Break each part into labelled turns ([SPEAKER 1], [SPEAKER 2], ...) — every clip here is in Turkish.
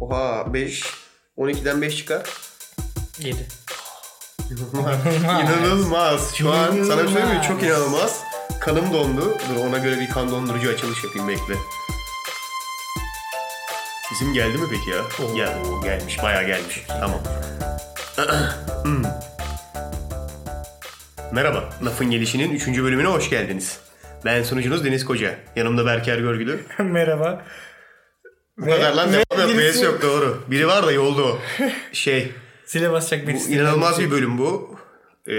[SPEAKER 1] Oha 5. 12'den 5 çıkar.
[SPEAKER 2] 7.
[SPEAKER 1] inanılmaz. Şu an sana şey
[SPEAKER 2] İnanılmaz.
[SPEAKER 1] söyleyeyim mi? Çok inanılmaz. Kanım dondu. Dur ona göre bir kan dondurucu açılış yapayım bekle. İsim geldi mi peki ya?
[SPEAKER 2] Oo.
[SPEAKER 1] Gel, oo, gelmiş. Bayağı gelmiş. Tamam. Hmm. Merhaba. Lafın Gelişi'nin 3. bölümüne hoş geldiniz. Ben sunucunuz Deniz Koca. Yanımda Berker Görgülü.
[SPEAKER 2] Merhaba.
[SPEAKER 1] Bu kadar lan
[SPEAKER 2] ve
[SPEAKER 1] devam yok.
[SPEAKER 2] birisi-
[SPEAKER 1] V'si yok doğru. Biri var da yolda o. Şey,
[SPEAKER 2] Sile basacak
[SPEAKER 1] bu
[SPEAKER 2] birisi.
[SPEAKER 1] inanılmaz bir bölüm bu. Ee,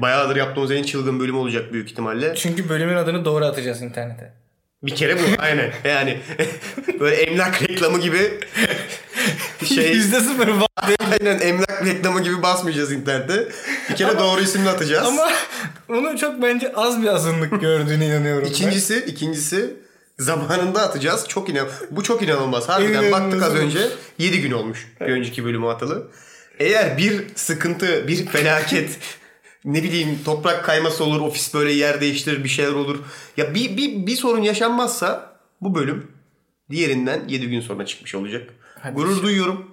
[SPEAKER 1] bayağıdır yaptığımız en çılgın bölüm olacak büyük ihtimalle.
[SPEAKER 2] Çünkü bölümün adını doğru atacağız internete.
[SPEAKER 1] Bir kere bu aynen. Yani böyle emlak reklamı gibi şey
[SPEAKER 2] Yüzde sıfır var.
[SPEAKER 1] aynen emlak reklamı gibi basmayacağız internette. Bir kere doğru isimle atacağız.
[SPEAKER 2] Ama onu çok bence az bir azınlık gördüğüne inanıyorum. ben.
[SPEAKER 1] İkincisi, ikincisi zamanında atacağız. Çok inan bu çok inanılmaz. Harbiden
[SPEAKER 2] İnanılmaz
[SPEAKER 1] baktık az
[SPEAKER 2] olmuş.
[SPEAKER 1] önce 7 gün olmuş bir önceki bölümü atalı. Eğer bir sıkıntı, bir felaket ne bileyim toprak kayması olur, ofis böyle yer değiştirir, bir şeyler olur. Ya bir, bir, bir sorun yaşanmazsa bu bölüm diğerinden 7 gün sonra çıkmış olacak.
[SPEAKER 2] Hadi
[SPEAKER 1] Gurur duyuyorum.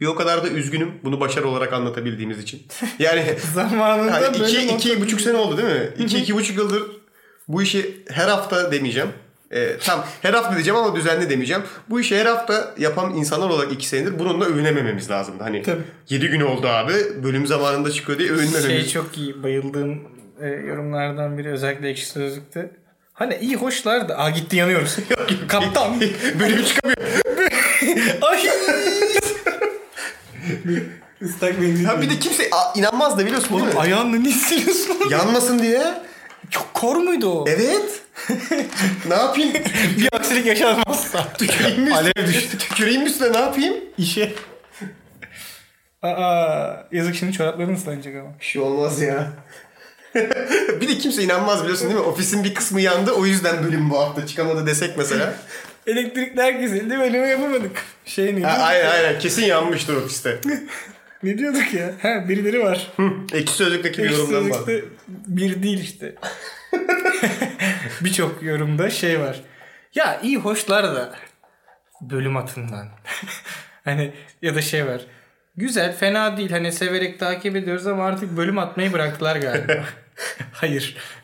[SPEAKER 1] Bir o kadar da üzgünüm bunu başarı olarak anlatabildiğimiz için. Yani
[SPEAKER 2] Zamanında
[SPEAKER 1] yani iki,
[SPEAKER 2] bölüm
[SPEAKER 1] iki buçuk sene oldu değil mi? İki, iki buçuk yıldır bu işi her hafta demeyeceğim. Ee, tam her hafta diyeceğim ama düzenli demeyeceğim. Bu işi her hafta yapan insanlar olarak iki senedir bununla övünemememiz lazımdı. Hani
[SPEAKER 2] Tabii.
[SPEAKER 1] 7 gün oldu abi bölüm zamanında çıkıyor diye övünmememiz.
[SPEAKER 2] Şey çok iyi bayıldığım e, yorumlardan biri özellikle ekşi sözlükte. Hani iyi hoşlar da. Aa gitti yanıyoruz. Kaptan.
[SPEAKER 1] bölüm çıkamıyor.
[SPEAKER 2] Ay. Islak mendil.
[SPEAKER 1] Ya bir de kimse a- inanmaz da biliyorsun değil mi?
[SPEAKER 2] Ayağını ne siliyorsun?
[SPEAKER 1] Yanmasın diye.
[SPEAKER 2] Çok kor muydu o?
[SPEAKER 1] Evet. ne yapayım?
[SPEAKER 2] Bir aksilik yaşanmazsa.
[SPEAKER 1] Tüküreyim mi?
[SPEAKER 2] Alev
[SPEAKER 1] düştü. Tüküreyim mi üstüne ne yapayım?
[SPEAKER 2] İşe. Aa yazık şimdi çorapların ıslanacak ama.
[SPEAKER 1] Bir şey olmaz ya. bir de kimse inanmaz biliyorsun değil mi? Ofisin bir kısmı yandı o yüzden bölüm bu hafta çıkamadı desek mesela.
[SPEAKER 2] Elektrikler kesildi bölümü yapamadık. Şey ne
[SPEAKER 1] ha,
[SPEAKER 2] diyorduk?
[SPEAKER 1] aynen aynen kesin yanmıştır ofiste.
[SPEAKER 2] Ne diyorduk ya? Ha birileri var.
[SPEAKER 1] Ekşi Sözlük'teki bir
[SPEAKER 2] Ekşi
[SPEAKER 1] yorumdan bak.
[SPEAKER 2] Sözlük'te bir değil işte. Birçok yorumda şey var. Ya iyi hoşlar da bölüm atından. hani ya da şey var. Güzel fena değil hani severek takip ediyoruz ama artık bölüm atmayı bıraktılar galiba. Hayır.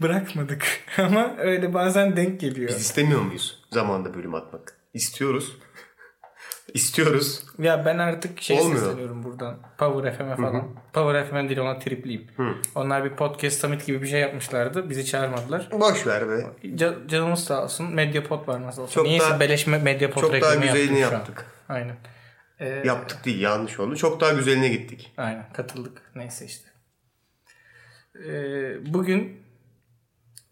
[SPEAKER 2] Bırakmadık ama öyle bazen denk geliyor.
[SPEAKER 1] Biz istemiyor muyuz zamanında bölüm atmak? İstiyoruz. İstiyoruz.
[SPEAKER 2] Ya ben artık şey
[SPEAKER 1] Olmuyor.
[SPEAKER 2] sesleniyorum buradan. Power FM'e falan. Power FM değil ona tripliyim. Onlar bir podcast summit gibi bir şey yapmışlardı. Bizi çağırmadılar.
[SPEAKER 1] Boş ver be.
[SPEAKER 2] Ca- canımız sağ olsun. Medyapod var nasıl olsun.
[SPEAKER 1] Çok
[SPEAKER 2] Niyeyse
[SPEAKER 1] daha-
[SPEAKER 2] beleş me- Medyapod
[SPEAKER 1] çok daha
[SPEAKER 2] reklamı
[SPEAKER 1] güzelini
[SPEAKER 2] yaptık şu an.
[SPEAKER 1] yaptık.
[SPEAKER 2] Aynen. Ee,
[SPEAKER 1] Yaptık değil yanlış oldu. Çok daha güzeline gittik.
[SPEAKER 2] Aynen katıldık. Neyse işte. Ee, bugün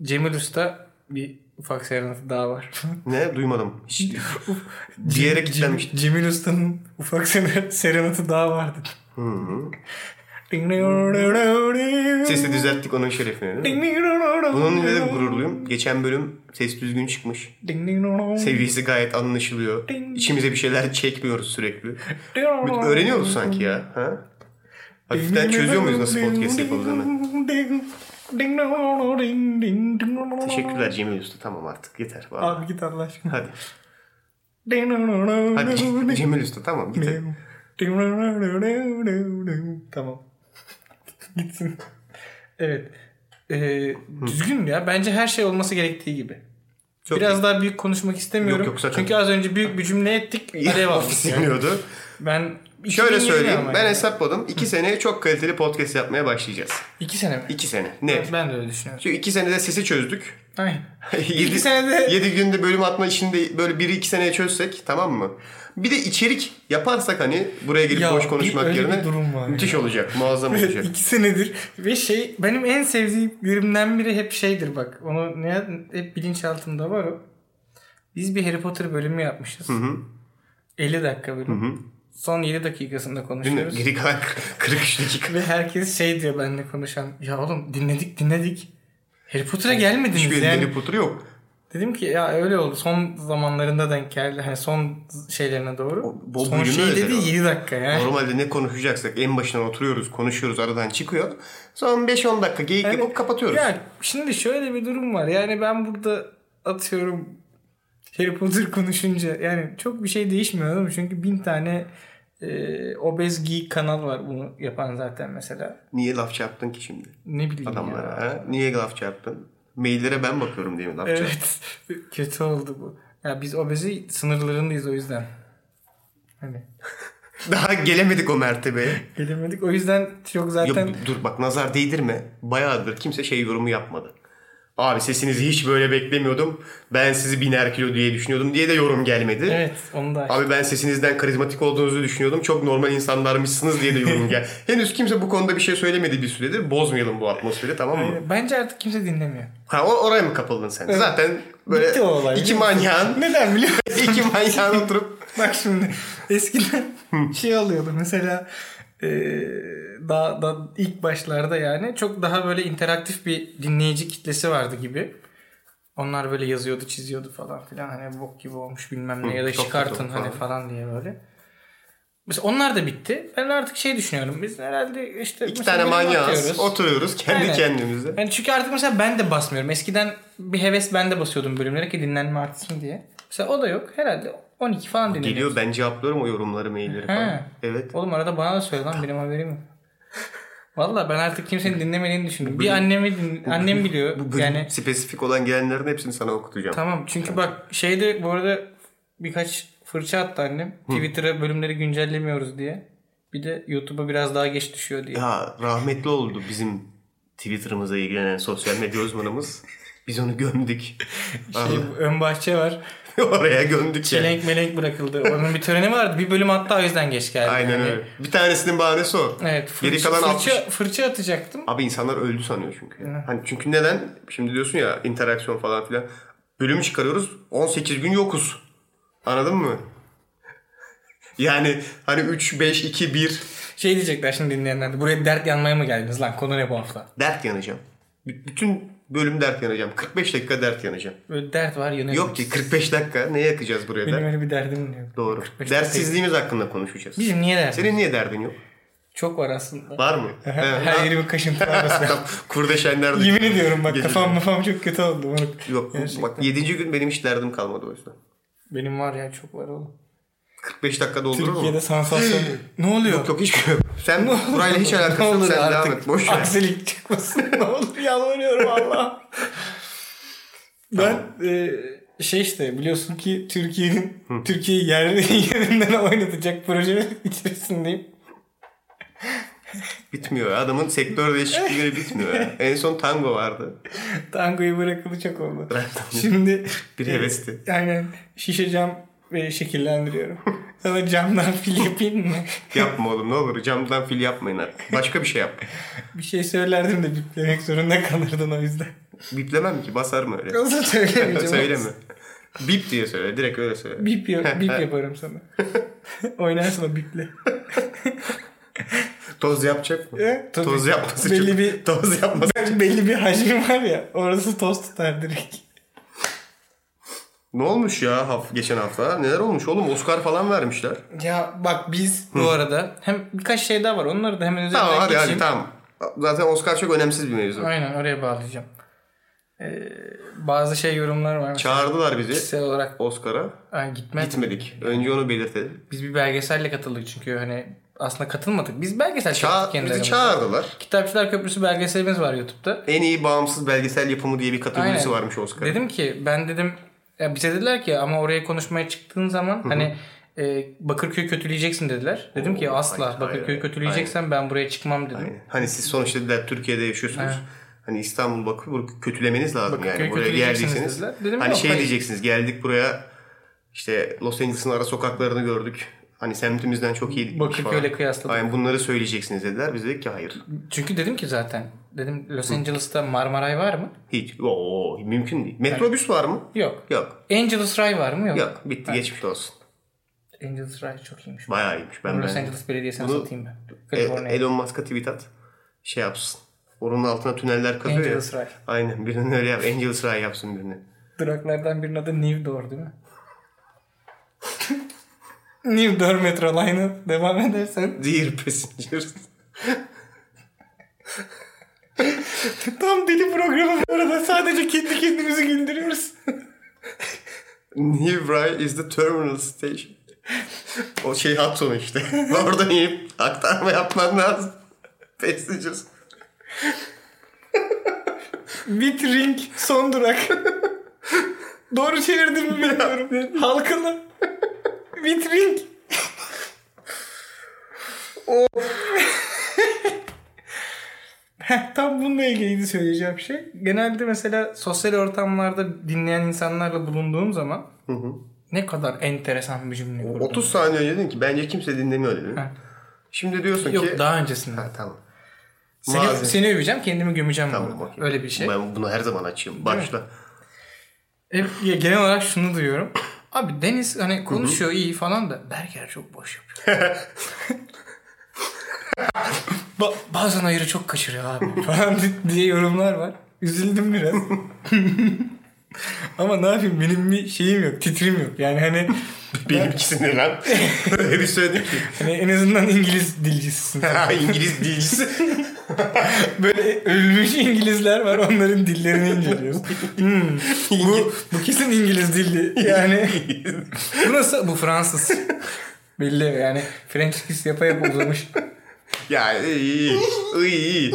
[SPEAKER 2] Cemil Usta bir ufak serenatı daha var.
[SPEAKER 1] Ne duymadım. Hiç diğere kilitlenmiş.
[SPEAKER 2] Cemil, Cemil Usta'nın ufak ser- serenatı daha vardı.
[SPEAKER 1] Sesi düzelttik onun şerefine değil mi? Bunun ne de gururluyum. Geçen bölüm ses düzgün çıkmış. Seviyesi gayet anlaşılıyor.
[SPEAKER 2] Ding.
[SPEAKER 1] İçimize bir şeyler çekmiyoruz sürekli. Bir- Öğreniyoruz sanki ya. Ha? Hafiften çözüyor muyuz nasıl podcast yapıldığını? Teşekkürler Cemil Usta. Tamam artık yeter. vallahi.
[SPEAKER 2] Abi git Allah aşkına.
[SPEAKER 1] Hadi. Hadi Cemil Usta tamam git. hadi.
[SPEAKER 2] tamam. Gitsin. Evet. Ee, düzgün ya. Bence her şey olması gerektiği gibi.
[SPEAKER 1] Çok
[SPEAKER 2] Biraz daha büyük konuşmak istemiyorum.
[SPEAKER 1] Yok, yok, sakın.
[SPEAKER 2] Çünkü az önce büyük bir cümle ettik.
[SPEAKER 1] iyi.
[SPEAKER 2] Alev aldık.
[SPEAKER 1] Ofis
[SPEAKER 2] yani.
[SPEAKER 1] yanıyordu.
[SPEAKER 2] Ben
[SPEAKER 1] Şöyle
[SPEAKER 2] 2020
[SPEAKER 1] söyleyeyim.
[SPEAKER 2] şey ama
[SPEAKER 1] Ben
[SPEAKER 2] yani.
[SPEAKER 1] hesapladım. 2 seneye çok kaliteli podcast yapmaya başlayacağız.
[SPEAKER 2] İki sene mi?
[SPEAKER 1] 2 sene. Net.
[SPEAKER 2] Ben de öyle düşünüyorum.
[SPEAKER 1] Çünkü 2 senede sesi çözdük.
[SPEAKER 2] Aynen.
[SPEAKER 1] 7
[SPEAKER 2] senede-
[SPEAKER 1] 7 günde bölüm atma işinde böyle 1 2 seneye çözsek tamam mı? Bir de içerik yaparsak hani buraya gelip
[SPEAKER 2] Ya,
[SPEAKER 1] boş
[SPEAKER 2] bir-
[SPEAKER 1] konuşmak
[SPEAKER 2] öyle bir
[SPEAKER 1] yerine
[SPEAKER 2] durum var
[SPEAKER 1] müthiş olacak. Muazzam olacak.
[SPEAKER 2] İki senedir ve şey benim en sevdiğimlerimden biri hep şeydir bak. Onu ne, hep bilinçaltımda var o. Biz bir Harry Potter bölümü yapmışız. 50 dakika bölüm. Son 7 dakikasında
[SPEAKER 1] Değil mi?
[SPEAKER 2] konuşuyoruz.
[SPEAKER 1] Geri kalan 43 dakika.
[SPEAKER 2] Ve herkes şey diyor benimle konuşan. Ya oğlum dinledik dinledik. Harry Potter'a gelmediniz
[SPEAKER 1] Hiçbir
[SPEAKER 2] yani.
[SPEAKER 1] Harry Potter yok.
[SPEAKER 2] Dedim ki ya öyle oldu. Son zamanlarında denk geldi. Hani son şeylerine doğru.
[SPEAKER 1] O- bu
[SPEAKER 2] son
[SPEAKER 1] bölümü
[SPEAKER 2] şey
[SPEAKER 1] özel
[SPEAKER 2] dedi
[SPEAKER 1] o.
[SPEAKER 2] 7 dakika yani.
[SPEAKER 1] Normalde ne konuşacaksak en başından oturuyoruz, konuşuyoruz, aradan çıkıyor. Son 5-10 dakika geyik
[SPEAKER 2] Yani-
[SPEAKER 1] yapıp kapatıyoruz.
[SPEAKER 2] Ya şimdi şöyle bir durum var. Yani ben burada atıyorum Harry Potter konuşunca yani çok bir şey değişmiyor değil mi? Çünkü bin tane e, obez geek kanal var bunu yapan zaten mesela.
[SPEAKER 1] Niye laf çarptın ki şimdi
[SPEAKER 2] Ne bileyim ya.
[SPEAKER 1] adamlara? Ha? Niye laf çarptın? Maillere ben bakıyorum diye mi laf çarptın?
[SPEAKER 2] Evet. Kötü oldu bu. Ya biz obezi sınırlarındayız o yüzden. Hani
[SPEAKER 1] Daha gelemedik o mertebeye.
[SPEAKER 2] gelemedik. O yüzden çok zaten
[SPEAKER 1] Ya, dur bak nazar değdirme. Bayağıdır kimse şey yorumu yapmadı. Abi sesinizi hiç böyle beklemiyordum. Ben sizi biner kilo diye düşünüyordum diye de yorum gelmedi.
[SPEAKER 2] evet onu da
[SPEAKER 1] Abi ben sesinizden karizmatik olduğunuzu düşünüyordum. Çok normal insanlarmışsınız diye de yorum gel. Henüz kimse bu konuda bir şey söylemedi bir süredir. Bozmayalım bu atmosferi tamam mı?
[SPEAKER 2] Bence artık kimse dinlemiyor.
[SPEAKER 1] Ha o- oraya mı kapıldın sen? Zaten böyle
[SPEAKER 2] Bitti o olay.
[SPEAKER 1] iki manyağın
[SPEAKER 2] Neden biliyor musun?
[SPEAKER 1] iki manyağın oturup
[SPEAKER 2] Bak şimdi eskiden şey oluyordu mesela e, daha, daha ilk başlarda yani çok daha böyle interaktif bir dinleyici kitlesi vardı gibi. Onlar böyle yazıyordu çiziyordu falan filan hani bok gibi olmuş bilmem ne
[SPEAKER 1] Hı,
[SPEAKER 2] ya da
[SPEAKER 1] çok
[SPEAKER 2] çıkartın
[SPEAKER 1] kötü
[SPEAKER 2] hani
[SPEAKER 1] falan.
[SPEAKER 2] falan diye böyle. Mesela onlar da bitti. Ben artık şey düşünüyorum. Biz herhalde işte
[SPEAKER 1] iki
[SPEAKER 2] mesela
[SPEAKER 1] tane
[SPEAKER 2] bölüm
[SPEAKER 1] manyağız
[SPEAKER 2] atıyoruz.
[SPEAKER 1] oturuyoruz kendi
[SPEAKER 2] Aynen.
[SPEAKER 1] kendimize.
[SPEAKER 2] Yani çünkü artık mesela ben de basmıyorum. Eskiden bir heves ben de basıyordum bölümlere ki dinlenme artsın diye. Mesela o da yok. Herhalde 12 falan dinleniyor.
[SPEAKER 1] Geliyor ben cevaplıyorum o yorumları mailleri falan.
[SPEAKER 2] He.
[SPEAKER 1] Evet.
[SPEAKER 2] Oğlum arada bana da söyle lan benim haberim yok. Valla ben artık kimsenin dinlemediğini düşündüm. Bir annemi din- annem biliyor.
[SPEAKER 1] Bu bölüm
[SPEAKER 2] yani
[SPEAKER 1] spesifik olan gelenlerin hepsini sana okutacağım.
[SPEAKER 2] tamam çünkü bak şeyde bu arada birkaç fırça attı annem. Twitter'a bölümleri güncellemiyoruz diye. Bir de YouTube'a biraz daha geç düşüyor diye.
[SPEAKER 1] Ya rahmetli oldu bizim Twitter'ımıza ilgilenen sosyal medya uzmanımız. Biz onu gömdük.
[SPEAKER 2] Şey, bu ön bahçe var.
[SPEAKER 1] Oraya gömdük yani.
[SPEAKER 2] Çelenk melenk bırakıldı. Onun bir töreni vardı. Bir bölüm hatta o yüzden geç geldi.
[SPEAKER 1] Aynen
[SPEAKER 2] Yani
[SPEAKER 1] öyle. Hani Bir tanesinin bahanesi o.
[SPEAKER 2] Evet. Fırça,
[SPEAKER 1] Geri kalan
[SPEAKER 2] fırça,
[SPEAKER 1] 60.
[SPEAKER 2] fırça atacaktım.
[SPEAKER 1] Abi insanlar öldü sanıyor çünkü. Hani çünkü neden? Şimdi diyorsun ya interaksiyon falan filan. Bölüm çıkarıyoruz. 18 gün yokuz. Anladın mı? Yani hani 3, 5, 2, 1
[SPEAKER 2] Şey diyecekler şimdi dinleyenler de. Buraya dert yanmaya mı geldiniz lan? Konu ne bu hafta?
[SPEAKER 1] dert yanacağım. B- bütün bölüm dert yanacağım. 45 dakika dert yanacağım.
[SPEAKER 2] Böyle dert var yanıyor.
[SPEAKER 1] Yok ki 45 dakika. Neye yakacağız buraya
[SPEAKER 2] Benim
[SPEAKER 1] dert?
[SPEAKER 2] öyle bir derdim yok.
[SPEAKER 1] Doğru.
[SPEAKER 2] 45
[SPEAKER 1] Dertsizliğimiz hakkında konuşacağız.
[SPEAKER 2] Bizim niye derdimiz?
[SPEAKER 1] Senin niye derdin yok?
[SPEAKER 2] Çok var aslında.
[SPEAKER 1] Var mı?
[SPEAKER 2] Her yeri bir kaşıntı var mesela.
[SPEAKER 1] Kurdeşenler de-
[SPEAKER 2] Yemin ediyorum bak
[SPEAKER 1] Gece-
[SPEAKER 2] kafam kafam çok kötü oldu. moruk.
[SPEAKER 1] Yok bak 7. gün benim hiç derdim kalmadı o yüzden.
[SPEAKER 2] Benim var ya çok var oğlum.
[SPEAKER 1] 45 dakika doldurur mu?
[SPEAKER 2] Türkiye'de sansasyon. ne oluyor?
[SPEAKER 1] Yok hiç yok. Sen burayla hiç alakası
[SPEAKER 2] Ne
[SPEAKER 1] yok.
[SPEAKER 2] olur
[SPEAKER 1] Sen
[SPEAKER 2] artık
[SPEAKER 1] devam et. Boş ver.
[SPEAKER 2] aksilik çıkmasın. ne olur yalvarıyorum Allah. ben e, şey işte biliyorsun ki Türkiye'nin Türkiye'yi yer, yerinden oynatacak proje içerisindeyim.
[SPEAKER 1] Bitmiyor. ya. Adamın sektör değişiklikleri bitmiyor. ya. En son tango vardı.
[SPEAKER 2] Tangoyu bırakalı çok oldu. Şimdi e,
[SPEAKER 1] Bir hevesti.
[SPEAKER 2] aynen şişe cam e, şekillendiriyorum. Sana camdan fil yapayım mı?
[SPEAKER 1] Yapma oğlum ne olur camdan fil yapmayın artık. Başka bir şey yap.
[SPEAKER 2] Bir şey söylerdim de biplemek zorunda kalırdın o yüzden.
[SPEAKER 1] Biplemem ki basar mı öyle?
[SPEAKER 2] Nasıl söylemeyeceğim?
[SPEAKER 1] Söyleme. Bip diye söyle. Direkt öyle söyle.
[SPEAKER 2] Bip, ya- bip yaparım sana. Oynarsın o biple.
[SPEAKER 1] Toz yapacak mı?
[SPEAKER 2] E, tabii.
[SPEAKER 1] Toz yapması
[SPEAKER 2] Belli
[SPEAKER 1] çok-
[SPEAKER 2] bir-
[SPEAKER 1] Toz yapması.
[SPEAKER 2] Ben belli bir hacmi var ya orası toz tutar direkt.
[SPEAKER 1] Ne olmuş ya haf- geçen hafta? Neler olmuş oğlum? Oscar falan vermişler.
[SPEAKER 2] Ya bak biz bu arada hem birkaç şey daha var onları da hemen üzerinden
[SPEAKER 1] Tamam hadi
[SPEAKER 2] geçeyim.
[SPEAKER 1] hadi tamam. Zaten Oscar çok önemsiz bir mevzu.
[SPEAKER 2] Aynen oraya bağlayacağım. Ee, bazı şey yorumlar var. Mesela
[SPEAKER 1] Çağırdılar bizi
[SPEAKER 2] kişisel olarak
[SPEAKER 1] Oscar'a.
[SPEAKER 2] Ay, gitmez.
[SPEAKER 1] Gitmedik. Önce onu belirtelim.
[SPEAKER 2] Biz bir belgeselle katıldık çünkü hani aslında katılmadık. Biz belgesel
[SPEAKER 1] Ça-
[SPEAKER 2] çektik kendi
[SPEAKER 1] bizi
[SPEAKER 2] aramızda.
[SPEAKER 1] çağırdılar.
[SPEAKER 2] Kitapçılar Köprüsü belgeselimiz var YouTube'da.
[SPEAKER 1] En iyi bağımsız belgesel yapımı diye bir kategorisi
[SPEAKER 2] Aynen.
[SPEAKER 1] varmış Oscar.
[SPEAKER 2] Dedim ki ben dedim ya bize dediler ki ama oraya konuşmaya çıktığın zaman hani e, Bakırköy kötüleyeceksin dediler. Dedim ki
[SPEAKER 1] Oo,
[SPEAKER 2] asla
[SPEAKER 1] hayır,
[SPEAKER 2] Bakırköy
[SPEAKER 1] hayır,
[SPEAKER 2] kötüleyeceksen ben buraya çıkmam dedim.
[SPEAKER 1] Hani siz sonuçta dediler Türkiye'de yaşıyorsunuz. Hani İstanbul bakıp bunu kötülemeniz lazım yani. Buraya
[SPEAKER 2] kötüleyeceksiniz
[SPEAKER 1] geldiyseniz.
[SPEAKER 2] dediler. Dedim,
[SPEAKER 1] hani
[SPEAKER 2] yok,
[SPEAKER 1] şey
[SPEAKER 2] hayır.
[SPEAKER 1] diyeceksiniz geldik buraya işte Los Angeles'ın ara sokaklarını gördük. Hani semtimizden çok iyi.
[SPEAKER 2] Bakırköy'le
[SPEAKER 1] falan.
[SPEAKER 2] kıyasladık.
[SPEAKER 1] Aynen bunları söyleyeceksiniz dediler. Biz dedik ki hayır.
[SPEAKER 2] Çünkü dedim ki zaten dedim Los Angeles'ta Marmaray var mı?
[SPEAKER 1] Hiç. Oo, mümkün değil. Metrobüs var mı?
[SPEAKER 2] Yok.
[SPEAKER 1] Yok.
[SPEAKER 2] Angeles Ray var mı? Yok.
[SPEAKER 1] Yok. Bitti. Geçmiş olsun.
[SPEAKER 2] Angeles Ray çok iyiymiş.
[SPEAKER 1] Bayağı iyiymiş. Ben,
[SPEAKER 2] Los
[SPEAKER 1] ben
[SPEAKER 2] Angeles Belediyesi'ne
[SPEAKER 1] Bunu-
[SPEAKER 2] satayım ben.
[SPEAKER 1] E-
[SPEAKER 2] Kaliforniya.
[SPEAKER 1] Elon Musk'a tweet at. Şey yapsın. Onun altına tüneller kazıyor
[SPEAKER 2] Angeles
[SPEAKER 1] ya.
[SPEAKER 2] Ray.
[SPEAKER 1] Aynen. Birini öyle yap. Angeles Ray yapsın birini.
[SPEAKER 2] Duraklardan birinin adı New Door değil mi? New Door Metro Line'ı devam edersen
[SPEAKER 1] Dear passengers.
[SPEAKER 2] tam deli programı bu arada sadece kendi kendimizi güldürüyoruz.
[SPEAKER 1] Nivray is the terminal station. o şey hat sonu işte. Oradan inip aktarma yapman lazım. Passengers.
[SPEAKER 2] Bit ring son durak. Doğru çevirdim mi bilmiyorum. Halkalı. Bit ring. Heh, Tam bununla ilgili söyleyeceğim şey. Genelde mesela sosyal ortamlarda dinleyen insanlarla bulunduğum zaman ne kadar enteresan bir cümle kurdum.
[SPEAKER 1] 30 saniye önce dedin ki bence kimse dinlemiyor dedin.
[SPEAKER 2] Ha.
[SPEAKER 1] Şimdi diyorsun
[SPEAKER 2] Yok
[SPEAKER 1] ki...
[SPEAKER 2] daha öncesinde.
[SPEAKER 1] Ha, tamam.
[SPEAKER 2] Seni,
[SPEAKER 1] Maalesef.
[SPEAKER 2] seni öveceğim kendimi gömeceğim.
[SPEAKER 1] Tamam,
[SPEAKER 2] bu arada.
[SPEAKER 1] okey.
[SPEAKER 2] Öyle bir şey.
[SPEAKER 1] Ben bunu her zaman açayım. Başla.
[SPEAKER 2] Hep ya genel olarak şunu duyuyorum. Abi Deniz hani konuşuyor iyi falan da Berker çok boş yapıyor. Ba- bazen ayırı çok kaçırıyor abi falan di- diye yorumlar var. Üzüldüm biraz. Ama ne yapayım benim bir şeyim yok, titrim yok. Yani hani,
[SPEAKER 1] Benimkisini lan. Öyle bir söyledim ki.
[SPEAKER 2] hani en azından İngiliz dilcisisin.
[SPEAKER 1] Ha, İngiliz dilcisi.
[SPEAKER 2] Böyle ölmüş İngilizler var onların dillerini inceliyoruz. Hmm, bu, bu kesin İngiliz dilli. Yani bu nasıl? Bu Fransız. Belli yani French kiss yapa yapa uzamış.
[SPEAKER 1] ya iyi iyi. iyi. iyi.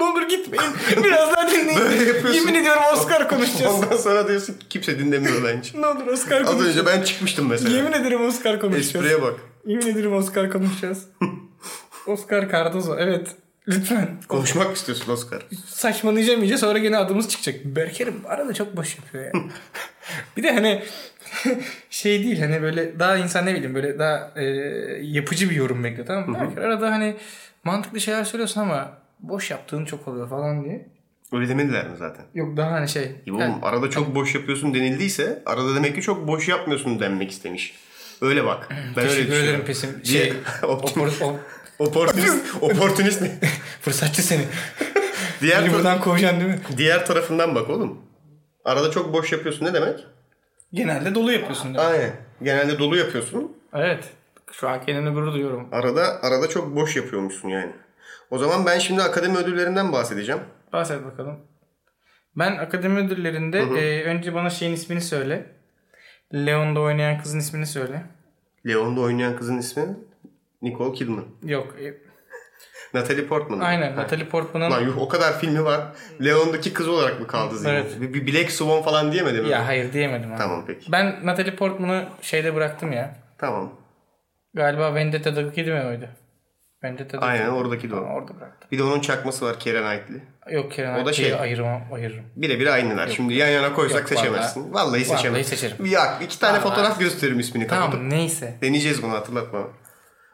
[SPEAKER 2] ne olur gitmeyin. Biraz daha dinleyin.
[SPEAKER 1] Böyle yapıyorsun.
[SPEAKER 2] Yemin ediyorum Oscar konuşacağız.
[SPEAKER 1] Ondan sonra diyorsun ki kimse dinlemiyor bence.
[SPEAKER 2] ne olur Oscar
[SPEAKER 1] Az
[SPEAKER 2] konuşacağız.
[SPEAKER 1] önce ben çıkmıştım mesela.
[SPEAKER 2] Yemin ederim Oscar konuşacağız.
[SPEAKER 1] Espriye bak.
[SPEAKER 2] Yemin ederim Oscar konuşacağız. Oscar Cardozo evet. Lütfen.
[SPEAKER 1] Konuşmak mı istiyorsun Oscar?
[SPEAKER 2] saçmalayacağım iyice sonra gene adımız çıkacak. Berkerim arada çok boş yapıyor ya. bir de hani şey değil hani böyle daha insan ne bileyim böyle daha e, yapıcı bir yorum bekliyor tamam mı? Berker arada hani mantıklı şeyler söylüyorsun ama boş yaptığın çok oluyor falan diye.
[SPEAKER 1] Öyle demediler mi zaten?
[SPEAKER 2] Yok daha hani şey.
[SPEAKER 1] Ya oğlum
[SPEAKER 2] yani
[SPEAKER 1] arada çok boş yapıyorsun denildiyse arada demek ki çok boş yapmıyorsun denmek istemiş. Öyle bak. Ben öyle
[SPEAKER 2] Hmm, teşekkür ederim
[SPEAKER 1] düşünüyorum.
[SPEAKER 2] pesim.
[SPEAKER 1] Diye-
[SPEAKER 2] Şey,
[SPEAKER 1] Optim-
[SPEAKER 2] opor- o-
[SPEAKER 1] Oportunist, oportunist ne?
[SPEAKER 2] fırsatçı seni.
[SPEAKER 1] Diğer,
[SPEAKER 2] Beni
[SPEAKER 1] ta-
[SPEAKER 2] buradan kovacaksın değil mi?
[SPEAKER 1] diğer tarafından bak oğlum. Arada çok boş yapıyorsun ne demek?
[SPEAKER 2] Genelde dolu yapıyorsun. değil mi?
[SPEAKER 1] Aynen. Genelde dolu yapıyorsun.
[SPEAKER 2] Evet. Şu an kendimi gurur duyuyorum.
[SPEAKER 1] Arada arada çok boş yapıyormuşsun yani. O zaman ben şimdi akademi ödüllerinden bahsedeceğim.
[SPEAKER 2] Bahset bakalım. Ben akademi ödüllerinde e, önce bana şeyin ismini söyle. Leon'da oynayan kızın ismini söyle.
[SPEAKER 1] Leon'da oynayan kızın ismi Nicole Kidman.
[SPEAKER 2] Yok. e,
[SPEAKER 1] Natalie Portman.
[SPEAKER 2] aynen.
[SPEAKER 1] Ha.
[SPEAKER 2] Natalie
[SPEAKER 1] Lan
[SPEAKER 2] Portman'ın
[SPEAKER 1] yuh o kadar filmi var. Leon'daki kız olarak mı kaldı zihninde?
[SPEAKER 2] Evet.
[SPEAKER 1] Bir, bir Black Swan falan diyemedim mi?
[SPEAKER 2] ya hayır diyemedim abi.
[SPEAKER 1] Tamam peki.
[SPEAKER 2] Ben Natalie Portman'ı şeyde bıraktım ya.
[SPEAKER 1] Tamam.
[SPEAKER 2] Galiba Vendetta'daki değil mi oydu? Vendetta'daki.
[SPEAKER 1] Aynen oradaki de o.
[SPEAKER 2] Orada bıraktım.
[SPEAKER 1] Bir de onun çakması var Keira Knightley.
[SPEAKER 2] Yok Kenan
[SPEAKER 1] O da
[SPEAKER 2] Aytçı'yı
[SPEAKER 1] şey.
[SPEAKER 2] ayırmam, ayırırım.
[SPEAKER 1] Birebir aynılar. Şimdi yan yana koysak
[SPEAKER 2] Yok,
[SPEAKER 1] seçemezsin. Vallahi, seçemezsin.
[SPEAKER 2] vallahi seçerim.
[SPEAKER 1] Ya iki tane fotoğraf gösteririm ismini.
[SPEAKER 2] Tamam
[SPEAKER 1] kapatıp.
[SPEAKER 2] neyse.
[SPEAKER 1] Deneyeceğiz bunu hatırlatma.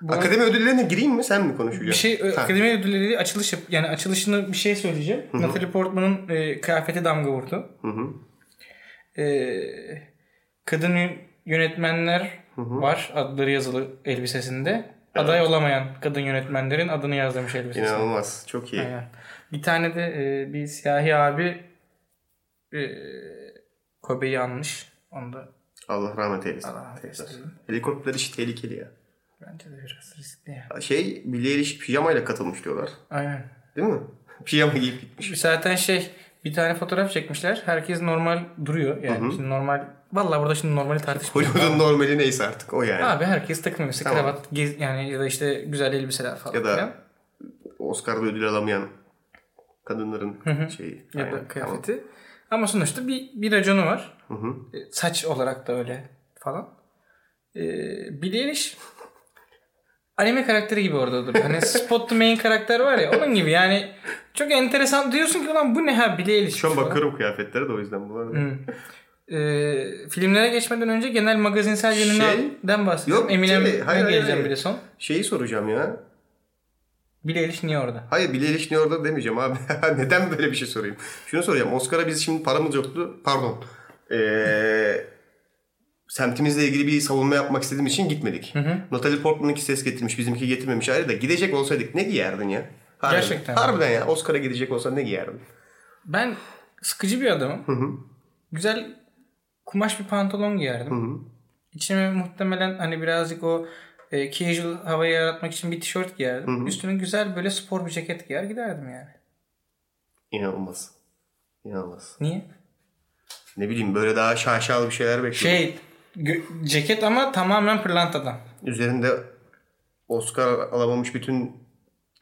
[SPEAKER 1] Akademi ödüllerine gireyim mi sen mi konuşacaksın?
[SPEAKER 2] Bir şey e,
[SPEAKER 1] Ha.
[SPEAKER 2] akademi ödülleri açılış yap- yani açılışını bir şey söyleyeceğim. Natalie Portman'ın e, kıyafeti damga vurdu.
[SPEAKER 1] Hı hı.
[SPEAKER 2] Ee, kadın yö- yönetmenler var adları yazılı elbisesinde. Aday olamayan kadın yönetmenlerin adını yazdırmış elbisesinde.
[SPEAKER 1] İnanılmaz. Çok iyi.
[SPEAKER 2] Aynen. Bir tane de e, bir siyahi abi e, Kobe'yi anmış. Onu da
[SPEAKER 1] Allah rahmet eylesin.
[SPEAKER 2] Allah rahmet eylesin.
[SPEAKER 1] Tekrar. Helikopter işi tehlikeli ya.
[SPEAKER 2] bence de biraz riskli. ya.
[SPEAKER 1] Şey Billie Eilish pijamayla katılmış diyorlar.
[SPEAKER 2] Aynen.
[SPEAKER 1] Değil mi? Pijama giyip gitmiş.
[SPEAKER 2] Zaten şey bir tane fotoğraf çekmişler. Herkes normal duruyor. Yani şimdi normal. Vallahi burada şimdi normali tartışmıyoruz.
[SPEAKER 1] Hollywood'un normali neyse artık o yani.
[SPEAKER 2] Abi herkes takım elbise,
[SPEAKER 1] Tamam.
[SPEAKER 2] kravat, gez, yani ya da işte güzel elbiseler falan.
[SPEAKER 1] Ya da-
[SPEAKER 2] filan.
[SPEAKER 1] Oscar'da ödül alamayan kadınların şeyi.
[SPEAKER 2] ya
[SPEAKER 1] Aynen,
[SPEAKER 2] da kıyafeti. Ama sonuçta bir bir raconu var.
[SPEAKER 1] Tamam. Hı hı.
[SPEAKER 2] E, Saç olarak da öyle falan. E, Billie Eilish anime karakteri gibi orada duruyor. Hani Spot the Main karakter var ya onun gibi yani çok enteresan diyorsun ki ulan bu ne ha Billie Eilish.
[SPEAKER 1] Şu an
[SPEAKER 2] falan.
[SPEAKER 1] bakıyorum kıyafetlere de o yüzden bu arada.
[SPEAKER 2] E, filmlere geçmeden önce genel magazinsel
[SPEAKER 1] Şey-
[SPEAKER 2] yönünden bahsediyorum.
[SPEAKER 1] Yok, tabii,
[SPEAKER 2] Eminem'e
[SPEAKER 1] hayır, hayır,
[SPEAKER 2] geleceğim
[SPEAKER 1] hayır.
[SPEAKER 2] bir de son.
[SPEAKER 1] Şeyi soracağım ya.
[SPEAKER 2] Billie Eilish niye orada?
[SPEAKER 1] Hayır Billie Eilish niye orada demeyeceğim abi. Neden böyle bir şey sorayım? Şunu soracağım. Oscar'a biz şimdi paramız yoktu. Pardon. Ee, semtimizle ilgili bir savunma yapmak istediğim için gitmedik. Natalie Portman'ınki ses getirmiş. Bizimki getirmemiş ayrı da gidecek olsaydık ne giyerdin ya? Harbiden.
[SPEAKER 2] Gerçekten.
[SPEAKER 1] Harbiden ya. Oscar'a gidecek olsan ne giyerdin?
[SPEAKER 2] Ben sıkıcı bir adamım. Güzel kumaş bir pantolon giyerdim. İçime muhtemelen hani birazcık o e, casual havayı yaratmak için bir tişört giyerdim. Üstüne güzel böyle spor bir ceket giyer giderdim yani.
[SPEAKER 1] İnanılmaz. İnanılmaz.
[SPEAKER 2] Niye?
[SPEAKER 1] Ne bileyim böyle daha şaşalı bir şeyler bekliyorum.
[SPEAKER 2] Şey gö- ceket ama tamamen pırlantadan.
[SPEAKER 1] Üzerinde Oscar alamamış bütün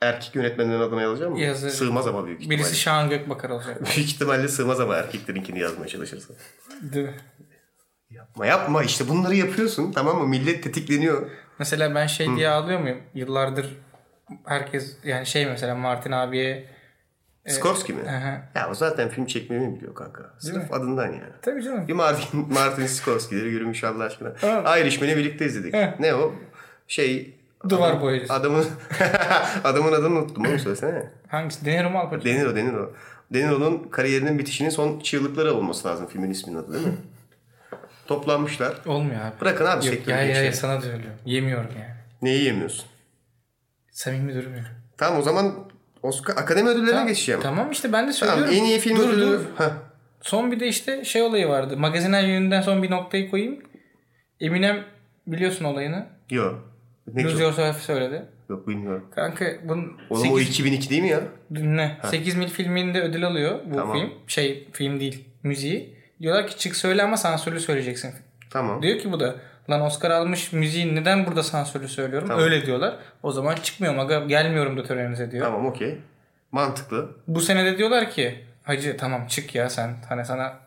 [SPEAKER 1] erkek yönetmenlerin adını yazacağım mı?
[SPEAKER 2] Yazarım.
[SPEAKER 1] Sığmaz ama büyük ihtimalle.
[SPEAKER 2] Birisi Şahan Gökbakar olacak.
[SPEAKER 1] Büyük ihtimalle sığmaz ama erkeklerinkini yazmaya çalışırsın.
[SPEAKER 2] Değil mi?
[SPEAKER 1] Yapma yapma işte bunları yapıyorsun tamam mı? Millet tetikleniyor.
[SPEAKER 2] Mesela ben şey diye ağlıyor muyum? Yıllardır herkes yani şey mesela Martin abiye
[SPEAKER 1] Skorsky mi?
[SPEAKER 2] aha.
[SPEAKER 1] Ya o zaten film çekmeyi mi biliyor kanka? Sırf adından yani.
[SPEAKER 2] tabii canım.
[SPEAKER 1] Bir Martin, Martin Scorsky'leri yürümüş Allah aşkına.
[SPEAKER 2] Evet.
[SPEAKER 1] Irishman'i birlikte izledik.
[SPEAKER 2] Evet.
[SPEAKER 1] Ne o? Şey...
[SPEAKER 2] Duvar
[SPEAKER 1] adam-
[SPEAKER 2] boyacısı.
[SPEAKER 1] Adamın, adamın adını unuttum oğlum söylesene.
[SPEAKER 2] Hangisi? De Niro mu Al Pacino?
[SPEAKER 1] De Niro, De Niro. De Niro'nun kariyerinin bitişinin son çığlıkları olması lazım filmin isminin adı değil mi? Toplanmışlar.
[SPEAKER 2] Olmuyor abi.
[SPEAKER 1] Bırakın abi
[SPEAKER 2] Yok
[SPEAKER 1] sektörü
[SPEAKER 2] ya ya,
[SPEAKER 1] geçelim.
[SPEAKER 2] ya sana söylüyorum. Yemiyorum yani.
[SPEAKER 1] Neyi yemiyorsun?
[SPEAKER 2] Samimi durmuyor.
[SPEAKER 1] Tamam o zaman Oscar akademi ödüllerine geçeceğim.
[SPEAKER 2] Tamam işte ben de
[SPEAKER 1] Şey Tamam,
[SPEAKER 2] söylüyorum.
[SPEAKER 1] en iyi film
[SPEAKER 2] dur,
[SPEAKER 1] ödülü...
[SPEAKER 2] dur.
[SPEAKER 1] Heh.
[SPEAKER 2] Son bir de işte şey olayı vardı. Magazinel yönünden son bir noktayı koyayım. Eminem biliyorsun olayını.
[SPEAKER 1] Yok. Ne
[SPEAKER 2] Lose
[SPEAKER 1] yok?
[SPEAKER 2] Yourself söyledi.
[SPEAKER 1] Yok bilmiyorum.
[SPEAKER 2] Kanka bunun
[SPEAKER 1] Oğlum o
[SPEAKER 2] 8,
[SPEAKER 1] 2002 değil mi ya?
[SPEAKER 2] ne? 8 mil filminde ödül alıyor bu
[SPEAKER 1] Tamam.
[SPEAKER 2] film. Şey film değil müziği. Diyorlar ki çık söyle ama sansürlü söyleyeceksin.
[SPEAKER 1] Tamam.
[SPEAKER 2] Diyor ki bu da lan Oscar almış müziği neden burada sansürlü söylüyorum?
[SPEAKER 1] Tamam.
[SPEAKER 2] Öyle diyorlar. O zaman çıkmıyorum aga gelmiyorum da törenize diyor.
[SPEAKER 1] Tamam okey. Mantıklı.
[SPEAKER 2] Bu sene de diyorlar ki hacı tamam çık ya sen hani sana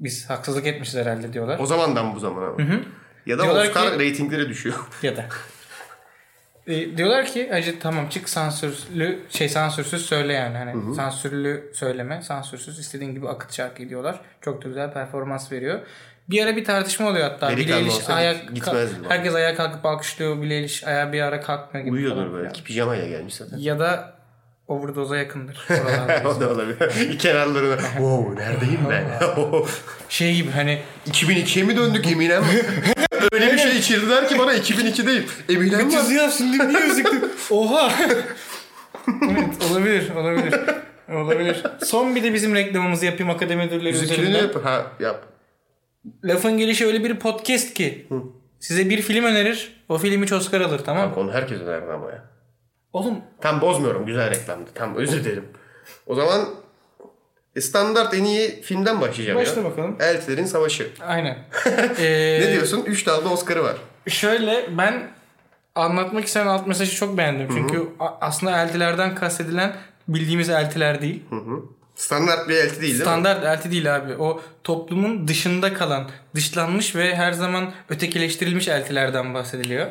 [SPEAKER 2] biz haksızlık etmişiz herhalde diyorlar.
[SPEAKER 1] O zamandan bu zamana bak. Ya da
[SPEAKER 2] Diyorlar
[SPEAKER 1] Oscar
[SPEAKER 2] ki-
[SPEAKER 1] reytingleri düşüyor.
[SPEAKER 2] Ya da. E, diyorlar ki hacı tamam çık sansürlü şey sansürsüz söyle yani hani sansürlü söyleme sansürsüz istediğin gibi akıt şarkı diyorlar. Çok da güzel performans veriyor. Bir ara bir tartışma oluyor hatta.
[SPEAKER 1] Delikanlı
[SPEAKER 2] Billie Eilish
[SPEAKER 1] olsa
[SPEAKER 2] ayak
[SPEAKER 1] git- gitmezdi bu.
[SPEAKER 2] herkes ayağa kalkıp alkışlıyor. Billie Eilish ayağı bir ara kalkmıyor gibi.
[SPEAKER 1] Uyuyordur
[SPEAKER 2] falan.
[SPEAKER 1] belki. Pijamaya gelmiş zaten.
[SPEAKER 2] Ya da overdose'a yakındır. oralarda.
[SPEAKER 1] o da olabilir. Kenarlarına. wow neredeyim ben?
[SPEAKER 2] şey gibi hani
[SPEAKER 1] 2002'ye mi döndük Eminem? Öyle bir şey içirdiler ki bana 2002'deyim. Eminem var.
[SPEAKER 2] ya şimdi niye gözüktü? Oha. evet olabilir olabilir. Olabilir. Son bir de bizim reklamımızı yapayım akademi ödülleri
[SPEAKER 1] Müziklerini
[SPEAKER 2] üzerinden.
[SPEAKER 1] yap. Ha yap.
[SPEAKER 2] Lafın gelişi öyle bir podcast ki. Size bir film önerir. O film hiç Oscar alır tamam mı?
[SPEAKER 1] Bak onu herkes önerdi ama ya.
[SPEAKER 2] Oğlum
[SPEAKER 1] Tam bozmuyorum. Güzel reklamdı. Tam özür dilerim. O zaman e, standart en iyi filmden başlayacağım ya.
[SPEAKER 2] Başla bakalım.
[SPEAKER 1] Eltilerin Savaşı.
[SPEAKER 2] aynen. Ee,
[SPEAKER 1] Ne diyorsun? 3 dalda Oscar'ı var.
[SPEAKER 2] Şöyle ben anlatmak istenen alt mesajı çok beğendim. Çünkü a- aslında eltilerden kastedilen bildiğimiz eltiler değil.
[SPEAKER 1] Standart bir elti değil değil mi?
[SPEAKER 2] Standart elti değil abi. O toplumun dışında kalan, dışlanmış ve her zaman ötekileştirilmiş eltilerden bahsediliyor.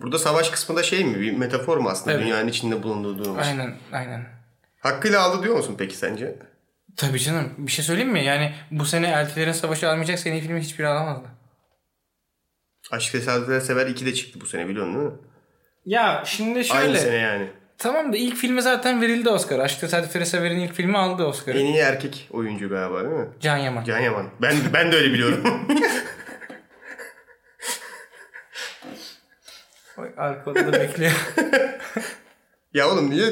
[SPEAKER 1] Burada savaş kısmında şey mi? Bir metafor mu aslında? Dünyanın içinde bulunduğu durum. için?
[SPEAKER 2] Aynen, aynen.
[SPEAKER 1] Hakkıyla aldı diyor musun peki sence?
[SPEAKER 2] Tabii canım. Bir şey söyleyeyim mi? Yani bu sene eltilerin savaşı almayacak sene filmi hiçbiri alamazdı.
[SPEAKER 1] Aşk Tesadüfler Sever 2 de çıktı bu sene biliyorsun değil mi?
[SPEAKER 2] Ya şimdi
[SPEAKER 1] Aynı
[SPEAKER 2] şöyle.
[SPEAKER 1] sene yani.
[SPEAKER 2] Tamam da ilk filme zaten verildi Oscar. Aşk Tesadüfleri Sever'in ilk filmi aldı Oscar'ı.
[SPEAKER 1] En iyi erkek oyuncu galiba değil mi?
[SPEAKER 2] Can Yaman.
[SPEAKER 1] Can Yaman. Ben, ben de öyle biliyorum.
[SPEAKER 2] Oy, Arkada da bekliyor.
[SPEAKER 1] ya oğlum niye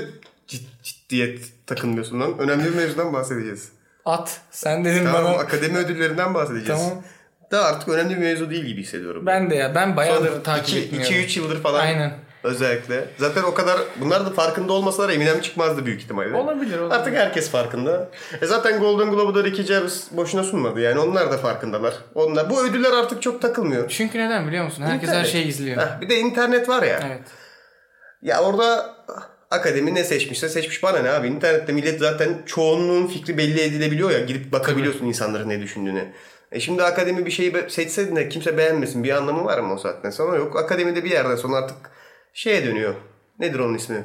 [SPEAKER 1] cid- ciddiyet takınmıyorsun lan? Önemli bir mevzudan bahsedeceğiz.
[SPEAKER 2] At. Sen dedin
[SPEAKER 1] Tamam
[SPEAKER 2] bana.
[SPEAKER 1] akademi ödüllerinden bahsedeceğiz.
[SPEAKER 2] Tamam.
[SPEAKER 1] Da artık önemli bir mevzu değil gibi hissediyorum.
[SPEAKER 2] Ben de ya. Ben bayağıdır takip etmiyorum.
[SPEAKER 1] 2-3 yıldır falan.
[SPEAKER 2] Aynen.
[SPEAKER 1] Özellikle. Zaten o kadar bunlar da farkında olmasalar Eminem çıkmazdı büyük ihtimalle.
[SPEAKER 2] Olabilir, olabilir.
[SPEAKER 1] Artık herkes farkında. E zaten Golden Globe'da Ricky Gervais boşuna sunmadı yani onlar da farkındalar. Onlar bu ödüller artık çok takılmıyor.
[SPEAKER 2] Çünkü neden biliyor musun? Herkes her
[SPEAKER 1] İnternet.
[SPEAKER 2] şeyi izliyor.
[SPEAKER 1] Heh, bir de internet var ya.
[SPEAKER 2] Evet.
[SPEAKER 1] Ya orada akademi ne seçmişse seçmiş bana ne abi. İnternette millet zaten çoğunluğun fikri belli edilebiliyor ya. Gidip bakabiliyorsun insanların ne düşündüğüne. E şimdi akademi bir şeyi be- seçse de kimse beğenmesin. Bir anlamı var mı o saatten sonra? Yok akademide bir yerden sonra artık şeye dönüyor. Nedir onun ismi?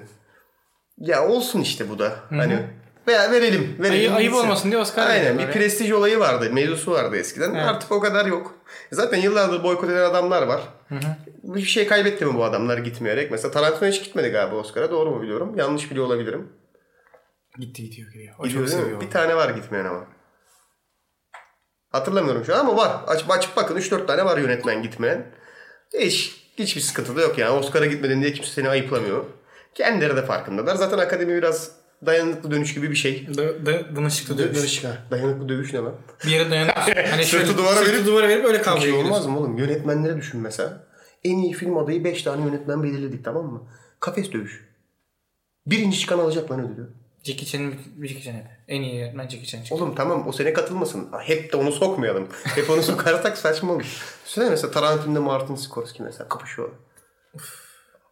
[SPEAKER 1] Ya olsun işte bu da. Hani veya verelim. verelim
[SPEAKER 2] Ayı- ayıp
[SPEAKER 1] gitsin.
[SPEAKER 2] olmasın diye Oscar
[SPEAKER 1] Aynen
[SPEAKER 2] veriyorlar
[SPEAKER 1] bir
[SPEAKER 2] ya.
[SPEAKER 1] prestij olayı vardı. Mevzusu vardı eskiden. Artık o kadar yok. Zaten yıllardır boykot eden adamlar var. Bir şey kaybetti mi bu adamlar gitmeyerek? Mesela Tarantino hiç gitmedi galiba Oscar'a. Doğru mu biliyorum? Yanlış biliyor olabilirim.
[SPEAKER 2] Gitti gidiyor gidiyor. O
[SPEAKER 1] Gidiyor değil mi? Bir tane var gitmeyen ama. Hatırlamıyorum şu an ama var. Açıp, açıp bakın 3-4 tane var yönetmen gitmeyen. Hiç, hiçbir sıkıntı da yok yani. Oscar'a gitmedin diye kimse seni ayıplamıyor. Kendileri de farkındalar. Zaten akademi biraz dayanıklı dönüş gibi bir şey.
[SPEAKER 2] Da, da, danışıklı dövüş.
[SPEAKER 1] ha. Dayanıklı dövüş ne lan?
[SPEAKER 2] Bir yere dayanıyorsun. Hani
[SPEAKER 1] Sırtı
[SPEAKER 2] şöyle-
[SPEAKER 1] duvara
[SPEAKER 2] sırtı
[SPEAKER 1] verip-
[SPEAKER 2] duvara verip öyle
[SPEAKER 1] Bir
[SPEAKER 2] kavga
[SPEAKER 1] şey
[SPEAKER 2] ediyorsun.
[SPEAKER 1] olmaz mı oğlum? Yönetmenlere düşün mesela. En iyi film adayı 5 tane yönetmen belirledik tamam mı? Kafes dövüş. Birinci çıkan alacak lan ödülü.
[SPEAKER 2] Jackie Chan'in Jackie Chan'e en iyi yönetmen Jackie Chan çıktı.
[SPEAKER 1] Oğlum tamam o sene katılmasın. Hep de onu sokmayalım. Hep onu sokarsak saçma olur. Söyle mesela Tarantino'da Martin Scorsese mesela kapışıyor.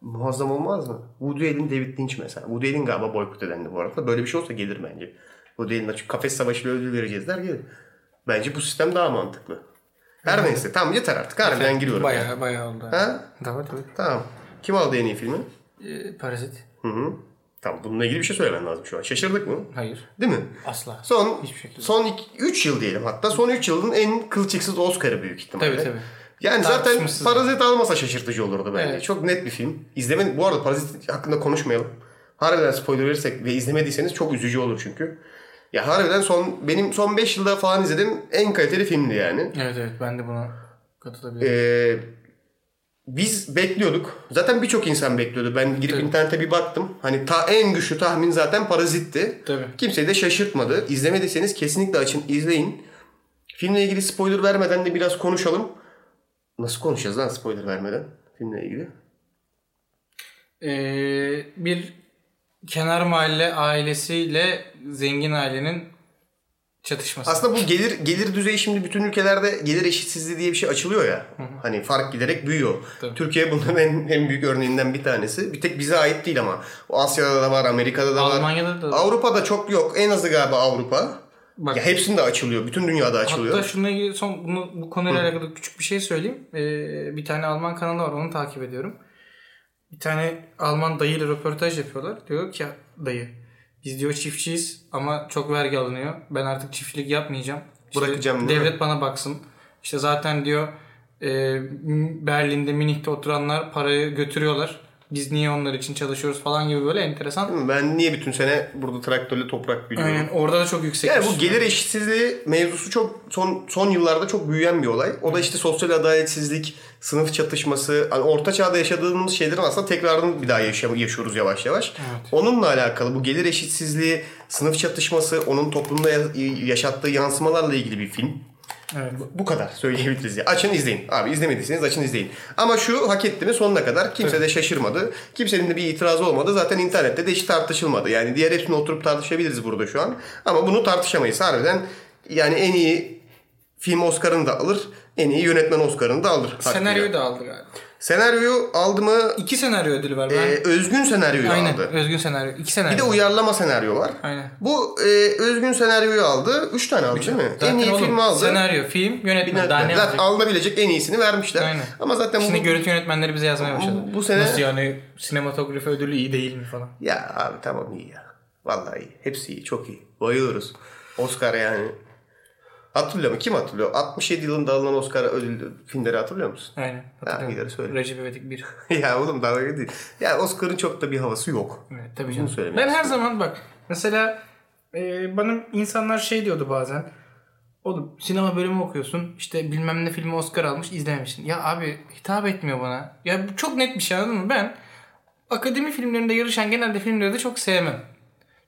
[SPEAKER 1] Muazzam olmaz mı? Woody Allen, David Lynch mesela. Woody Allen galiba boykot edendi bu arada. Böyle bir şey olsa gelir bence. Woody Allen açık kafes savaşıyla ödül vereceğiz der gelir. Bence bu sistem daha mantıklı. Her neyse tamam yeter artık. Harbiden giriyorum. yani.
[SPEAKER 2] Bayağı bayağı oldu.
[SPEAKER 1] Ha?
[SPEAKER 2] Tamam tamam.
[SPEAKER 1] Tamam. Kim aldı en iyi filmi?
[SPEAKER 2] Ee, Parazit.
[SPEAKER 1] Hı hı. Tamam bununla ilgili bir şey söylemen lazım şu an. Şaşırdık mı?
[SPEAKER 2] Hayır.
[SPEAKER 1] Değil mi?
[SPEAKER 2] Asla.
[SPEAKER 1] Son
[SPEAKER 2] Hiçbir şekilde.
[SPEAKER 1] son 3 yıl diyelim hatta. Son 3 yılın en kılçıksız Oscar'ı büyük ihtimalle.
[SPEAKER 2] Tabii, tabii.
[SPEAKER 1] Yani zaten
[SPEAKER 2] Tartışmasız.
[SPEAKER 1] Parazit almasa şaşırtıcı olurdu bence.
[SPEAKER 2] Evet.
[SPEAKER 1] Çok net bir film. İzleme bu arada Parazit hakkında konuşmayalım. Harbiden spoiler verirsek ve izlemediyseniz çok üzücü olur çünkü. Ya harbiden son benim son 5 yılda falan izlediğim en kaliteli filmdi yani.
[SPEAKER 2] Evet evet ben de buna katılabilirim.
[SPEAKER 1] Ee, biz bekliyorduk. Zaten birçok insan bekliyordu. Ben girip
[SPEAKER 2] Tabii.
[SPEAKER 1] internete bir baktım. Hani ta en güçlü tahmin zaten Parazit'ti.
[SPEAKER 2] Tabii.
[SPEAKER 1] Kimseyi de şaşırtmadı. İzlemediyseniz kesinlikle açın, izleyin. Filmle ilgili spoiler vermeden de biraz konuşalım. Nasıl konuşacağız lan spoiler vermeden filmle ilgili?
[SPEAKER 2] Ee, bir kenar mahalle ailesiyle zengin ailenin çatışması.
[SPEAKER 1] Aslında bu gelir gelir düzeyi şimdi bütün ülkelerde gelir eşitsizliği diye bir şey açılıyor ya. Hani fark giderek büyüyor.
[SPEAKER 2] Tabii.
[SPEAKER 1] Türkiye bunların en, en büyük örneğinden bir tanesi. Bir tek bize ait değil ama. O Asya'da da var, Amerika'da da var.
[SPEAKER 2] Almanya'da da-
[SPEAKER 1] Avrupa'da çok yok. En azı galiba Avrupa.
[SPEAKER 2] Bak-
[SPEAKER 1] ya hepsinde açılıyor. Bütün dünyada açılıyor.
[SPEAKER 2] Hatta şununla ilgili son bunu, bu konuyla alakalı küçük bir şey söyleyeyim. Ee, bir tane Alman kanalı var onu takip ediyorum. Bir tane Alman dayıyla röportaj yapıyorlar. Diyor ki dayı biz diyor çiftçiyiz ama çok vergi alınıyor. Ben artık çiftçilik yapmayacağım. İşte
[SPEAKER 1] Bırakacağım, değil mi?
[SPEAKER 2] Devlet bana baksın. İşte zaten diyor e, Berlin'de Münih'te oturanlar parayı götürüyorlar. Biz niye onlar için çalışıyoruz falan gibi böyle enteresan.
[SPEAKER 1] Ben niye bütün sene burada traktörle toprak biliyorum?
[SPEAKER 2] Aynen, orada da çok yüksek.
[SPEAKER 1] Yani bu gelir eşitsizliği mevzusu çok son son yıllarda çok büyüyen bir olay. O da işte sosyal adaletsizlik, sınıf çatışması, hani orta çağda yaşadığımız şeylerin aslında tekrarını bir daha yaşa- yaşıyoruz yavaş yavaş. Onunla alakalı bu gelir eşitsizliği, sınıf çatışması, onun toplumda ya- yaşattığı yansımalarla ilgili bir film.
[SPEAKER 2] Evet.
[SPEAKER 1] Bu kadar söyleyebiliriz. ya. Açın izleyin. Abi izlemediyseniz açın izleyin. Ama şu hak etti mi sonuna kadar kimse de şaşırmadı. Kimsenin de bir itirazı olmadı. Zaten internette de hiç tartışılmadı. Yani diğer hepsini oturup tartışabiliriz burada şu an. Ama bunu tartışamayız. Harbiden yani en iyi film Oscar'ını da alır. En iyi yönetmen Oscar'ını da alır. hakkıyla.
[SPEAKER 2] Senaryoyu da aldı galiba.
[SPEAKER 1] Senaryoyu aldı mı?
[SPEAKER 2] İki senaryo ödülü var. Ben
[SPEAKER 1] Ee, özgün senaryoyu
[SPEAKER 2] Aynen.
[SPEAKER 1] aldı.
[SPEAKER 2] Özgün senaryo. İki senaryo.
[SPEAKER 1] Bir de uyarlama senaryo var.
[SPEAKER 2] Aynen.
[SPEAKER 1] Bu e, özgün senaryoyu aldı. Üç tane aldı değil mi? en iyi
[SPEAKER 2] oğlum,
[SPEAKER 1] filmi aldı.
[SPEAKER 2] Senaryo, film, yönetmen. Daha ne
[SPEAKER 1] Zaten
[SPEAKER 2] olacak?
[SPEAKER 1] alınabilecek en iyisini vermişler.
[SPEAKER 2] Aynen.
[SPEAKER 1] Ama zaten
[SPEAKER 2] Şimdi
[SPEAKER 1] bu...
[SPEAKER 2] görüntü yönetmenleri bize yazmaya başladı.
[SPEAKER 1] bu sene-
[SPEAKER 2] Nasıl yani sinematografi ödülü iyi değil mi falan.
[SPEAKER 1] Ya abi tamam iyi ya. Vallahi iyi. Hepsi iyi. Çok iyi. Bayılıyoruz. Oscar yani. Hatırlıyor mu? Kim hatırlıyor? 67 yılında alınan Oscar ödül filmleri hatırlıyor musun?
[SPEAKER 2] Aynen.
[SPEAKER 1] gider söyle.
[SPEAKER 2] Recep İvedik 1.
[SPEAKER 1] ya oğlum dalga değil. Ya Oscar'ın çok da bir havası yok.
[SPEAKER 2] Evet, tabii canım.
[SPEAKER 1] söylemek
[SPEAKER 2] Ben her zaman bak mesela e, bana insanlar şey diyordu bazen. Oğlum sinema bölümü okuyorsun işte bilmem ne filmi Oscar almış izlememişsin. Ya abi hitap etmiyor bana. Ya bu çok net bir şey anladın mı? Ben akademi filmlerinde yarışan genelde filmleri de çok sevmem.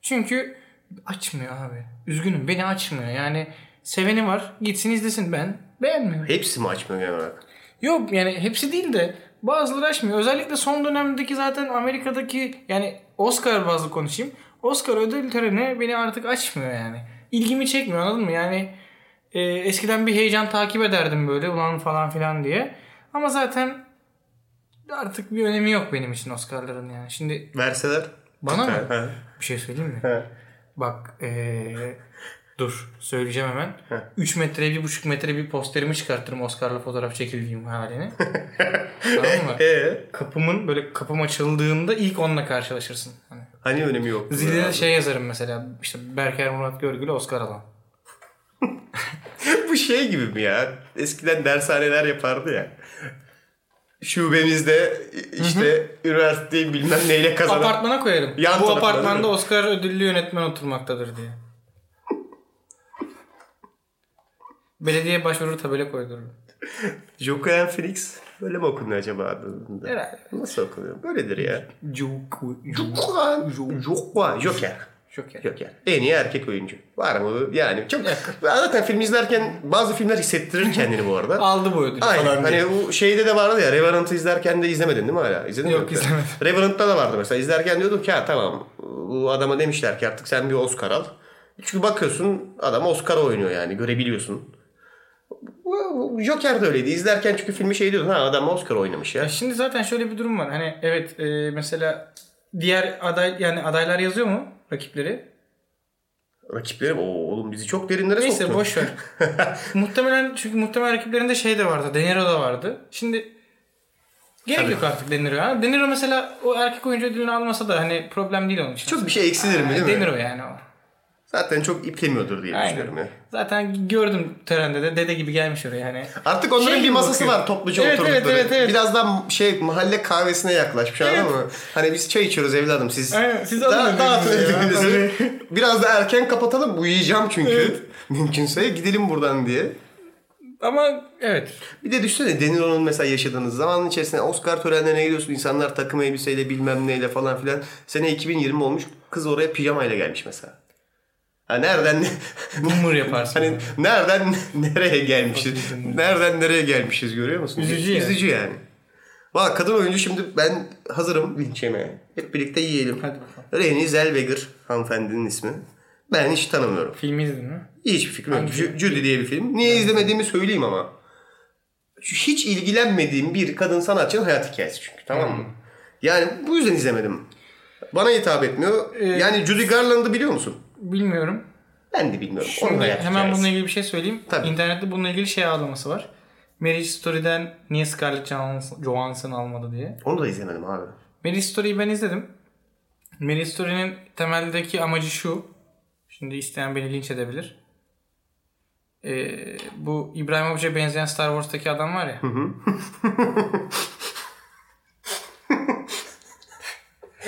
[SPEAKER 2] Çünkü açmıyor abi. Üzgünüm beni açmıyor. Yani seveni var gitsin izlesin ben beğenmiyorum.
[SPEAKER 1] Hepsi mi açmıyor genel olarak?
[SPEAKER 2] Yok yani hepsi değil de bazıları açmıyor. Özellikle son dönemdeki zaten Amerika'daki yani Oscar bazlı konuşayım. Oscar ödül töreni beni artık açmıyor yani. İlgimi çekmiyor anladın mı? Yani e, eskiden bir heyecan takip ederdim böyle ulan falan filan diye. Ama zaten artık bir önemi yok benim için Oscar'ların yani. Şimdi
[SPEAKER 1] Verseler.
[SPEAKER 2] Bana mı?
[SPEAKER 1] Ha.
[SPEAKER 2] bir şey söyleyeyim mi?
[SPEAKER 1] Ha.
[SPEAKER 2] Bak eee, dur söyleyeceğim hemen. 3 metre 1,5 metre bir posterimi çıkartırım Oscar'la fotoğraf çekildiğim halini. tamam mı?
[SPEAKER 1] Ee,
[SPEAKER 2] Kapımın böyle kapım açıldığında ilk onunla karşılaşırsın. Hani
[SPEAKER 1] hani önemi yok.
[SPEAKER 2] zilde şey yazarım mesela işte Berker Murat Görgül'e Oscar alan.
[SPEAKER 1] Bu şey gibi mi ya? Eskiden dershaneler yapardı ya. Şubemizde işte üniversiteyi bilmem neyle kazanan.
[SPEAKER 2] Apartmana koyarım.
[SPEAKER 1] Yan
[SPEAKER 2] Bu
[SPEAKER 1] tarafına,
[SPEAKER 2] apartmanda
[SPEAKER 1] değil
[SPEAKER 2] Oscar ödüllü yönetmen oturmaktadır diye. Belediye başvurur tabela koydururum.
[SPEAKER 1] Joker and Phoenix böyle mi okunuyor acaba adında?
[SPEAKER 2] Herhalde.
[SPEAKER 1] Nasıl okunuyor? Böyledir ya.
[SPEAKER 2] Cuk-
[SPEAKER 1] Joker. Joker. Joker.
[SPEAKER 2] Joker.
[SPEAKER 1] Yok yani. En iyi erkek oyuncu. Var mı? Yani çok zaten film izlerken bazı filmler hissettirir kendini bu arada.
[SPEAKER 2] Aldı bu ödülü
[SPEAKER 1] Aynen.
[SPEAKER 2] falan.
[SPEAKER 1] Hani bu şeyde de vardı ya Revenant'ı izlerken de izlemedin değil mi hala? İzledin
[SPEAKER 2] Yok,
[SPEAKER 1] mi?
[SPEAKER 2] izlemedim.
[SPEAKER 1] Revenant'ta da vardı mesela. İzlerken diyordum ki ha tamam bu adama demişler ki artık sen bir Oscar al. Çünkü bakıyorsun adam Oscar oynuyor yani görebiliyorsun. Bu- bu Joker de öyleydi. İzlerken çünkü filmi şey diyordun ha adam Oscar oynamış ya.
[SPEAKER 2] Ya Şimdi zaten şöyle bir durum var. Hani evet e, mesela diğer aday yani adaylar yazıyor mu rakipleri?
[SPEAKER 1] Rakiplerim o oğlum bizi çok derinlere soktu.
[SPEAKER 2] Neyse boş ver. muhtemelen çünkü muhtemelen rakiplerinde şey de vardı. De Niro da vardı. Şimdi gerek yok artık De Niro'ya. De Niro mesela o erkek oyuncu ödülünü almasa da hani problem değil onun için.
[SPEAKER 1] Çok bir şey eksilirim değil mi?
[SPEAKER 2] De Niro yani o.
[SPEAKER 1] Zaten çok iplemiyordur diye
[SPEAKER 2] Aynen.
[SPEAKER 1] düşünüyorum ya.
[SPEAKER 2] Zaten gördüm törende de dede gibi gelmiş oraya hani.
[SPEAKER 1] Artık onların
[SPEAKER 2] Şey
[SPEAKER 1] bir
[SPEAKER 2] gibi
[SPEAKER 1] masası
[SPEAKER 2] bakıyor.
[SPEAKER 1] var topluca
[SPEAKER 2] Evet,
[SPEAKER 1] oturdukları.
[SPEAKER 2] evet, evet, evet.
[SPEAKER 1] Biraz daha şey mahalle kahvesine yaklaşmış anladın mı? Hani biz çay içiyoruz evladım siz.
[SPEAKER 2] Aynen, siz alın
[SPEAKER 1] daha,
[SPEAKER 2] ödülünüzü
[SPEAKER 1] daha
[SPEAKER 2] ya.
[SPEAKER 1] ödülünüzü.
[SPEAKER 2] Tabii.
[SPEAKER 1] Biraz da erken kapatalım uyuyacağım çünkü. Mümkünse gidelim buradan diye.
[SPEAKER 2] Ama evet.
[SPEAKER 1] Bir de düşünsene De Niro'nun mesela yaşadığınız zaman içerisinde Oscar törenlerine gidiyorsun. insanlar takım elbiseyle bilmem neyle falan filan. Sene 2020 olmuş. Kız oraya pijamayla gelmiş mesela. Ha nereden
[SPEAKER 2] Boomer yaparsın.
[SPEAKER 1] Hani nereden nereye gelmişiz? Nereden nereye gelmişiz görüyor musun?
[SPEAKER 2] Üzücü yani.
[SPEAKER 1] Üzücü yani. Valla kadın oyuncu şimdi ben hazırım linç yemeye. Hep birlikte yiyelim.
[SPEAKER 2] Hadi bakalım.
[SPEAKER 1] Renée Zellweger hanımefendinin ismi. Ben hiç tanımıyorum.
[SPEAKER 2] Filmi izledin mi?
[SPEAKER 1] Hiçbir fikrim yok. Ju- Judy diye bir film. Niye izlemediğimi söyleyeyim ama. Hiç ilgilenmediğim bir kadın sanatçının hayat hikayesi çünkü tamam
[SPEAKER 2] Hmm.
[SPEAKER 1] mı? Yani bu yüzden izlemedim. Bana hitap etmiyor.
[SPEAKER 2] Ee,
[SPEAKER 1] yani Judy Garland'ı biliyor musun?
[SPEAKER 2] Bilmiyorum.
[SPEAKER 1] Ben de bilmiyorum. Onun
[SPEAKER 2] Şimdi
[SPEAKER 1] hayat
[SPEAKER 2] hemen
[SPEAKER 1] hikayesi.
[SPEAKER 2] bununla ilgili bir şey söyleyeyim.
[SPEAKER 1] Tabii.
[SPEAKER 2] İnternette bununla ilgili şey ağlaması var. Marriage Story'den niye Scarlett Johansson, Johansson almadı diye.
[SPEAKER 1] Onu da izlemedim abi.
[SPEAKER 2] Marriage Story'yi ben izledim. Marriage Story'nin temeldeki amacı şu. Şimdi isteyen beni linç edebilir. Ee, bu İbrahim Hoca'ya benzeyen Star Wars'taki adam var ya.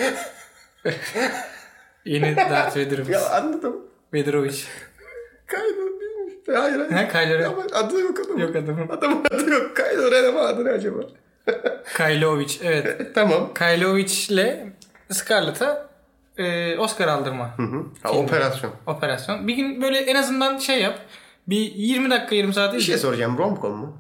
[SPEAKER 2] Yeni Darth Vader'ımız.
[SPEAKER 1] Ya anladım.
[SPEAKER 2] Vaderovic.
[SPEAKER 1] Kylo değilmiş. Hayır hayır.
[SPEAKER 2] Ha, Kylo Ren.
[SPEAKER 1] Ama adı yok adamın.
[SPEAKER 2] Yok adamın.
[SPEAKER 1] Adamın adı yok. Kylo Ren ama adı ne acaba?
[SPEAKER 2] Kylovic. Evet.
[SPEAKER 1] Tamam.
[SPEAKER 2] Kylovic'le Scarlett'a e, Oscar aldırma
[SPEAKER 1] Ha, operasyon.
[SPEAKER 2] operasyon. Bir gün böyle en azından şey yap. Bir 20 dakika yarım saat
[SPEAKER 1] Bir şey
[SPEAKER 2] izle.
[SPEAKER 1] soracağım. Romcom mu?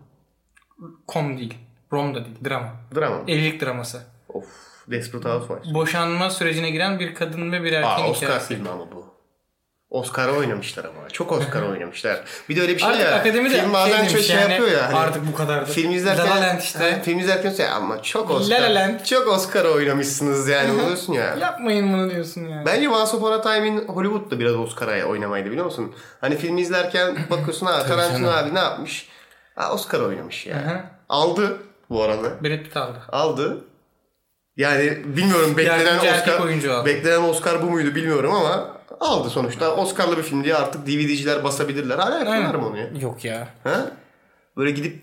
[SPEAKER 2] Kom değil. Rom da değil. Drama.
[SPEAKER 1] Drama mı?
[SPEAKER 2] Evlilik draması.
[SPEAKER 1] Of. Desperate Housewives.
[SPEAKER 2] Boşanma sürecine giren bir kadın ve bir erkeğin
[SPEAKER 1] Aa, Oscar
[SPEAKER 2] hikayesi.
[SPEAKER 1] filmi ama bu. Oscar'a oynamışlar ama. Çok Oscar oynamışlar. Bir de öyle bir şey
[SPEAKER 2] Artık
[SPEAKER 1] ya.
[SPEAKER 2] akademi de
[SPEAKER 1] film bazen
[SPEAKER 2] şey
[SPEAKER 1] çok
[SPEAKER 2] demiş
[SPEAKER 1] şey
[SPEAKER 2] yani,
[SPEAKER 1] yapıyor ya. hani
[SPEAKER 2] artık bu kadardı.
[SPEAKER 1] Film izlerken,
[SPEAKER 2] La La Land işte.
[SPEAKER 1] Ha, film izlerken şey ama çok Oscar.
[SPEAKER 2] La La Land.
[SPEAKER 1] Çok Oscar oynamışsınız yani. Oluyorsun ya.
[SPEAKER 2] Yapmayın bunu diyorsun yani.
[SPEAKER 1] Bence Once Upon a Time'in Hollywood'da biraz Oscar'a oynamaydı biliyor musun? Hani filmi izlerken bakıyorsun ha Tarantino abi ne yapmış? Ha, Oscar oynamış ya.
[SPEAKER 2] Hı hı.
[SPEAKER 1] Aldı bu arada.
[SPEAKER 2] Brad Pitt aldı.
[SPEAKER 1] Aldı. Yani bilmiyorum beklenen
[SPEAKER 2] Yardımcı erkek
[SPEAKER 1] Oscar
[SPEAKER 2] oyuncu aldı.
[SPEAKER 1] beklenen Oscar bu muydu bilmiyorum ama aldı sonuçta. Oscar'lı bir film diye artık DVD'ciler basabilirler. Hala yapıyorlar
[SPEAKER 2] Aynen.
[SPEAKER 1] mı onu ya?
[SPEAKER 2] Yok ya.
[SPEAKER 1] Ha? Böyle gidip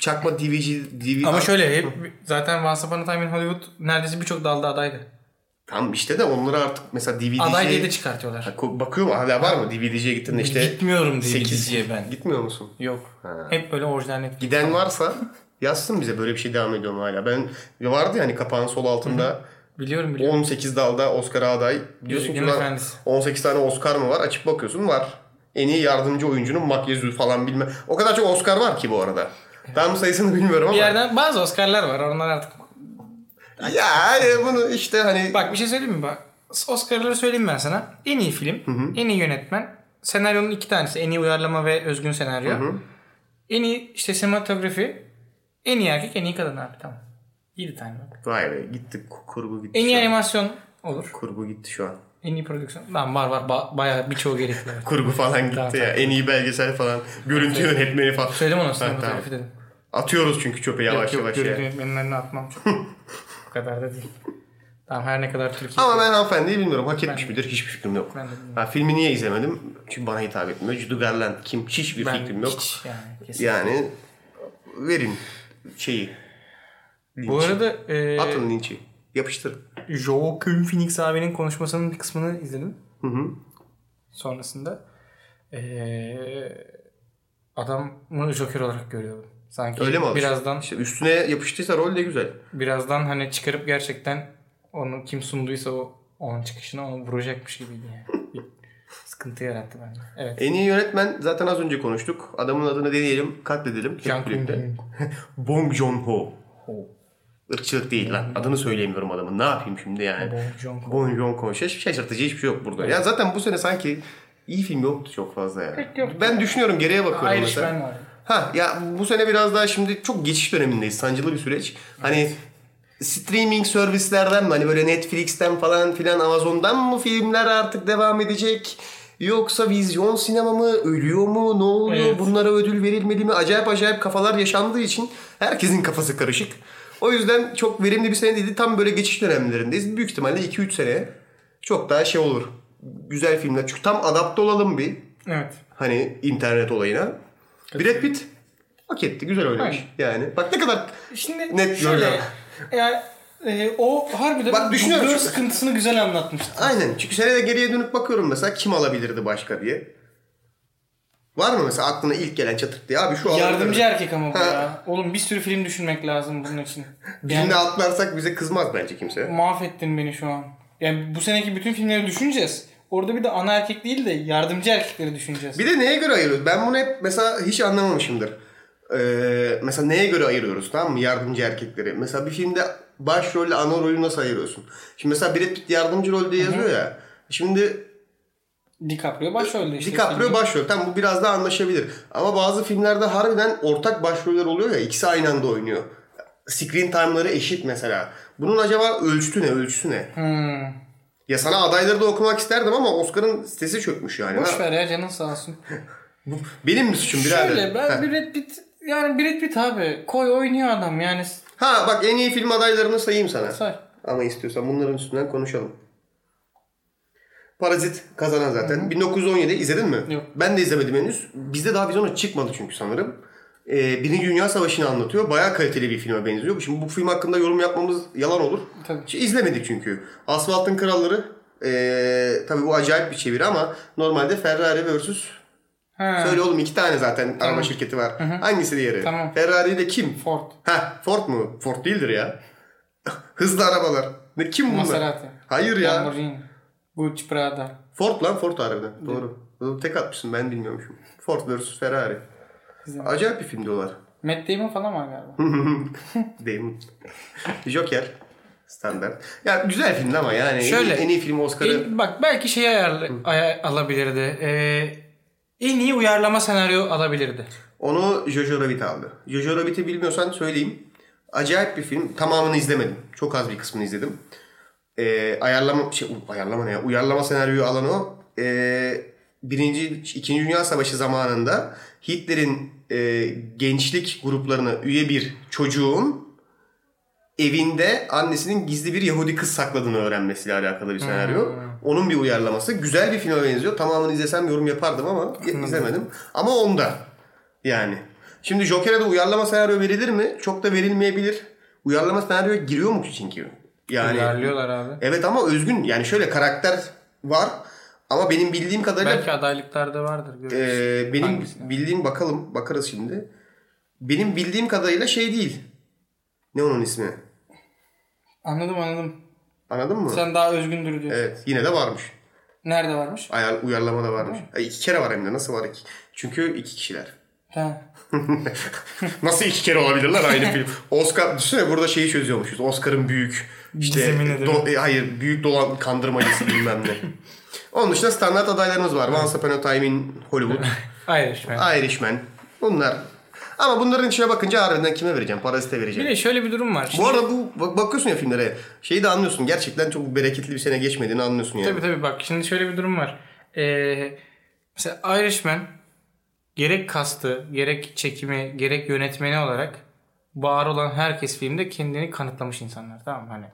[SPEAKER 1] çakma DVD, DVD
[SPEAKER 2] Ama şöyle hep zaten Once Upon a Time in Hollywood neredeyse birçok dalda adaydı.
[SPEAKER 1] Tam işte de onları artık mesela DVD
[SPEAKER 2] Aday diye de çıkartıyorlar.
[SPEAKER 1] Bakıyorum hala var mı DVD'ciye gittin de işte
[SPEAKER 2] Gitmiyorum
[SPEAKER 1] sekiz-
[SPEAKER 2] DVD'ciye ben.
[SPEAKER 1] Gitmiyor musun?
[SPEAKER 2] Yok. Hep böyle orijinal Netflix.
[SPEAKER 1] Giden varsa yazsın bize böyle bir şey devam ediyor mu hala. Ben vardı yani kapağın sol altında
[SPEAKER 2] Biliyorum biliyorum.
[SPEAKER 1] 18 dalda Oscar aday. Diyorsun ki
[SPEAKER 2] Yüzüklerin
[SPEAKER 1] "Lan
[SPEAKER 2] Efendisi."
[SPEAKER 1] 18 tane Oscar mı var? Açıp bakıyorsun var. En iyi yardımcı oyuncunun makyajı falan bilmem. O kadar çok Oscar var ki bu arada. Tam sayısını bilmiyorum ama.
[SPEAKER 2] Bir yerden bazı Oscar'lar var. Onlar artık
[SPEAKER 1] Ya hani bunu işte hani
[SPEAKER 2] Bak bir şey söyleyeyim mi? Bak Oscar'ları söyleyeyim ben sana. En iyi film, en iyi yönetmen, senaryonun iki tanesi en iyi uyarlama ve özgün senaryo. En iyi işte sinematografi, en iyi erkek, en iyi kadın abi tamam. 7 tane bak.
[SPEAKER 1] vay be gitti ku- kurgu gitti.
[SPEAKER 2] En iyi
[SPEAKER 1] şu an.
[SPEAKER 2] animasyon olur.
[SPEAKER 1] Kurgu gitti şu an.
[SPEAKER 2] En iyi prodüksiyon. Lan var var ba- bayağı birçoğu gerekli. evet.
[SPEAKER 1] Kurgu falan gitti
[SPEAKER 2] Tamam,
[SPEAKER 1] ya. En iyi belgesel falan. Görüntü yönetmeni falan.
[SPEAKER 2] Söyledim ona
[SPEAKER 1] Ha, tamam.
[SPEAKER 2] sinematografi dedim.
[SPEAKER 1] Atıyoruz çünkü çöpe yavaş
[SPEAKER 2] Yok,
[SPEAKER 1] yavaş. ya.
[SPEAKER 2] görüntü yönetmenlerini atmam çok. Bu kadar da değil. Tamam her ne kadar Türkiye.
[SPEAKER 1] Ama ben hanımefendiyi bilmiyorum. Hak etmiş midir? Hiçbir fikrim yok.
[SPEAKER 2] Ben de bilmiyorum.
[SPEAKER 1] Ha, filmi niye izlemedim? Çünkü bana hitap etmiyor. Judy Garland kim? Hiçbir
[SPEAKER 2] ben
[SPEAKER 1] fikrim yok.
[SPEAKER 2] hiç yani kesin.
[SPEAKER 1] Yani verin şeyi.
[SPEAKER 2] Bu arada e,
[SPEAKER 1] Atın linçi. Yapıştırın.
[SPEAKER 2] Joaquin Phoenix abinin konuşmasının bir kısmını izledim. Sonrasında eee adamı Joker olarak görüyorum. Sanki
[SPEAKER 1] Öyle mi alıştın?
[SPEAKER 2] birazdan
[SPEAKER 1] İşte üstüne yapıştıysa rol de güzel.
[SPEAKER 2] birazdan hani çıkarıp gerçekten onu kim sunduysa o Onun çıkışına onu vuracakmış gibiydi yani. Bir Sıkıntı yarattı bende. Evet.
[SPEAKER 1] En iyi yönetmen zaten az önce konuştuk. Adamın adını deneyelim, katledelim.
[SPEAKER 2] Jean
[SPEAKER 1] Hep birlikte.
[SPEAKER 2] Kuyu'nun-
[SPEAKER 1] Bong Joon-ho.
[SPEAKER 2] Ho.
[SPEAKER 1] Irkçılık değil lan. Adını söyleyemiyorum adamın. Ne yapayım şimdi yani?
[SPEAKER 2] Bong Joon-ho.
[SPEAKER 1] Bong Joon-ho. Şaş- Şaşırtıcı hiçbir şey yok burada. Ya zaten bu sene sanki iyi film yoktu çok fazla yani.
[SPEAKER 2] Pek yok.
[SPEAKER 1] Ben düşünüyorum geriye bakıyorum mesela.
[SPEAKER 2] Irishman var.
[SPEAKER 1] Ha ya bu sene biraz daha şimdi çok geçiş dönemindeyiz. Sancılı bir süreç. Hani streaming servislerden mi hani böyle Netflix'ten falan filan Amazon'dan mı filmler artık devam edecek? Yoksa vizyon sinema mı? Ölüyor mu? Ne oluyor?
[SPEAKER 2] Evet.
[SPEAKER 1] Bunlara ödül verilmedi mi? Acayip acayip kafalar yaşandığı için herkesin kafası karışık. O yüzden çok verimli bir sene değildi. Tam böyle geçiş dönemlerindeyiz. Büyük ihtimalle 2-3 seneye çok daha şey olur. Güzel filmler. Çünkü tam adapte olalım bir.
[SPEAKER 2] Evet.
[SPEAKER 1] Hani internet olayına. Brad Pitt hak etti. Güzel oynamış. Yani bak ne kadar
[SPEAKER 2] Şimdi
[SPEAKER 1] Net
[SPEAKER 2] şöyle.
[SPEAKER 1] görüyorum.
[SPEAKER 2] Yani, e, o harbiden
[SPEAKER 1] Bak düşünüyorum
[SPEAKER 2] dublör
[SPEAKER 1] şimdi.
[SPEAKER 2] sıkıntısını güzel anlatmıştı.
[SPEAKER 1] aynen. Çünkü senede geriye dönüp bakıyorum mesela kim alabilirdi başka diye. Var mı mesela aklına ilk gelen çatırt diye abi şu alabilirdi.
[SPEAKER 2] Yardımcı erkek ama bu
[SPEAKER 1] Ha.
[SPEAKER 2] ya. Oğlum bir sürü film düşünmek lazım bunun için.
[SPEAKER 1] Birini
[SPEAKER 2] Yani
[SPEAKER 1] atlarsak bize kızmaz bence kimse.
[SPEAKER 2] mahvettin beni şu an. Yani bu seneki bütün filmleri düşüneceğiz. Orada bir de ana erkek değil de yardımcı erkekleri düşüneceğiz.
[SPEAKER 1] Bir de neye göre ayırıyoruz? Ben bunu hep mesela hiç anlamamışımdır. Ee, mesela neye göre ayırıyoruz tamam mı yardımcı erkekleri? Mesela bir filmde başrolle ana rolü nasıl ayırıyorsun? Şimdi mesela Brad Pitt yardımcı rol diye yazıyor ya. Şimdi
[SPEAKER 2] DiCaprio başrolde işte.
[SPEAKER 1] DiCaprio başrol. Tamam bu biraz daha anlaşabilir. Ama bazı filmlerde harbiden ortak başroller oluyor ya. ikisi aynı anda oynuyor. Screen time'ları eşit mesela. Bunun acaba ölçtü ne? Ölçüsü ne?
[SPEAKER 2] Hmm.
[SPEAKER 1] Ya sana adayları da okumak isterdim ama Oscar'ın sitesi çökmüş yani.
[SPEAKER 2] Boş
[SPEAKER 1] Ha,
[SPEAKER 2] ver ya canın sağ olsun.
[SPEAKER 1] bu benim mi suçum birader?
[SPEAKER 2] Şöyle
[SPEAKER 1] Ha.
[SPEAKER 2] ben Brad Pitt yani Brad Pitt abi koy oynuyor adam yani
[SPEAKER 1] ha bak en iyi film adaylarını sayayım sana.
[SPEAKER 2] say.
[SPEAKER 1] Ama istiyorsan bunların üstünden konuşalım. Parazit kazanan zaten. 1917 izledin mi?
[SPEAKER 2] Yok.
[SPEAKER 1] Ben de izlemedim henüz. Bizde daha vizyona çıkmadı çünkü sanırım. Ee, Birinci Dünya Savaşı'nı anlatıyor. Bayağı kaliteli bir filme benziyor. Şimdi bu film hakkında yorum yapmamız yalan olur.
[SPEAKER 2] Tabii.
[SPEAKER 1] Hiç izlemedik çünkü. Asfaltın Kralları ee, tabii bu acayip bir çeviri ama normalde Ferrari vs.
[SPEAKER 2] Ha.
[SPEAKER 1] Söyle oğlum iki tane zaten araba şirketi var. Hangisi diğeri?
[SPEAKER 2] Tamam.
[SPEAKER 1] Ferrari de kim?
[SPEAKER 2] Ford.
[SPEAKER 1] Ha Ford mu? Ford değildir ya. Hızlı arabalar. Ne kim bunlar?
[SPEAKER 2] Maserati.
[SPEAKER 1] Hayır ya.
[SPEAKER 2] Lamborghini. Gucci Prada.
[SPEAKER 1] Ford lan Ford harbiden. Doğru. Bunu Tek atmışsın ben bilmiyormuşum. Ford vs Ferrari.
[SPEAKER 2] İzlemedim.
[SPEAKER 1] Acayip bir film diyorlar.
[SPEAKER 2] Matt Damon falan var galiba.
[SPEAKER 1] Damon. Joker. Standart. Ya güzel film ama yani. en iyi-
[SPEAKER 2] Şöyle.
[SPEAKER 1] En iyi, film Oscar'ı.
[SPEAKER 2] E, bak belki şey ayarlı, aya- alabilirdi. Ee, en iyi uyarlama senaryo alabilirdi.
[SPEAKER 1] Onu Jojo Rabbit aldı. Jojo Rabbit'i bilmiyorsan söyleyeyim. Acayip bir film. Tamamını izlemedim. Çok az bir kısmını izledim. Ee, ayarlama şey u- ayarlama ne ya? Uyarlama senaryoyu alan o. Ee, birinci, ikinci Dünya Savaşı zamanında Hitler'in e, gençlik gruplarına üye bir çocuğun evinde annesinin gizli bir Yahudi kız sakladığını öğrenmesiyle alakalı bir senaryo. Onun bir uyarlaması. Güzel bir filme benziyor. Tamamını izlesem yorum yapardım ama izlemedim. Ama onda. Yani. Şimdi Joker'e de uyarlama senaryo verilir mi? Çok da verilmeyebilir. Uyarlama senaryo giriyor mu çünkü? Yani
[SPEAKER 2] Uyarlıyorlar abi.
[SPEAKER 1] Evet ama özgün yani şöyle karakter var ama benim bildiğim kadarıyla
[SPEAKER 2] Belki adaylıklarda vardır. görürüz.
[SPEAKER 1] e, benim
[SPEAKER 2] Hangisine?
[SPEAKER 1] bildiğim bakalım bakarız şimdi. Benim bildiğim kadarıyla şey değil. Ne onun ismi?
[SPEAKER 2] Anladım anladım.
[SPEAKER 1] Anladın mı?
[SPEAKER 2] Sen daha özgündür diyorsun.
[SPEAKER 1] Evet yine de varmış.
[SPEAKER 2] Nerede varmış?
[SPEAKER 1] Ayar, uyarlama da varmış. Ay, iki kere var hem de nasıl var iki? Çünkü iki kişiler.
[SPEAKER 2] Ha.
[SPEAKER 1] Nasıl iki kere olabilirler aynı film? Oscar düşünsene burada şeyi çözüyormuşuz. Oscar'ın büyük işte
[SPEAKER 2] Gizemini değil mi?
[SPEAKER 1] do- e, hayır büyük dolan kandırmacısı bilmem ne. Onun dışında standart adaylarımız var. Once Upon a Time in Hollywood,
[SPEAKER 2] Ayrışma.
[SPEAKER 1] Irishman. Bunlar. Ama bunların içine bakınca harbiden kime vereceğim? Parazite vereceğim.
[SPEAKER 2] Bir de şöyle bir durum var.
[SPEAKER 1] Bu arada bu bak- bakıyorsun ya filmlere. Şeyi de anlıyorsun. Gerçekten çok bereketli bir sene geçmediğini anlıyorsun yani.
[SPEAKER 2] Tabii tabii bak şimdi şöyle bir durum var. Ee, mesela Irishman gerek kastı, gerek çekimi, gerek yönetmeni olarak var olan herkes filmde kendini kanıtlamış insanlar tamam mı? Hani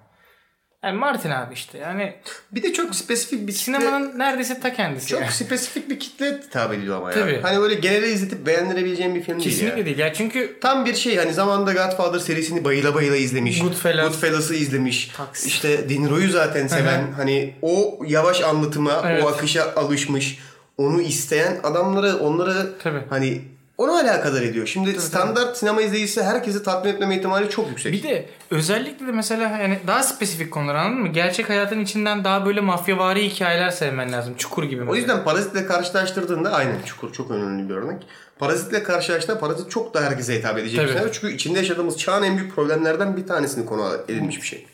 [SPEAKER 2] yani Martin abi işte yani
[SPEAKER 1] Bir de çok spesifik bir kitle,
[SPEAKER 2] sinemanın neredeyse ta kendisi.
[SPEAKER 1] çok
[SPEAKER 2] yani.
[SPEAKER 1] spesifik bir kitle hitap ediyor ama ya.
[SPEAKER 2] Tabii.
[SPEAKER 1] Hani böyle genele izletip beğendirebileceğim bir film değil ya.
[SPEAKER 2] Kesinlikle değil ya çünkü
[SPEAKER 1] Tam bir şey hani zamanında Godfather serisini bayıla bayıla izlemiş.
[SPEAKER 2] Goodfellas.
[SPEAKER 1] Goodfellas'ı izlemiş.
[SPEAKER 2] Taksi.
[SPEAKER 1] İşte De Niro'yu zaten seven hani o yavaş anlatıma,
[SPEAKER 2] Evet.
[SPEAKER 1] o akışa alışmış. Onu isteyen adamları, onları
[SPEAKER 2] Tabii.
[SPEAKER 1] hani Ona alakadar ediyor. Şimdi standart sinema izleyicisi herkesi tatmin etmeme ihtimali çok yüksek.
[SPEAKER 2] Bir de özellikle de mesela yani daha spesifik konular anladın mı? Gerçek hayatın içinden daha böyle mafyavari hikayeler sevmen lazım. Çukur gibi mesela.
[SPEAKER 1] O yüzden Parazit'le karşılaştırdığında aynen Çukur çok önemli bir örnek. Parazit'le karşılaştığında Parazit çok daha herkese hitap edecek bir
[SPEAKER 2] Tabii.
[SPEAKER 1] şey. Çünkü içinde yaşadığımız çağın en büyük problemlerden bir tanesini konu edilmiş bir şey.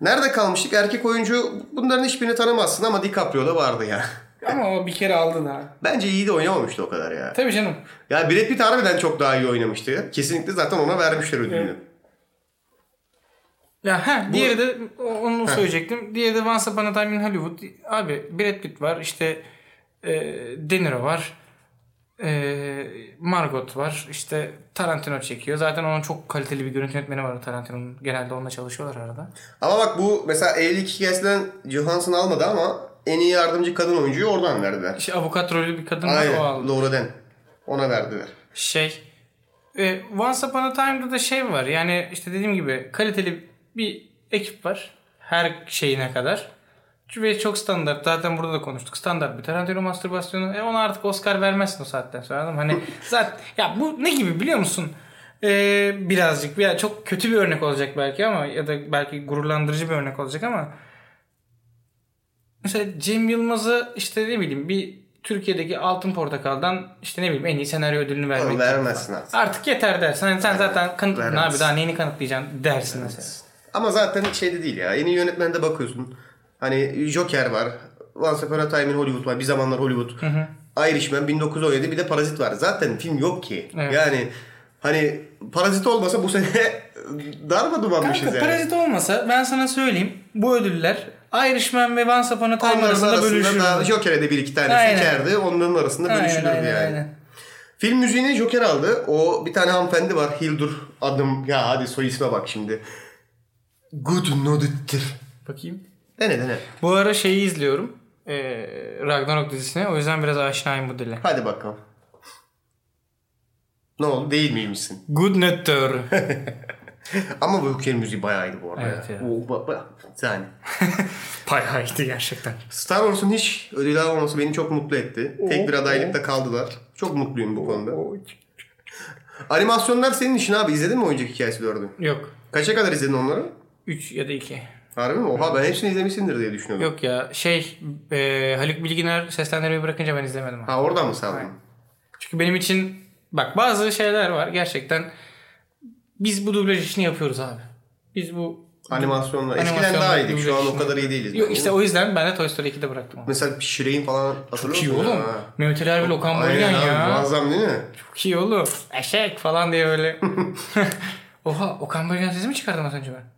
[SPEAKER 1] Nerede kalmıştık? Erkek oyuncu bunların hiçbirini tanımazsın ama DiCaprio da vardı ya.
[SPEAKER 2] Ama o bir kere aldın ha.
[SPEAKER 1] Bence iyi de oynamamıştı o kadar ya.
[SPEAKER 2] Tabii canım.
[SPEAKER 1] Ya Brad Pitt harbiden çok daha iyi oynamıştı ya. Kesinlikle zaten ona vermişler ödülünü.
[SPEAKER 2] Ya ha diğeri de o- onu söyleyecektim. Diğeri de Once Upon a Time in Hollywood. Abi Brad Pitt var işte e, De Niro var. E, Margot var. işte Tarantino çekiyor. Zaten onun çok kaliteli bir görüntü yönetmeni var Tarantino'nun. Genelde onunla çalışıyorlar arada.
[SPEAKER 1] Ama bak bu mesela evlilik hikayesinden Johansson almadı ama en iyi yardımcı kadın oyuncuyu oradan verdiler.
[SPEAKER 2] İşte Şey, avukat rolü bir kadın var
[SPEAKER 1] Aynen.
[SPEAKER 2] o aldı.
[SPEAKER 1] Laura Dern. Ona verdiler.
[SPEAKER 2] Şey e, Once Upon a Time'da da şey var. Yani işte dediğim gibi kaliteli bir ekip var. Her şeyine kadar. Ve çok standart. Zaten burada da konuştuk. Standart bir Tarantino mastürbasyonu. E ona artık Oscar vermezsin o saatten sonra. anladın mı? Hani zaten ya bu ne gibi biliyor musun? E, birazcık ya çok kötü bir örnek olacak belki ama ya da belki gururlandırıcı bir örnek olacak ama Mesela Cem Yılmaz'a işte ne bileyim bir Türkiye'deki Altın Portakal'dan işte ne bileyim en iyi senaryo ödülünü vermek.
[SPEAKER 1] Ama vermezsin artık.
[SPEAKER 2] Artık yeter dersin. Hani sen zaten kanıtladın
[SPEAKER 1] Vermez.
[SPEAKER 2] abi daha neyini kanıtlayacaksın dersin mesela.
[SPEAKER 1] Ama zaten şeyde değil ya. En iyi yönetmende bakıyorsun. Hani Joker var. Once Upon a Time in Hollywood var. Bir zamanlar Hollywood. Irishman 1917 bir de Parazit var. Zaten film yok ki.
[SPEAKER 2] Evet.
[SPEAKER 1] Yani hani Parazit olmasa bu sene darma dumanmışız
[SPEAKER 2] Kanka
[SPEAKER 1] yani.
[SPEAKER 2] parazit olmasa ben sana söyleyeyim bu ödüller Irishman ve Once Upon a Time
[SPEAKER 1] Onların
[SPEAKER 2] arasında
[SPEAKER 1] arasında
[SPEAKER 2] bölüşür.
[SPEAKER 1] daha Joker'e de bir iki tane
[SPEAKER 2] Aynen.
[SPEAKER 1] seçerdi. Onların arasında bölüşülürdü yani. Film müziğini Joker aldı. O bir tane hanımefendi var. Hildur adım. Ya hadi soy isme bak şimdi. Good Nodit'tir.
[SPEAKER 2] Bakayım.
[SPEAKER 1] Dene dene.
[SPEAKER 2] Bu ara şeyi izliyorum. Ee, Ragnarok dizisine. O yüzden biraz aşinayım bu dile.
[SPEAKER 1] Hadi bakalım. Ne oldu? Değil miymişsin?
[SPEAKER 2] Good Nutter.
[SPEAKER 1] Ama bu ülkenin müziği bayağı iyiydi bu arada.
[SPEAKER 2] Evet ya.
[SPEAKER 1] O, ba- ba- yani.
[SPEAKER 2] Bayağıydı gerçekten.
[SPEAKER 1] Star Wars'un hiç ödül almaması beni çok mutlu etti. Tek bir adaylıkta kaldılar. Çok mutluyum bu konuda. Animasyonlar senin işin abi. İzledin mi Oyuncak Hikayesi 4'ü?
[SPEAKER 2] Yok.
[SPEAKER 1] Kaça kadar izledin onları?
[SPEAKER 2] 3 ya da 2.
[SPEAKER 1] Harbi mi? Oha ben hepsini izlemişsindir diye düşünüyordum.
[SPEAKER 2] Yok ya şey e, Haluk Bilginer seslendirmeyi bırakınca ben izlemedim. abi.
[SPEAKER 1] Ha oradan mı saldın?
[SPEAKER 2] Çünkü benim için bak bazı şeyler var gerçekten biz bu dublaj işini yapıyoruz abi. Biz bu
[SPEAKER 1] Animasyonlar. Eskiden
[SPEAKER 2] Animasyonlar,
[SPEAKER 1] daha iyiydik. Şu an o
[SPEAKER 2] dublaj
[SPEAKER 1] kadar iyi değiliz.
[SPEAKER 2] Yok
[SPEAKER 1] Yani.
[SPEAKER 2] işte o yüzden ben de Toy Story 2'de bıraktım onu.
[SPEAKER 1] Mesela Şire'in falan hatırlıyor
[SPEAKER 2] Çok iyi
[SPEAKER 1] musun?
[SPEAKER 2] oğlum.
[SPEAKER 1] Ha.
[SPEAKER 2] Mehmet Ali Erbil, Okan Bayülgen
[SPEAKER 1] Aynen abi.
[SPEAKER 2] ya.
[SPEAKER 1] Muazzam değil mi?
[SPEAKER 2] Çok iyi oğlum. Eşek falan diye böyle. Oha Okan Bayülgen sesi mi çıkardım az önce ben?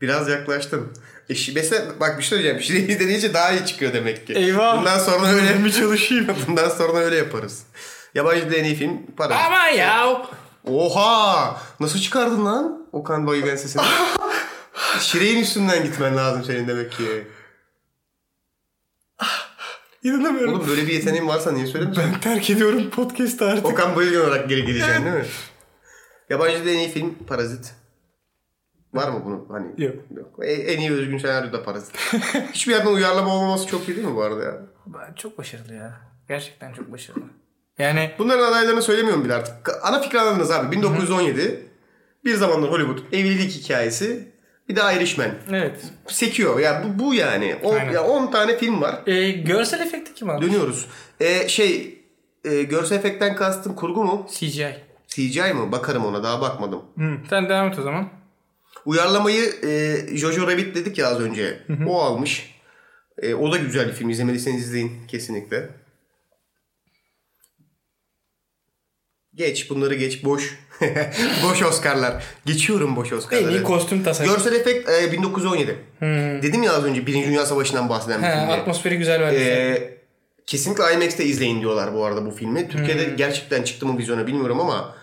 [SPEAKER 1] Biraz yaklaştın. E, şi- mesela bak bir şey söyleyeceğim. Şire'yi deneyince daha iyi çıkıyor demek ki.
[SPEAKER 2] Eyvah.
[SPEAKER 1] Bundan sonra öyle mi çalışayım? Bundan sonra öyle yaparız. Yabancı en iyi film para.
[SPEAKER 2] Aman ya.
[SPEAKER 1] Oha! Nasıl çıkardın lan Okan Bayülgen sesini? Şire'in üstünden gitmen lazım senin demek ki.
[SPEAKER 2] İnanamıyorum.
[SPEAKER 1] Oğlum böyle bir yeteneğin varsa niye söylemiyorsun?
[SPEAKER 2] terk ediyorum podcast'ı artık.
[SPEAKER 1] Okan Bayülgen olarak geri geleceksin değil mi? Yabancı en iyi film Parazit. Var mı bunun? Hani
[SPEAKER 2] Yok.
[SPEAKER 1] E- En iyi özgün senaryo da Parazit. Hiçbir yerden uyarlama olmaması çok iyi değil mi bu arada ya?
[SPEAKER 2] Çok başarılı ya. Gerçekten çok başarılı. Yani
[SPEAKER 1] Bunların adaylarını söylemiyorum bile artık. Ana fikri anladınız abi. 1917. Bir zamanlar Hollywood. Evlilik hikayesi. Bir de Irishman.
[SPEAKER 2] evet.
[SPEAKER 1] Sekiyor. Ya bu, bu yani. On-
[SPEAKER 2] Aynen.
[SPEAKER 1] ya 10 tane film var.
[SPEAKER 2] Ee, görsel efekti kim aldı?
[SPEAKER 1] Dönüyoruz. E, şey e, görsel efektten kastın kurgu mu?
[SPEAKER 2] CGI.
[SPEAKER 1] CGI mi? Bakarım ona. Daha bakmadım.
[SPEAKER 2] Hı. Sen devam et o zaman.
[SPEAKER 1] Uyarlamayı e, Jojo Rabbit dedik ya az önce. O almış. E, o da güzel bir film. İzlemediyseniz izleyin kesinlikle. Geç bunları geç. Boş. boş Oscar'lar. Geçiyorum boş
[SPEAKER 2] En
[SPEAKER 1] Oscar'ları.
[SPEAKER 2] iyi kostüm tasarım.
[SPEAKER 1] Görsel efekt e, 1917. Dedim ya az önce Birinci Dünya Savaşı'ndan bahseden bir
[SPEAKER 2] He,
[SPEAKER 1] film diye.
[SPEAKER 2] atmosferi güzel vermişler.
[SPEAKER 1] Ee, kesinlikle IMAX'te izleyin diyorlar bu arada bu filmi. Türkiye'de
[SPEAKER 2] Hmm.
[SPEAKER 1] gerçekten çıktı mı vizyona bilmiyorum ama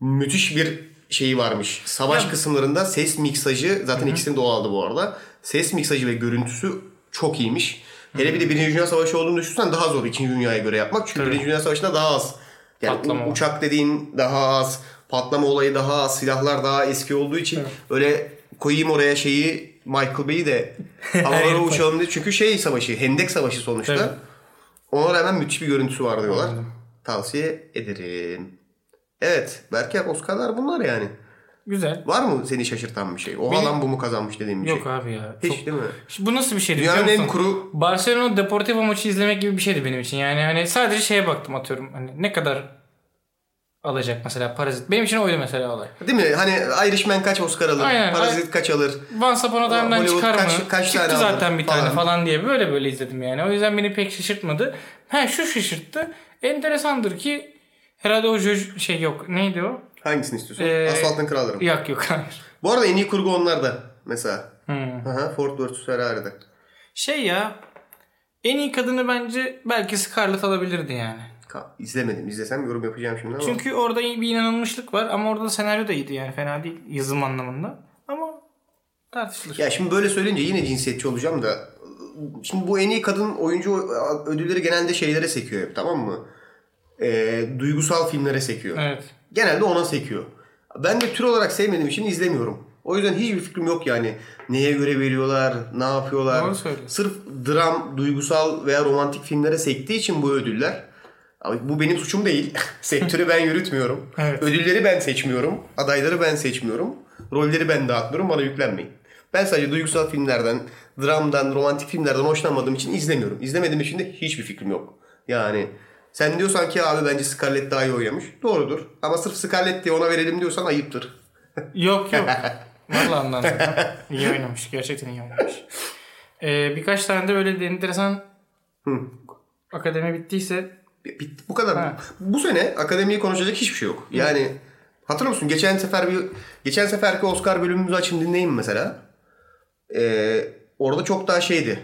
[SPEAKER 1] müthiş bir şeyi varmış. Savaş kısımlarında ses miksajı zaten ikisini de o aldı bu arada. Ses miksajı ve görüntüsü çok iyiymiş. Hele
[SPEAKER 2] Hmm.
[SPEAKER 1] bir de Birinci Dünya Savaşı olduğunu düşünsen daha zor İkinci Dünya'ya göre yapmak. Çünkü Birinci Dünya Savaşı'nda daha az. Yani
[SPEAKER 2] Patlama
[SPEAKER 1] u-
[SPEAKER 2] var.
[SPEAKER 1] uçak dediğin daha az, patlama olayı daha az, silahlar daha eski olduğu için öyle koyayım oraya şeyi Michael Bay'i de havalara uçalım diye. Çünkü şey savaşı, Hendek Savaşı sonuçta.
[SPEAKER 2] Evet.
[SPEAKER 1] Ona rağmen müthiş bir görüntüsü var diyorlar. tavsiye ederim. Evet. Berker Oscar'lar bunlar yani.
[SPEAKER 2] Güzel.
[SPEAKER 1] Var mı seni şaşırtan bir şey? O
[SPEAKER 2] Benim-
[SPEAKER 1] alan bu mu kazanmış dediğim bir
[SPEAKER 2] Yok
[SPEAKER 1] şey?
[SPEAKER 2] abi ya.
[SPEAKER 1] Hiç
[SPEAKER 2] çok-
[SPEAKER 1] değil mi?
[SPEAKER 2] Şimdi Bu nasıl bir şeydi biliyor
[SPEAKER 1] Dünyanın en
[SPEAKER 2] musun?
[SPEAKER 1] kuru
[SPEAKER 2] Barcelona Deportivo maçı izlemek gibi bir şeydi benim için. Yani hani sadece şeye baktım atıyorum. Hani ne kadar alacak mesela parazit. Benim için oydu mesela olay.
[SPEAKER 1] değil mi? Hani Irishman kaç Oscar alır?
[SPEAKER 2] Aynen.
[SPEAKER 1] Parazit kaç alır?
[SPEAKER 2] Once Upon a Time'dan
[SPEAKER 1] Hollywood
[SPEAKER 2] çıkar mı?
[SPEAKER 1] kaç- kaç
[SPEAKER 2] Çıktı
[SPEAKER 1] tane
[SPEAKER 2] zaten
[SPEAKER 1] aldı
[SPEAKER 2] bir tane
[SPEAKER 1] falan.
[SPEAKER 2] falan. diye böyle böyle izledim yani. O yüzden beni pek şaşırtmadı. Ha şu şaşırttı. Enteresandır ki herhalde o jö- şey yok. Neydi o?
[SPEAKER 1] Hangisini istiyorsun?
[SPEAKER 2] Ee,
[SPEAKER 1] Asfaltın Kralları mı?
[SPEAKER 2] Yok yok hayır.
[SPEAKER 1] Bu arada en iyi kurgu onlarda mesela.
[SPEAKER 2] Hmm.
[SPEAKER 1] Aha, Ford vs Ferrari'de.
[SPEAKER 2] Şey ya en iyi kadını bence belki Scarlett alabilirdi yani.
[SPEAKER 1] Ka- İzlemedim. İzlesem yorum yapacağım şimdi ama.
[SPEAKER 2] Çünkü orada iyi bir inanılmışlık var ama orada senaryo da iyiydi yani fena değil yazım anlamında. Ama tartışılır.
[SPEAKER 1] Ya şimdi böyle söyleyince yine cinsiyetçi olacağım da. Şimdi bu en iyi kadın oyuncu ödülleri genelde şeylere sekiyor hep tamam mı? Ee, duygusal filmlere sekiyor.
[SPEAKER 2] Evet.
[SPEAKER 1] Genelde ona sekiyor. Ben de tür olarak sevmediğim için izlemiyorum. O yüzden hiçbir fikrim yok yani. Neye göre veriyorlar, ne yapıyorlar.
[SPEAKER 2] Doğru söylüyorsun.
[SPEAKER 1] Sırf dram, duygusal veya romantik filmlere sektiği için bu ödüller. Abi bu benim suçum değil. Sektörü ben yürütmüyorum.
[SPEAKER 2] Evet.
[SPEAKER 1] Ödülleri ben seçmiyorum. Adayları ben seçmiyorum. Rolleri ben dağıtmıyorum. Bana yüklenmeyin. Ben sadece duygusal filmlerden, dramdan, romantik filmlerden hoşlanmadığım için izlemiyorum. İzlemediğim için de hiçbir fikrim yok. Yani sen diyorsan ki abi bence Scarlett daha iyi oynamış. Doğrudur. Ama sırf Scarlett diye ona verelim diyorsan ayıptır.
[SPEAKER 2] Yok yok. Vallahi anladım. iyi oynamış. Gerçekten iyi oynamış. Ee, birkaç tane de böyle de enteresan
[SPEAKER 1] Hı.
[SPEAKER 2] akademi bittiyse
[SPEAKER 1] Bitti. Bu kadar.
[SPEAKER 2] Ha.
[SPEAKER 1] Bu sene akademiyi konuşacak hiçbir şey yok. Yani hatırlıyor musun? Geçen sefer bir geçen seferki Oscar bölümümüzü açın dinleyin mesela. Ee, orada çok daha şeydi.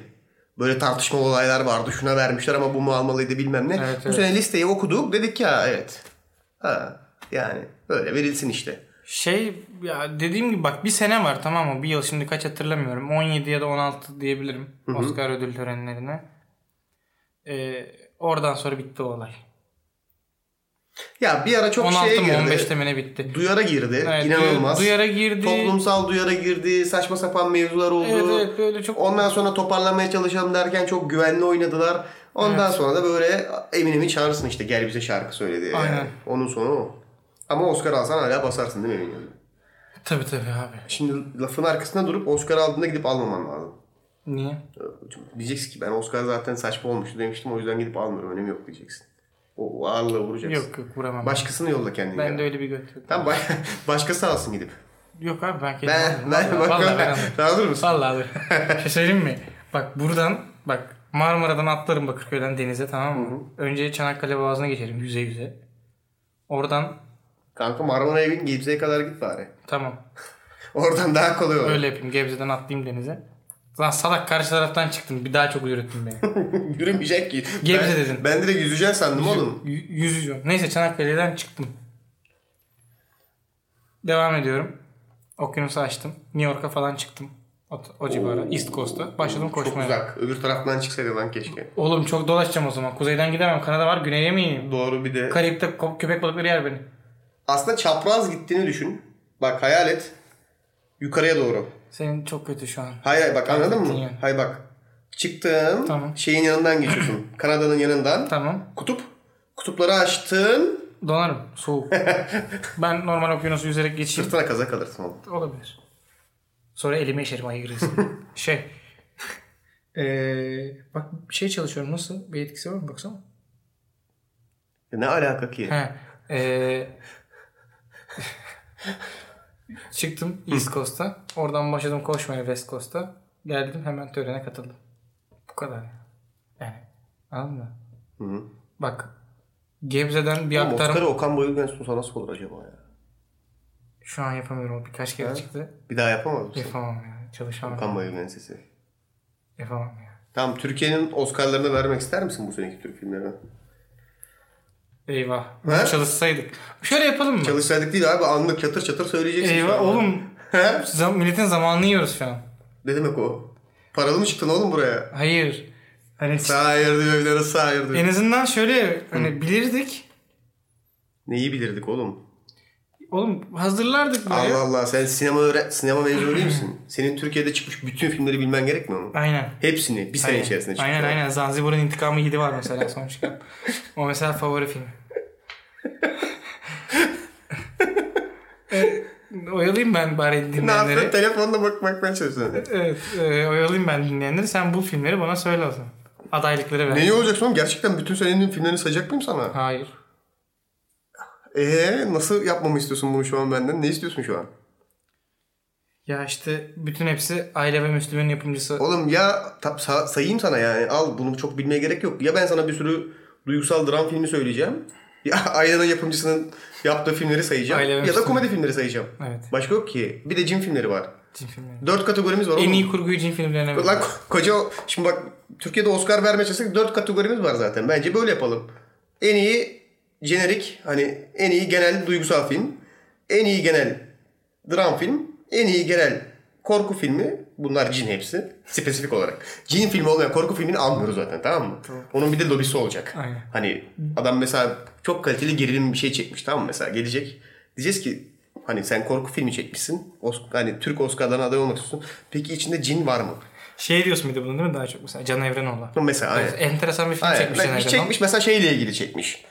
[SPEAKER 1] Böyle tartışmalı olaylar vardı. Şuna vermişler ama bu mu almalıydı bilmem ne.
[SPEAKER 2] Evet,
[SPEAKER 1] bu
[SPEAKER 2] evet.
[SPEAKER 1] sene listeyi okuduk. Dedik ya evet. Ha, yani böyle verilsin işte.
[SPEAKER 2] şey ya dediğim gibi bak bir sene var tamam mı? Bir yıl şimdi kaç hatırlamıyorum. 17 ya da 16 diyebilirim Oscar ödül törenlerine. Ee, oradan sonra bitti o olay.
[SPEAKER 1] Ya bir ara çok şey
[SPEAKER 2] 16
[SPEAKER 1] şeye
[SPEAKER 2] mı
[SPEAKER 1] girdi.
[SPEAKER 2] 15 temine bitti.
[SPEAKER 1] Duyara girdi.
[SPEAKER 2] Evet,
[SPEAKER 1] İnanılmaz.
[SPEAKER 2] duy- Duyara girdi.
[SPEAKER 1] Toplumsal duyara girdi. Saçma sapan mevzular oldu.
[SPEAKER 2] Evet evet böyle çok
[SPEAKER 1] Ondan sonra toparlamaya çalışalım derken çok güvenli oynadılar. Ondan sonra da böyle Eminem'i çağırırsın işte gel bize şarkı söyle diye. yani.
[SPEAKER 2] Aynen.
[SPEAKER 1] Onun sonu o. Ama Oscar alsan hala basarsın değil mi Eminem?
[SPEAKER 2] Tabii tabii abi.
[SPEAKER 1] Şimdi lafın arkasında durup Oscar aldığında gidip almaman lazım.
[SPEAKER 2] Niye?
[SPEAKER 1] Diyeceksin ki ben Oscar zaten saçma olmuştu demiştim o yüzden gidip almıyorum önemi yok diyeceksin. O ağırlığı vuracaksın.
[SPEAKER 2] Yok yok vuramam.
[SPEAKER 1] Başkasını yolla kendine.
[SPEAKER 2] ben de öyle bir göt yok.
[SPEAKER 1] Tamam baş- başkası alsın gidip. Eh,
[SPEAKER 2] Yok abi ben kendim
[SPEAKER 1] Ben,
[SPEAKER 2] alırım.
[SPEAKER 1] ben,
[SPEAKER 2] Vallahi-
[SPEAKER 1] bak,
[SPEAKER 2] vallahi ben
[SPEAKER 1] ben,
[SPEAKER 2] alırım.
[SPEAKER 1] ben alır mısın?
[SPEAKER 2] Vallahi alırım. Bir şey söyleyeyim mi? Bak buradan bak Marmara'dan atlarım Bakırköy'den denize tamam mı? Önce Çanakkale Boğazı'na geçerim yüze yüze. Oradan
[SPEAKER 1] Kanka Marmara'ya bin Gebze'ye kadar git bari.
[SPEAKER 2] tamam
[SPEAKER 1] Oradan daha kolay olur.
[SPEAKER 2] öyle yapayım Gebze'den atlayayım denize. Lan salak karşı taraftan çıktın bir daha çok yürüttün beni.
[SPEAKER 1] Yürümeyecek ki.
[SPEAKER 2] Gebze
[SPEAKER 1] ben,
[SPEAKER 2] dedin.
[SPEAKER 1] Ben direkt yüzeceğim sandım oğlum.
[SPEAKER 2] Y- yüzücü. Neyse Çanakkale'den çıktım. Devam ediyorum. Okyanusu açtım. New York'a falan çıktım. O, o civara. East Coast'a. Başladım
[SPEAKER 1] Çok
[SPEAKER 2] koşmaya.
[SPEAKER 1] uzak. Öbür taraftan çıksaydı lan keşke.
[SPEAKER 2] Oğlum çok dolaşacağım o zaman. Kuzeyden gidemem. Kanada var. Güney'e mi ineyim?
[SPEAKER 1] Doğru bir de.
[SPEAKER 2] Karayip'te ko- köpek balıkları yer beni.
[SPEAKER 1] Aslında çapraz gittiğini düşün. Bak hayal et. Yukarıya doğru.
[SPEAKER 2] Senin çok kötü şu an.
[SPEAKER 1] Hayır hayır, bak anladın mı?
[SPEAKER 2] yani.
[SPEAKER 1] Hayır bak. Çıktın.
[SPEAKER 2] Tamam.
[SPEAKER 1] Şeyin yanından geçiyorsun. Kanada'nın yanından.
[SPEAKER 2] Tamam.
[SPEAKER 1] Kutup. Kutupları açtın.
[SPEAKER 2] Donarım. Soğuk. ben normal okyanusu yüzerek geçeyim.
[SPEAKER 1] Sırtına kaza kalırsın oğlum.
[SPEAKER 2] Olabilir. Sonra elime işerim ayı gireriz. şey. Eee bak bir şey çalışıyorum. Nasıl? Bir etkisi var mı? Baksana.
[SPEAKER 1] Ya ne alaka ki?
[SPEAKER 2] He. Ee, çıktım East Coast'a. Oradan başladım koşmaya West Coast'a. Geldim hemen törene katıldım. Bu kadar. Yani anladın mı?
[SPEAKER 1] Hı -hı.
[SPEAKER 2] Bak Gebze'den bir
[SPEAKER 1] Oğlum,
[SPEAKER 2] aktarım.
[SPEAKER 1] Oscar'ı Okan Bayülgen sunsa nasıl olur acaba ya?
[SPEAKER 2] Şu an yapamıyorum. O birkaç kere çıktı.
[SPEAKER 1] Bir daha yapamaz mısın?
[SPEAKER 2] Yapamam ya. Çalışamam.
[SPEAKER 1] Okan Bayülgen sesi.
[SPEAKER 2] Yapamam ya.
[SPEAKER 1] Tamam Türkiye'nin Oscar'larını vermek ister misin bu seneki Türk filmlerine?
[SPEAKER 2] Eyvah.
[SPEAKER 1] He?
[SPEAKER 2] Çalışsaydık. Şöyle yapalım mı?
[SPEAKER 1] Çalışsaydık değil abi anlık çatır çatır söyleyeceksin. şu
[SPEAKER 2] Eyvah
[SPEAKER 1] an.
[SPEAKER 2] oğlum.
[SPEAKER 1] He?
[SPEAKER 2] Zam- milletin zamanını yiyoruz şu an.
[SPEAKER 1] Ne demek o? Paralı mı çıktın oğlum buraya?
[SPEAKER 2] Hayır. Hani
[SPEAKER 1] Hayır diyor evlere hayır diyor.
[SPEAKER 2] en azından şöyle hani bilirdik.
[SPEAKER 1] Neyi bilirdik oğlum?
[SPEAKER 2] Oğlum hazırlardık böyle.
[SPEAKER 1] Allah Allah sen sinema öğre sinema mezunu değil misin? Senin Türkiye'de çıkmış bütün filmleri bilmen gerekmiyor mu?
[SPEAKER 2] Aynen.
[SPEAKER 1] Hepsini bir sene
[SPEAKER 2] Aynen.
[SPEAKER 1] içerisinde çıkıyor.
[SPEAKER 2] Aynen aynen. Zanzibar'ın intikamı 7 var mesela son çıkan. o mesela favori film. E, Oyalayayım ben bari
[SPEAKER 1] Ne yaptın?
[SPEAKER 2] dinleyenleri.
[SPEAKER 1] Telefonla bak şey bakmaya çalışıyorsun.
[SPEAKER 2] Evet, e, oyalayayım ben dinleyenleri. Sen bu filmleri bana söyle o zaman. Adaylıkları ver.
[SPEAKER 1] Neyi olacak oğlum? Gerçekten bütün senenin filmlerini sayacak mıyım sana?
[SPEAKER 2] Hayır.
[SPEAKER 1] Eee nasıl yapmamı istiyorsun bunu şu an benden? Ne istiyorsun şu an?
[SPEAKER 2] Ya işte bütün hepsi Aile ve Müslüman'ın yapımcısı.
[SPEAKER 1] Oğlum ya ta- sa- sayayım sana yani. Al bunu çok bilmeye gerek yok. Ya ben sana bir sürü duygusal dram filmi söyleyeceğim. Ya Aynanın yapımcısının yaptığı filmleri sayacağım.
[SPEAKER 2] Aile ve
[SPEAKER 1] ya da
[SPEAKER 2] Müslüman.
[SPEAKER 1] komedi filmleri sayacağım.
[SPEAKER 2] Evet.
[SPEAKER 1] Başka yok ki. Bir de cin filmleri var.
[SPEAKER 2] Cin filmleri.
[SPEAKER 1] Dört kategorimiz var oğlum.
[SPEAKER 2] En iyi kurguyu cin filmlerine ver.
[SPEAKER 1] Lan ko- koca şimdi bak Türkiye'de Oscar vermeye çalışsak dört kategorimiz var zaten. Bence böyle yapalım. En iyi jenerik hani en iyi genel duygusal film, en iyi genel dram film, en iyi genel korku filmi. Bunlar cin hepsi. Spesifik olarak. Cin filmi olmayan korku filmini almıyoruz zaten tamam mı? Onun bir de lobisi olacak.
[SPEAKER 2] Aynen.
[SPEAKER 1] Hani adam mesela çok kaliteli gerilim bir şey çekmiş tamam mı mesela gelecek. Diyeceğiz ki hani sen korku filmi çekmişsin. Os- hani Türk Oscar'larına aday olmak istiyorsun. Peki içinde cin var mı?
[SPEAKER 2] Şey diyorsun bir de bunu değil mi daha çok mesela Can Evrenoğlu.
[SPEAKER 1] Mesela aynen.
[SPEAKER 2] Evet, Enteresan bir film
[SPEAKER 1] Aynen.
[SPEAKER 2] çekmiş Can
[SPEAKER 1] Bir
[SPEAKER 2] Evrenoğlu.
[SPEAKER 1] çekmiş mesela şeyle ilgili çekmiş.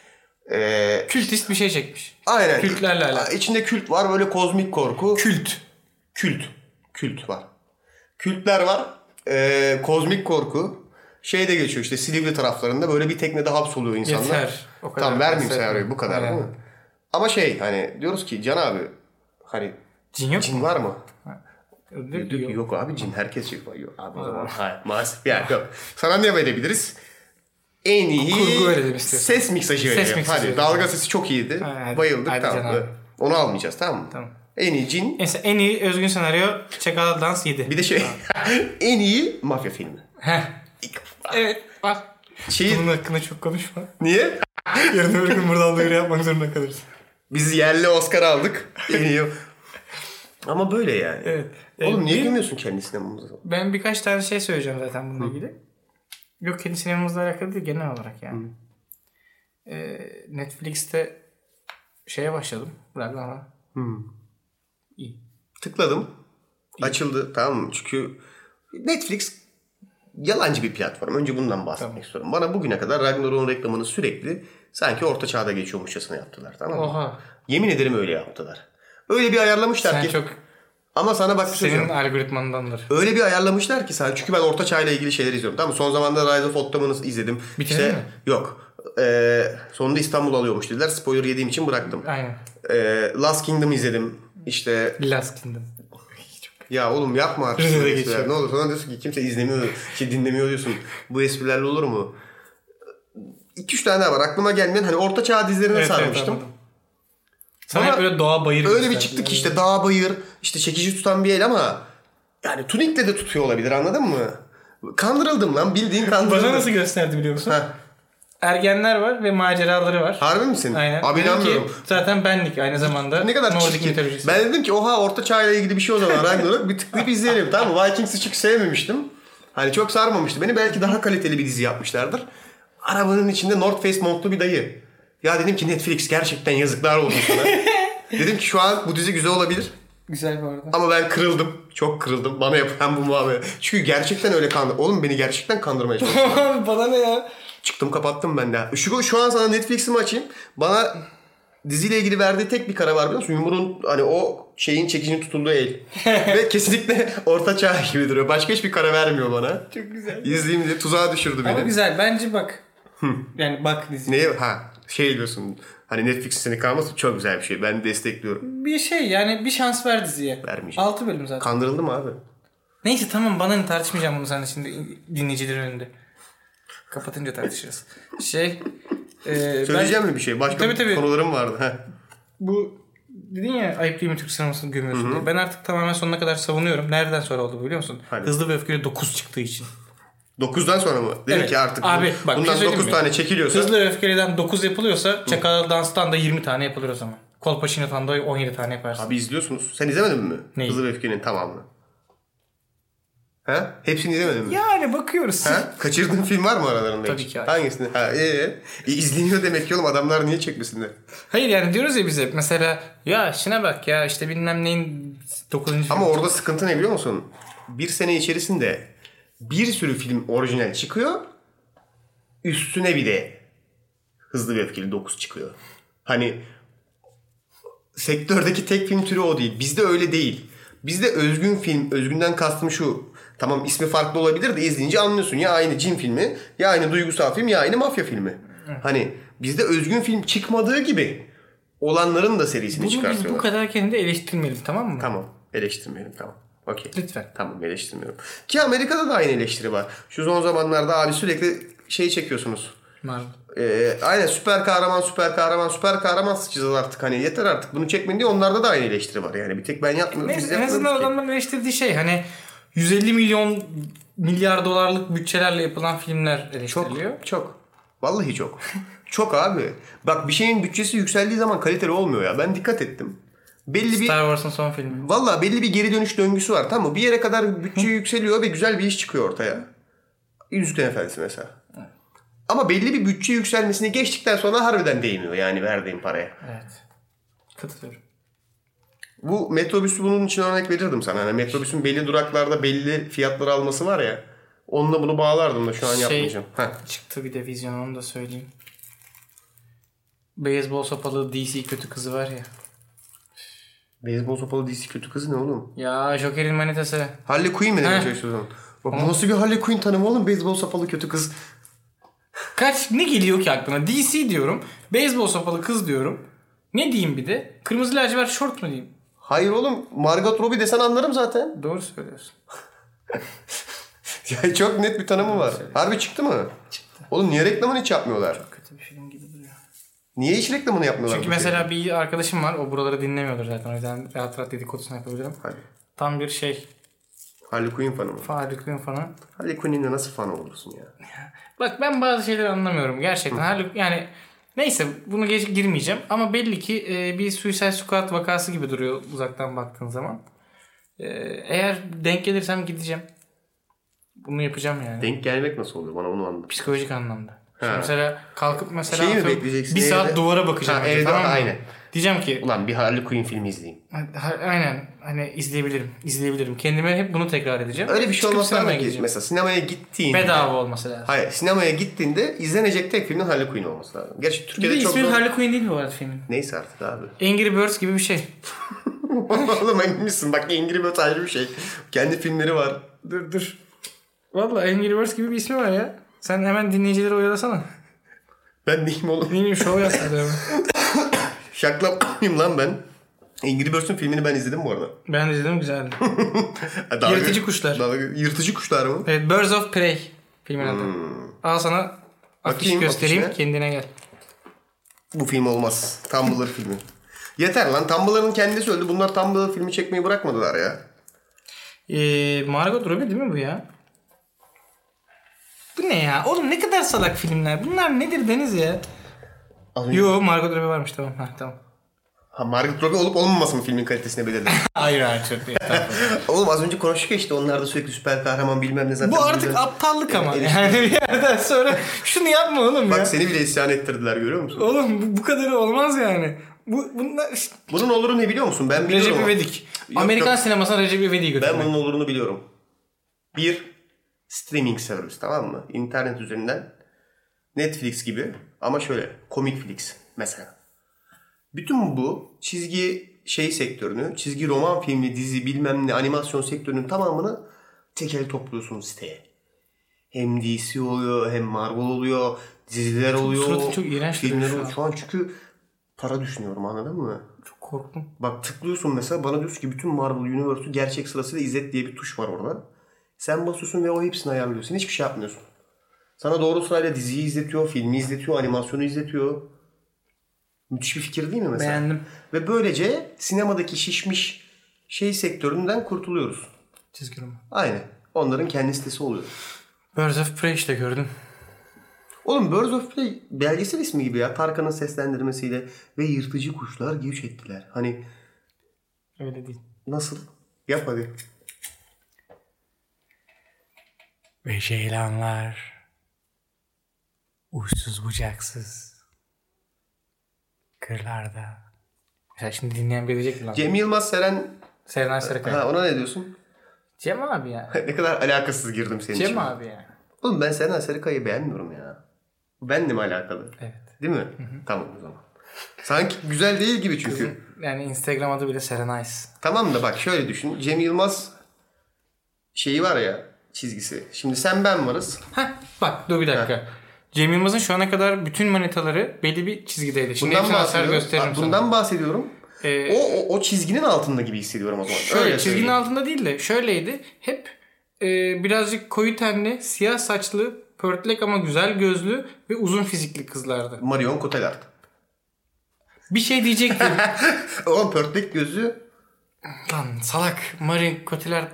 [SPEAKER 1] Ee,
[SPEAKER 2] Kültist bir şey çekmiş.
[SPEAKER 1] aynen.
[SPEAKER 2] Kültlerle
[SPEAKER 1] Aa,
[SPEAKER 2] alakalı.
[SPEAKER 1] İçinde kült var böyle kozmik korku.
[SPEAKER 2] Kült.
[SPEAKER 1] Kült. Kült var. Kültler var. Ee, kozmik korku. Şey de geçiyor işte Silivri taraflarında böyle bir teknede hapsoluyor insanlar.
[SPEAKER 2] Yeter. O kadar.
[SPEAKER 1] Tamam vermeyeyim
[SPEAKER 2] Yeter.
[SPEAKER 1] senaryoyu bu kadar
[SPEAKER 2] Aynen.
[SPEAKER 1] değil mi? Ama şey hani diyoruz ki Can abi hani
[SPEAKER 2] Cin yok mu?
[SPEAKER 1] cin var mı?
[SPEAKER 2] Diyor ki,
[SPEAKER 1] Yok,
[SPEAKER 2] yok.
[SPEAKER 1] yok abi cin herkes yok. Yok abi o zaman hayır maalesef yani yok. Sana ne verebiliriz? En iyi
[SPEAKER 2] Kurgu verelim istiyorsan.
[SPEAKER 1] ses miksajı verelim.
[SPEAKER 2] miksajı
[SPEAKER 1] Hadi
[SPEAKER 2] verelim.
[SPEAKER 1] dalga sesi çok iyiydi.
[SPEAKER 2] Ha, hadi.
[SPEAKER 1] Bayıldık
[SPEAKER 2] Hadi
[SPEAKER 1] tamam.
[SPEAKER 2] Can abi.
[SPEAKER 1] Onu almayacağız tamam mı?
[SPEAKER 2] Tamam.
[SPEAKER 1] En iyi cin.
[SPEAKER 2] Neyse en iyi özgün senaryo Çakal Dans 7.
[SPEAKER 1] Bir de şey en iyi mafya filmi.
[SPEAKER 2] Heh. Evet var.
[SPEAKER 1] Şey
[SPEAKER 2] Bunun hakkında çok konuşma.
[SPEAKER 1] niye?
[SPEAKER 2] Yarın öbür gün buradan duyuru yapmak zorunda kalırız.
[SPEAKER 1] Biz yerli Oscar aldık. en iyi. Ama böyle yani.
[SPEAKER 2] Evet.
[SPEAKER 1] Oğlum
[SPEAKER 2] Ee,
[SPEAKER 1] niye
[SPEAKER 2] bir-
[SPEAKER 1] gülmüyorsun kendi sinemamıza?
[SPEAKER 2] Ben birkaç tane şey söyleyeceğim zaten bununla ilgili. Yok kendi sinemamızla alakalı değil genel olarak yani. Ee, Netflix'te şeye başladım. Bırak ama. İyi.
[SPEAKER 1] Tıkladım. Açıldı tamam mı? Çünkü Netflix yalancı bir platform. Önce bundan bahsetmek istiyorum. Bana bugüne kadar Ragnarok'un reklamını sürekli sanki orta çağda geçiyormuşçasına yaptılar tamam mı?
[SPEAKER 2] Oha.
[SPEAKER 1] Yemin ederim öyle yaptılar. Öyle bir ayarlamışlar
[SPEAKER 2] Sen
[SPEAKER 1] ki.
[SPEAKER 2] çok
[SPEAKER 1] Ama sana bak bir şey
[SPEAKER 2] senin
[SPEAKER 1] söyleyeceğim.
[SPEAKER 2] algoritmandandır.
[SPEAKER 1] Öyle bir ayarlamışlar ki sen çünkü ben orta çağla ilgili şeyler izliyorum. Tamam mı? Son zamanlarda Rise of Ottoman'ı izledim.
[SPEAKER 2] Bitirdin mi?
[SPEAKER 1] Yok. Ee, sonunda İstanbul alıyormuş dediler. Spoiler yediğim için bıraktım.
[SPEAKER 2] Aynen.
[SPEAKER 1] Ee, Last Kingdom izledim. İşte
[SPEAKER 2] Last Kingdom.
[SPEAKER 1] Ya oğlum yapma artık.
[SPEAKER 2] Rıza'da
[SPEAKER 1] bu espriler.
[SPEAKER 2] geçiyor.
[SPEAKER 1] Ne olur sana diyorsun ki kimse izlemiyor, şey dinlemiyor diyorsun. Bu esprilerle olur mu? 2-3 tane daha var. Aklıma gelmeyen hani orta çağ dizilerine
[SPEAKER 2] Evet,
[SPEAKER 1] sarmıştım.
[SPEAKER 2] anladım. Sana
[SPEAKER 1] Bana
[SPEAKER 2] hep böyle doğa bayır
[SPEAKER 1] Öyle bir
[SPEAKER 2] gösterdi
[SPEAKER 1] çıktık
[SPEAKER 2] yani.
[SPEAKER 1] işte dağ bayır işte çekici tutan bir el ama yani tunikle de tutuyor olabilir anladın mı? Kandırıldım lan bildiğin kandırıldım.
[SPEAKER 2] Bana nasıl gösterdi biliyor musun?
[SPEAKER 1] Heh,
[SPEAKER 2] Ergenler var ve maceraları var.
[SPEAKER 1] harbi misin?
[SPEAKER 2] Aynen.
[SPEAKER 1] Abi
[SPEAKER 2] Dedi ki,
[SPEAKER 1] inanmıyorum.
[SPEAKER 2] Zaten benlik aynı zamanda.
[SPEAKER 1] Ne kadar
[SPEAKER 2] Nordic
[SPEAKER 1] çirkin.
[SPEAKER 2] mitolojisi.
[SPEAKER 1] Ben dedim ki oha orta çağla ilgili bir şey o zaman Ragnarok bir tıklayıp izleyelim tamam mı? Vikings'i çok sevmemiştim. Hani çok sarmamıştı beni. Belki daha kaliteli bir dizi yapmışlardır. Arabanın içinde North Face montlu bir dayı. Ya dedim ki Netflix gerçekten yazıklar olsun sana. dedim ki şu an bu dizi güzel olabilir.
[SPEAKER 2] Güzel bu arada.
[SPEAKER 1] Ama ben kırıldım. Çok kırıldım. Bana yapılan bu muamele. Çünkü gerçekten öyle kandı. Oğlum beni gerçekten kandırmaya çalıştı.
[SPEAKER 2] Abi bana ne ya?
[SPEAKER 1] Çıktım kapattım ben de. Şu, şu an sana Netflix'imi açayım. Bana diziyle ilgili verdiği tek bir karar var biliyor musun? Yumruğun hani o şeyin çekicinin tutulduğu el. Ve kesinlikle orta çağ gibi duruyor. Başka hiçbir karar vermiyor bana.
[SPEAKER 2] Çok güzel.
[SPEAKER 1] İzleyeyim diye tuzağa düşürdü
[SPEAKER 2] Ama
[SPEAKER 1] beni.
[SPEAKER 2] güzel bence bak. yani bak dizi.
[SPEAKER 1] Neye? Ha şey diyorsun. Hani Netflix seni kalmasın çok güzel bir şey. Ben destekliyorum.
[SPEAKER 2] Bir şey yani bir şans ver diziye.
[SPEAKER 1] Vermeyeceğim.
[SPEAKER 2] 6 bölüm zaten.
[SPEAKER 1] Kandırıldım abi.
[SPEAKER 2] Neyse tamam bana ne tartışmayacağım bunu seninle şimdi dinleyicilerin önünde. Kapatınca tartışırız. Şey. e,
[SPEAKER 1] Söyleyeceğim mi bir şey? Başka
[SPEAKER 2] Tabii, tabii.
[SPEAKER 1] konularım vardı. Ha.
[SPEAKER 2] Ben, bu dedin ya ayıp değil mi Türk sinemasını gömüyorsun diye. Ben artık tamamen sonuna kadar savunuyorum. Nereden sonra oldu bu biliyor musun?
[SPEAKER 1] Hadi.
[SPEAKER 2] Hızlı ve öfkeli 9 çıktığı için.
[SPEAKER 1] 9'dan sonra mı? Dedim
[SPEAKER 2] Evet.
[SPEAKER 1] ki artık
[SPEAKER 2] Abi,
[SPEAKER 1] bu-
[SPEAKER 2] bak, bir şey
[SPEAKER 1] bundan
[SPEAKER 2] söyleyeyim
[SPEAKER 1] 9
[SPEAKER 2] mi?
[SPEAKER 1] tane çekiliyorsa
[SPEAKER 2] Hızlı ve Öfkeli'den 9 yapılıyorsa Çakal Dans'tan da 20 tane yapılır o zaman. Kolpaşino'dan da 17 tane yaparsın.
[SPEAKER 1] Abi izliyorsunuz. Sen izlemedin mi?
[SPEAKER 2] Neyi?
[SPEAKER 1] Hızlı ve Öfke'nin tamamını. He? Hepsini izlemedin mi?
[SPEAKER 2] Yani bakıyoruz.
[SPEAKER 1] Ha? Kaçırdığın film var mı aralarında
[SPEAKER 2] Tabii
[SPEAKER 1] hiç?
[SPEAKER 2] ki hayır.
[SPEAKER 1] Hangisini? Ha, ee? E, izleniyor demek ki oğlum adamlar niye çekmesinler?
[SPEAKER 2] Hayır yani diyoruz ya bize mesela ya şuna bak ya işte bilmem neyin 9.
[SPEAKER 1] Ama orada sıkıntı ne biliyor musun? Bir sene içerisinde bir sürü film orijinal çıkıyor. Üstüne bir de Hızlı ve Öfkeli 9 çıkıyor. Hani sektördeki tek film türü o değil. Bizde öyle değil. Bizde özgün film, özgünden kastım şu. Tamam ismi farklı olabilir de izleyince anlıyorsun. Ya aynı cin filmi, ya aynı duygusal film, ya aynı mafya filmi. Hani bizde özgün film çıkmadığı gibi olanların da serisini
[SPEAKER 2] Bunu biz bu
[SPEAKER 1] çıkartıyorlar.
[SPEAKER 2] kadar kendi eleştirmeyelim tamam mı?
[SPEAKER 1] Tamam. Eleştirmeyelim tamam. Okey.
[SPEAKER 2] Lütfen.
[SPEAKER 1] Tamam eleştirmiyorum. Ki Amerika'da da aynı eleştiri var. Şu son zamanlarda abi sürekli şey çekiyorsunuz.
[SPEAKER 2] Marvel.
[SPEAKER 1] Ee, aynen süper kahraman süper kahraman süper kahraman sıçacağız artık hani yeter artık bunu çekmeyin diye onlarda da aynı eleştiri var yani bir tek ben yapmıyorum. biz
[SPEAKER 2] Neyse, en
[SPEAKER 1] yapmıyoruz
[SPEAKER 2] azından
[SPEAKER 1] ki.
[SPEAKER 2] adamların eleştirdiği şey hani 150 milyon milyar dolarlık bütçelerle yapılan filmler eleştiriliyor.
[SPEAKER 1] Çok. Vallahi çok. çok abi. Bak bir şeyin bütçesi yükseldiği zaman kaliteli olmuyor ya. Ben dikkat ettim. Belli bir
[SPEAKER 2] Star Wars'ın son filmi.
[SPEAKER 1] Valla belli bir geri dönüş döngüsü var tamam mı? Bir yere kadar bütçe yükseliyor ve güzel bir iş çıkıyor ortaya. Yüzüklerin Efendisi mesela. Ama belli bir bütçe yükselmesini geçtikten sonra harbiden değmiyor yani verdiğin paraya.
[SPEAKER 2] Evet. Katılıyorum.
[SPEAKER 1] Bu metrobüsü bunun için örnek verirdim sana. Hani metrobüsün belli duraklarda belli fiyatları alması var ya. Onunla bunu bağlardım da şu an
[SPEAKER 2] Şey-
[SPEAKER 1] yapmayacağım. Heh.
[SPEAKER 2] Çıktı bir de vizyon onu da söyleyeyim. Beyzbol sopalı DC kötü kızı var ya.
[SPEAKER 1] Beyzbol sopalı DC kötü kızı ne oğlum?
[SPEAKER 2] Ya Joker'in manitası.
[SPEAKER 1] Harley Quinn mi demek
[SPEAKER 2] Heh.
[SPEAKER 1] çalışıyorsun? Bak bu nasıl bir Harley Quinn tanımı oğlum? Beyzbol sopalı kötü kız.
[SPEAKER 2] Kaç ne geliyor ki aklına? DC diyorum. Beyzbol sopalı kız diyorum. Ne diyeyim bir de? Kırmızı lacivert şort mu diyeyim?
[SPEAKER 1] Hayır oğlum Margot Robbie desen anlarım zaten.
[SPEAKER 2] Doğru söylüyorsun.
[SPEAKER 1] Yani çok net bir tanımı var. Harbi çıktı mı? Çıktı. Oğlum niye reklamını hiç yapmıyorlar?
[SPEAKER 2] Kötü bir film gibi duruyor.
[SPEAKER 1] Niye hiç reklamını yapmıyorlar?
[SPEAKER 2] Çünkü
[SPEAKER 1] bu filmin?
[SPEAKER 2] mesela bir arkadaşım var. O buraları dinlemiyordur zaten. O yüzden rahat rahat dedikodusunu yapabilirim.
[SPEAKER 1] Hayır.
[SPEAKER 2] Tam bir şey.
[SPEAKER 1] Harley Quinn fanı mı?
[SPEAKER 2] Harley Quinn falan.
[SPEAKER 1] Harley Quinn'in nasıl fanı olursun ya?
[SPEAKER 2] Bak ben bazı şeyleri anlamıyorum. Gerçekten. Harley, yani neyse bunu geç girmeyeceğim. Ama belli ki e, bir Suicide Squad vakası gibi duruyor uzaktan baktığın zaman. E, eğer denk gelirsem gideceğim. Bunu yapacağım yani.
[SPEAKER 1] Denk gelmek nasıl oluyor? Bana onu anlat.
[SPEAKER 2] Psikolojik anlamda. Şimdi
[SPEAKER 1] Ha.
[SPEAKER 2] mesela kalkıp mesela
[SPEAKER 1] Şeyi mi
[SPEAKER 2] atıyorum,
[SPEAKER 1] bekleyeceksin?
[SPEAKER 2] bir saat
[SPEAKER 1] Evde-
[SPEAKER 2] duvara bakacağım.
[SPEAKER 1] Ha,
[SPEAKER 2] önce,
[SPEAKER 1] evde-
[SPEAKER 2] tamam mı?
[SPEAKER 1] aynen.
[SPEAKER 2] Diyeceğim ki
[SPEAKER 1] Ulan bir Harley Quinn filmi izleyeyim.
[SPEAKER 2] ha- aynen hani izleyebilirim. izleyebilirim. Kendime hep bunu tekrar edeceğim.
[SPEAKER 1] Öyle bir şey
[SPEAKER 2] Çıkıp
[SPEAKER 1] olmasa
[SPEAKER 2] sinemaya
[SPEAKER 1] ama ki
[SPEAKER 2] gideceğim.
[SPEAKER 1] mesela sinemaya gittiğin...
[SPEAKER 2] Bedava olması lazım.
[SPEAKER 1] Hayır sinemaya gittiğinde izlenecek tek filmin Harley Quinn olması lazım. Gerçi
[SPEAKER 2] Bir
[SPEAKER 1] Türkiye'de
[SPEAKER 2] de
[SPEAKER 1] çok...
[SPEAKER 2] ismi
[SPEAKER 1] zor-
[SPEAKER 2] Harley Quinn değil mi bu arada filmin?
[SPEAKER 1] Neyse artık abi.
[SPEAKER 2] Angry Birds gibi bir şey.
[SPEAKER 1] Oğlum eminmişsin bak İngiliz Birds ayrı bir şey. Kendi filmleri var.
[SPEAKER 2] Dur dur. Valla Angry Birds gibi bir ismi var ya. Sen hemen dinleyicileri oyalasana.
[SPEAKER 1] Ben neyim oğlum?
[SPEAKER 2] Ne bileyim şov yaptı
[SPEAKER 1] Şaklak mıyım lan ben? Angry Birds'ün filmini ben izledim bu arada.
[SPEAKER 2] Ben de izledim güzeldi.
[SPEAKER 1] Ha, E, dalga-
[SPEAKER 2] Yırtıcı kuşlar.
[SPEAKER 1] dalga- yırtıcı kuşlar mı?
[SPEAKER 2] Evet Birds of Prey filmin adı. Al sana afiş
[SPEAKER 1] Hmm. Bakayım
[SPEAKER 2] göstereyim
[SPEAKER 1] afişine.
[SPEAKER 2] kendine gel.
[SPEAKER 1] Bu film olmaz. Tumblr filmi. Yeter lan Tumblr'ın kendisi öldü. Bunlar Tumblr filmi çekmeyi bırakmadılar ya.
[SPEAKER 2] Ee, Margot Robbie değil mi bu ya? Bu ne ya? Oğlum ne kadar salak filmler. Bunlar nedir Deniz ya?
[SPEAKER 1] Az önce-
[SPEAKER 2] Yo Margot Robbie varmış tamam. Ha, tamam.
[SPEAKER 1] Ha, Margot Robbie olup olmaması mı filmin kalitesine belirler?
[SPEAKER 2] Hayır hayır çok iyi.
[SPEAKER 1] Oğlum az önce konuştuk ya işte onlar da sürekli süper kahraman bilmem ne zaten.
[SPEAKER 2] bu artık
[SPEAKER 1] bilmem-
[SPEAKER 2] aptallık ama. Yani bir yerden sonra şunu yapma oğlum ya.
[SPEAKER 1] Bak seni bile isyan ettirdiler görüyor musun?
[SPEAKER 2] Oğlum bu, bu kadarı olmaz yani. Bu bunlar işte,
[SPEAKER 1] Bunun oluru ne biliyor musun? Ben biliyorum.
[SPEAKER 2] Recep
[SPEAKER 1] ama.
[SPEAKER 2] İvedik.
[SPEAKER 1] Yok,
[SPEAKER 2] Amerikan
[SPEAKER 1] yok.
[SPEAKER 2] sinemasına Recep İvedik'i
[SPEAKER 1] Ben
[SPEAKER 2] götürmek.
[SPEAKER 1] bunun olurunu biliyorum. Bir streaming servis tamam mı? İnternet üzerinden Netflix gibi ama şöyle Comicflix mesela. Bütün bu çizgi şey sektörünü, çizgi roman filmi, dizi bilmem ne animasyon sektörünün tamamını tekel topluyorsun siteye. Hem DC oluyor, hem Marvel oluyor, diziler oluyor.
[SPEAKER 2] suratın çok iğrenç duruyor
[SPEAKER 1] filmler
[SPEAKER 2] şu
[SPEAKER 1] oluyor.
[SPEAKER 2] an.
[SPEAKER 1] Şu an çünkü para düşünüyorum anladın mı?
[SPEAKER 2] Çok korktum.
[SPEAKER 1] Bak tıklıyorsun mesela bana diyorsun ki bütün Marvel Universe'u gerçek sırasıyla izlet diye bir tuş var orada. Sen basıyorsun ve o hepsini ayarlıyorsun. Hiçbir şey yapmıyorsun. Sana doğru sırayla diziyi izletiyor, filmi izletiyor, animasyonu izletiyor. Müthiş bir fikir değil mi mesela?
[SPEAKER 2] Beğendim.
[SPEAKER 1] Ve böylece sinemadaki şişmiş şey sektöründen kurtuluyoruz.
[SPEAKER 2] Çizgi roman.
[SPEAKER 1] Aynen. Onların kendi sitesi oluyor.
[SPEAKER 2] Birds of Prey işte gördüm.
[SPEAKER 1] Oğlum Birds of Prey belgesel ismi gibi ya. Tarkan'ın seslendirmesiyle ve yırtıcı kuşlar göç ettiler. Hani
[SPEAKER 2] Öyle değil.
[SPEAKER 1] nasıl? Yap hadi.
[SPEAKER 2] Ve ceylanlar uçsuz bucaksız kırlarda. Mesela şimdi dinleyen bilecek mi lan?
[SPEAKER 1] Cem Yılmaz Seren
[SPEAKER 2] Serenay Sarıkaya.
[SPEAKER 1] Ha ona ne diyorsun?
[SPEAKER 2] Cem abi ya.
[SPEAKER 1] ne kadar alakasız girdim senin için.
[SPEAKER 2] Cem abi ya.
[SPEAKER 1] Oğlum ben Sena Serika'yı beğenmiyorum ya. Bu Benle mi alakalı?
[SPEAKER 2] Evet.
[SPEAKER 1] Değil mi? Tamam o zaman. Sanki güzel değil gibi çünkü.
[SPEAKER 2] Yani Instagram adı bile Serenice.
[SPEAKER 1] Tamam da bak şöyle düşün. Cem Yılmaz şeyi var ya çizgisi. Şimdi sen ben varız.
[SPEAKER 2] Heh, bak dur bir dakika. Cem Yılmaz'ın şu ana kadar bütün manitaları belli bir çizgideydi. Şimdi
[SPEAKER 1] Bundan
[SPEAKER 2] hepsini hasar
[SPEAKER 1] bahsediyorum.
[SPEAKER 2] gösteririm
[SPEAKER 1] Bak, bundan bahsediyorum.
[SPEAKER 2] sana. Ee,
[SPEAKER 1] O, o, o çizginin altında gibi hissediyorum o zaman.
[SPEAKER 2] şöyle
[SPEAKER 1] Öyle
[SPEAKER 2] çizginin
[SPEAKER 1] söyleyeyim.
[SPEAKER 2] altında değil de şöyleydi. Hep e, birazcık koyu tenli, siyah saçlı, pörtlek ama güzel gözlü ve uzun fizikli kızlardı.
[SPEAKER 1] Marion Cotillard.
[SPEAKER 2] Bir şey diyecektim.
[SPEAKER 1] Oğlum pörtlek gözü.
[SPEAKER 2] Lan salak Marin Cotillard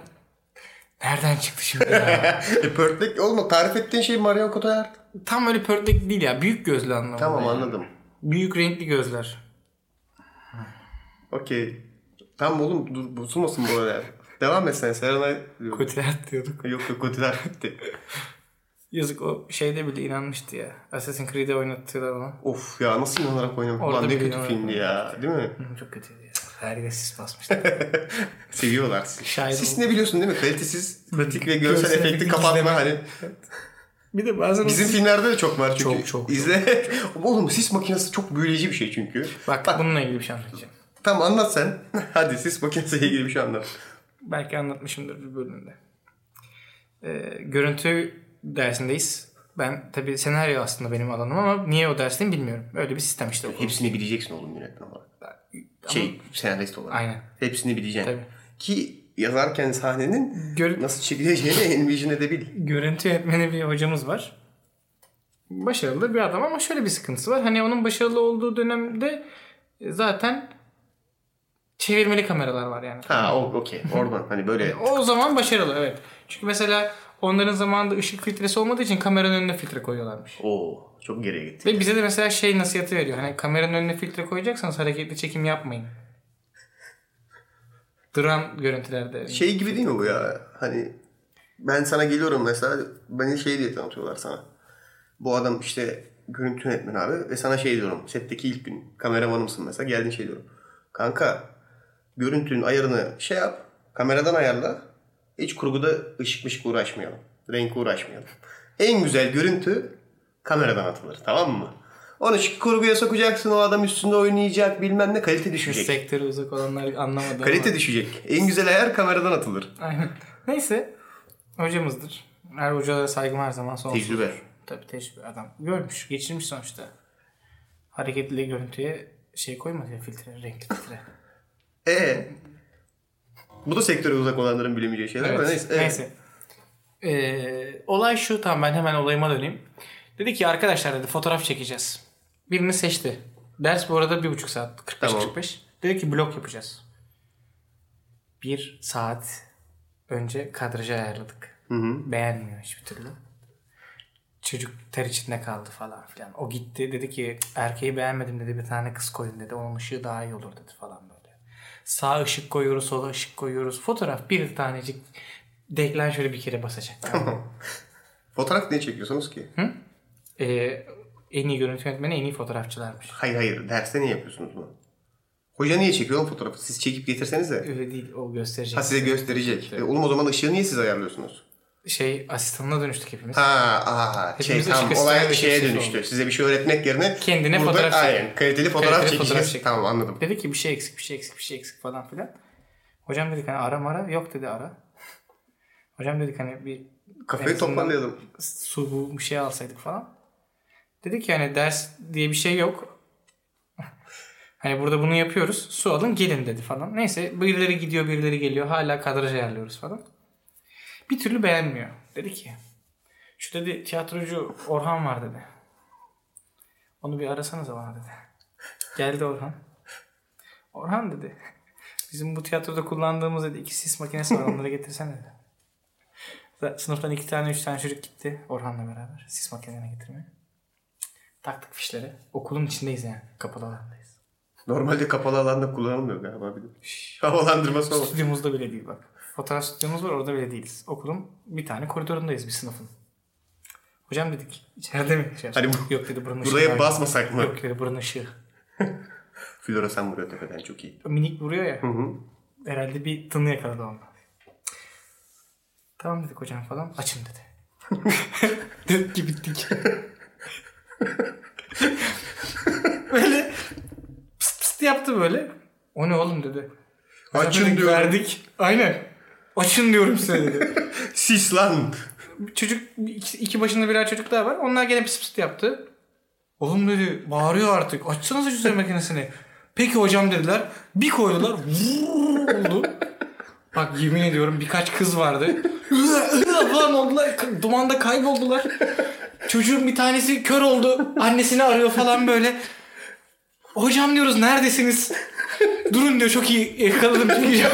[SPEAKER 2] nereden çıktı şimdi ya?
[SPEAKER 1] E, pörtlek oğlum tarif ettiğin şey Marion Cotillard.
[SPEAKER 2] Tam öyle pörtlek değil ya. Büyük gözlü anlamında.
[SPEAKER 1] Tamam
[SPEAKER 2] yani.
[SPEAKER 1] anladım.
[SPEAKER 2] Büyük renkli gözler.
[SPEAKER 1] Okey. Tamam oğlum dur bozulmasın bu arada. Devam et sen Serenay.
[SPEAKER 2] Cotillard diyorduk.
[SPEAKER 1] Yok yok Cotillard bitti.
[SPEAKER 2] Yazık o şeyde bile inanmıştı ya. Assassin's Creed'e oynattılar ona.
[SPEAKER 1] Of ya nasıl inanarak oynamak?
[SPEAKER 2] Orada
[SPEAKER 1] Ulan ne
[SPEAKER 2] bir
[SPEAKER 1] kötü
[SPEAKER 2] inanarak
[SPEAKER 1] filmdi ya. Değil mi?
[SPEAKER 2] Hı, Çok kötüydü ya. Herkese sis basmıştı.
[SPEAKER 1] Seviyorlar sizi.
[SPEAKER 2] Şair
[SPEAKER 1] Siz
[SPEAKER 2] oldu.
[SPEAKER 1] ne biliyorsun değil mi? Kalitesiz, pratik ve görsel,
[SPEAKER 2] Görsel
[SPEAKER 1] efekti
[SPEAKER 2] efekti
[SPEAKER 1] kapatma
[SPEAKER 2] izleme.
[SPEAKER 1] hani.
[SPEAKER 2] bir de bazen
[SPEAKER 1] Bizim
[SPEAKER 2] Bizim
[SPEAKER 1] filmlerde de çok var çünkü.
[SPEAKER 2] Çok, çok,
[SPEAKER 1] İzle. Oğlum sis makinesi çok büyüleyici bir şey çünkü.
[SPEAKER 2] Bak, bununla ilgili bir şey anlatacağım.
[SPEAKER 1] Tamam anlat sen. Hadi sis makinesiyle ilgili bir şey anlat.
[SPEAKER 2] Belki anlatmışımdır bir bölümde. Ee, görüntü dersindeyiz. Ben tabii senaryo aslında benim alanım ama niye o dersteyim bilmiyorum. Öyle bir sistem işte okul.
[SPEAKER 1] Hepsini bileceksin oğlum yönetmen olarak. Şey senarist olarak.
[SPEAKER 2] Aynen.
[SPEAKER 1] Hepsini bileceksin.
[SPEAKER 2] Tabii.
[SPEAKER 1] Ki yazarken sahnenin
[SPEAKER 2] Gör-
[SPEAKER 1] nasıl çekileceğini envision edebil.
[SPEAKER 2] görüntü yönetmeni bir hocamız var. Başarılı bir adam ama şöyle bir sıkıntısı var. Hani onun başarılı olduğu dönemde e, zaten çevirmeli kameralar var yani.
[SPEAKER 1] Ha o okey. Oradan hani böyle.
[SPEAKER 2] O zaman başarılı evet. Çünkü mesela onların zamanında ışık filtresi olmadığı için kameranın önüne filtre koyuyorlarmış.
[SPEAKER 1] Oo çok geriye gitti.
[SPEAKER 2] Ve bize de mesela şey nasihatı veriyor. Hani kameranın önüne filtre koyacaksanız hareketli çekim yapmayın. Duran görüntülerde.
[SPEAKER 1] Şey gibi değil mi bu ya? Hani ben sana geliyorum mesela beni şey diye tanıtıyorlar sana. Bu adam işte görüntü yönetmeni abi ve sana şey diyorum. Setteki ilk gün kameramanımsın mesela geldin şey diyorum. Kanka görüntünün ayarını şey yap kameradan ayarla. Hiç kurguda ışık mışık uğraşmayalım. Renk uğraşmayalım. En güzel görüntü kameradan atılır tamam mı? Onu şu kurguya sokacaksın o adam üstünde oynayacak bilmem ne kalite düşecek.
[SPEAKER 2] sektörü uzak olanlar anlamadı. ama.
[SPEAKER 1] Kalite düşecek. En güzel ayar kameradan atılır.
[SPEAKER 2] Aynen. Neyse. Hocamızdır. Her hocalara saygım her zaman sonsuz.
[SPEAKER 1] Tecrübe.
[SPEAKER 2] Tabii tecrübe adam. Görmüş, geçirmiş sonuçta. Hareketli görüntüye şey koymadı ya filtre, renkli filtre.
[SPEAKER 1] Ee, bu da sektöre uzak olanların bilemeyeceği şeyler ama neyse. evet.
[SPEAKER 2] Neyse. Ee, olay şu tamam ben hemen olayıma döneyim. Dedi ki arkadaşlar dedi fotoğraf çekeceğiz. Birini seçti. Ders bu arada bir buçuk saat. 45-45.
[SPEAKER 1] Tamam.
[SPEAKER 2] Dedi ki blok yapacağız. Bir saat önce kadrajı ayarladık. Beğenmiyor hiçbir türlü. Çocuk ter içinde kaldı falan filan. O gitti dedi ki erkeği beğenmedim dedi bir tane kız koyun dedi. Onun ışığı daha iyi olur dedi falan böyle. Sağ ışık koyuyoruz, sola ışık koyuyoruz. Fotoğraf bir tanecik deklan şöyle bir kere basacak.
[SPEAKER 1] Fotoğraf niye çekiyorsunuz ki?
[SPEAKER 2] Ee, en iyi görüntü yönetmeni en iyi fotoğrafçılarmış.
[SPEAKER 1] Hayır hayır derste niye yapıyorsunuz bunu? Hoca niye çekiyor oğlum fotoğrafı? Siz çekip getirsenize.
[SPEAKER 2] Öyle değil o gösterecek.
[SPEAKER 1] Ha size gösterecek. E, oğlum o zaman ışığı niye siz ayarlıyorsunuz?
[SPEAKER 2] Şey asistanına dönüştük hepimiz.
[SPEAKER 1] Ha aha şey
[SPEAKER 2] Hepimiz
[SPEAKER 1] tamam
[SPEAKER 2] ışık
[SPEAKER 1] olay
[SPEAKER 2] ışığı
[SPEAKER 1] şeye
[SPEAKER 2] ışığı
[SPEAKER 1] dönüştü. Size bir şey öğretmek yerine
[SPEAKER 2] Kendine fotoğraf çek.
[SPEAKER 1] aynen, kaliteli fotoğraf
[SPEAKER 2] Kaliteli
[SPEAKER 1] çekeceğiz.
[SPEAKER 2] fotoğraf çek.
[SPEAKER 1] Tamam anladım.
[SPEAKER 2] Dedi ki bir şey eksik, bir şey eksik, bir şey eksik falan filan. Hocam dedik hani ara mara. Yok dedi ara. Hocam dedik hani bir en
[SPEAKER 1] Kafayı
[SPEAKER 2] azından
[SPEAKER 1] toparlayalım.
[SPEAKER 2] su bu bir şey alsaydık falan. Dedi ki hani ders diye bir şey yok. hani burada bunu yapıyoruz. Su alın gelin dedi falan. Neyse birileri gidiyor birileri geliyor. Hala kadraj ayarlıyoruz falan. Bir türlü beğenmiyor. Dedi ki şu dedi tiyatrocu Orhan var dedi. Onu bir arasanıza bana dedi. Geldi Orhan. Orhan dedi. Bizim bu tiyatroda kullandığımız dedi iki sis makinesi var onları getirsene dedi. Ve Sınıftan iki tane üç tane çocuk gitti Orhan'la beraber sis makinelerine getirmeye. Taktık fişleri. Okulun içindeyiz yani. Kapalı alandayız.
[SPEAKER 1] Normalde kapalı alanda kullanılmıyor galiba bir de. Havalandırması olmaz.
[SPEAKER 2] Stüdyomuzda bile değil bak. Fotoğraf stüdyomuz var orada bile değiliz. Okulun bir tane koridorundayız bir sınıfın. Hocam dedik içeride mi? İçeride.
[SPEAKER 1] Hani bu-
[SPEAKER 2] Yok dedi buranın ışığı
[SPEAKER 1] Buraya
[SPEAKER 2] var.
[SPEAKER 1] basmasak mı?
[SPEAKER 2] Yok dedi buranın ışığı.
[SPEAKER 1] Floresan vuruyor tepeden çok iyi.
[SPEAKER 2] Minik vuruyor ya.
[SPEAKER 1] Hı hı.
[SPEAKER 2] Herhalde bir tını yakaladı onda. Tamam dedik hocam falan. Açın dedi. dedik ki bittik. Böyle yaptı böyle. O ne oğlum dedi.
[SPEAKER 1] Açın
[SPEAKER 2] Dedik,
[SPEAKER 1] diyorum.
[SPEAKER 2] Verdik. Aynen. Açın diyorum size dedi.
[SPEAKER 1] Sis lan.
[SPEAKER 2] çocuk iki, iki başında birer çocuk daha var. Onlar gene pıs pıs yaptı. Oğlum dedi bağırıyor artık. Açsanıza cüzdan makinesini. Peki hocam dediler. Bir koydular. Vuuu oldu. Bak yemin ediyorum birkaç kız vardı. Falan oldular. K- Dumanda kayboldular. Çocuğun bir tanesi kör oldu. Annesini arıyor falan böyle. Hocam diyoruz neredesiniz? Durun diyor çok iyi yakaladım. Çok iyi.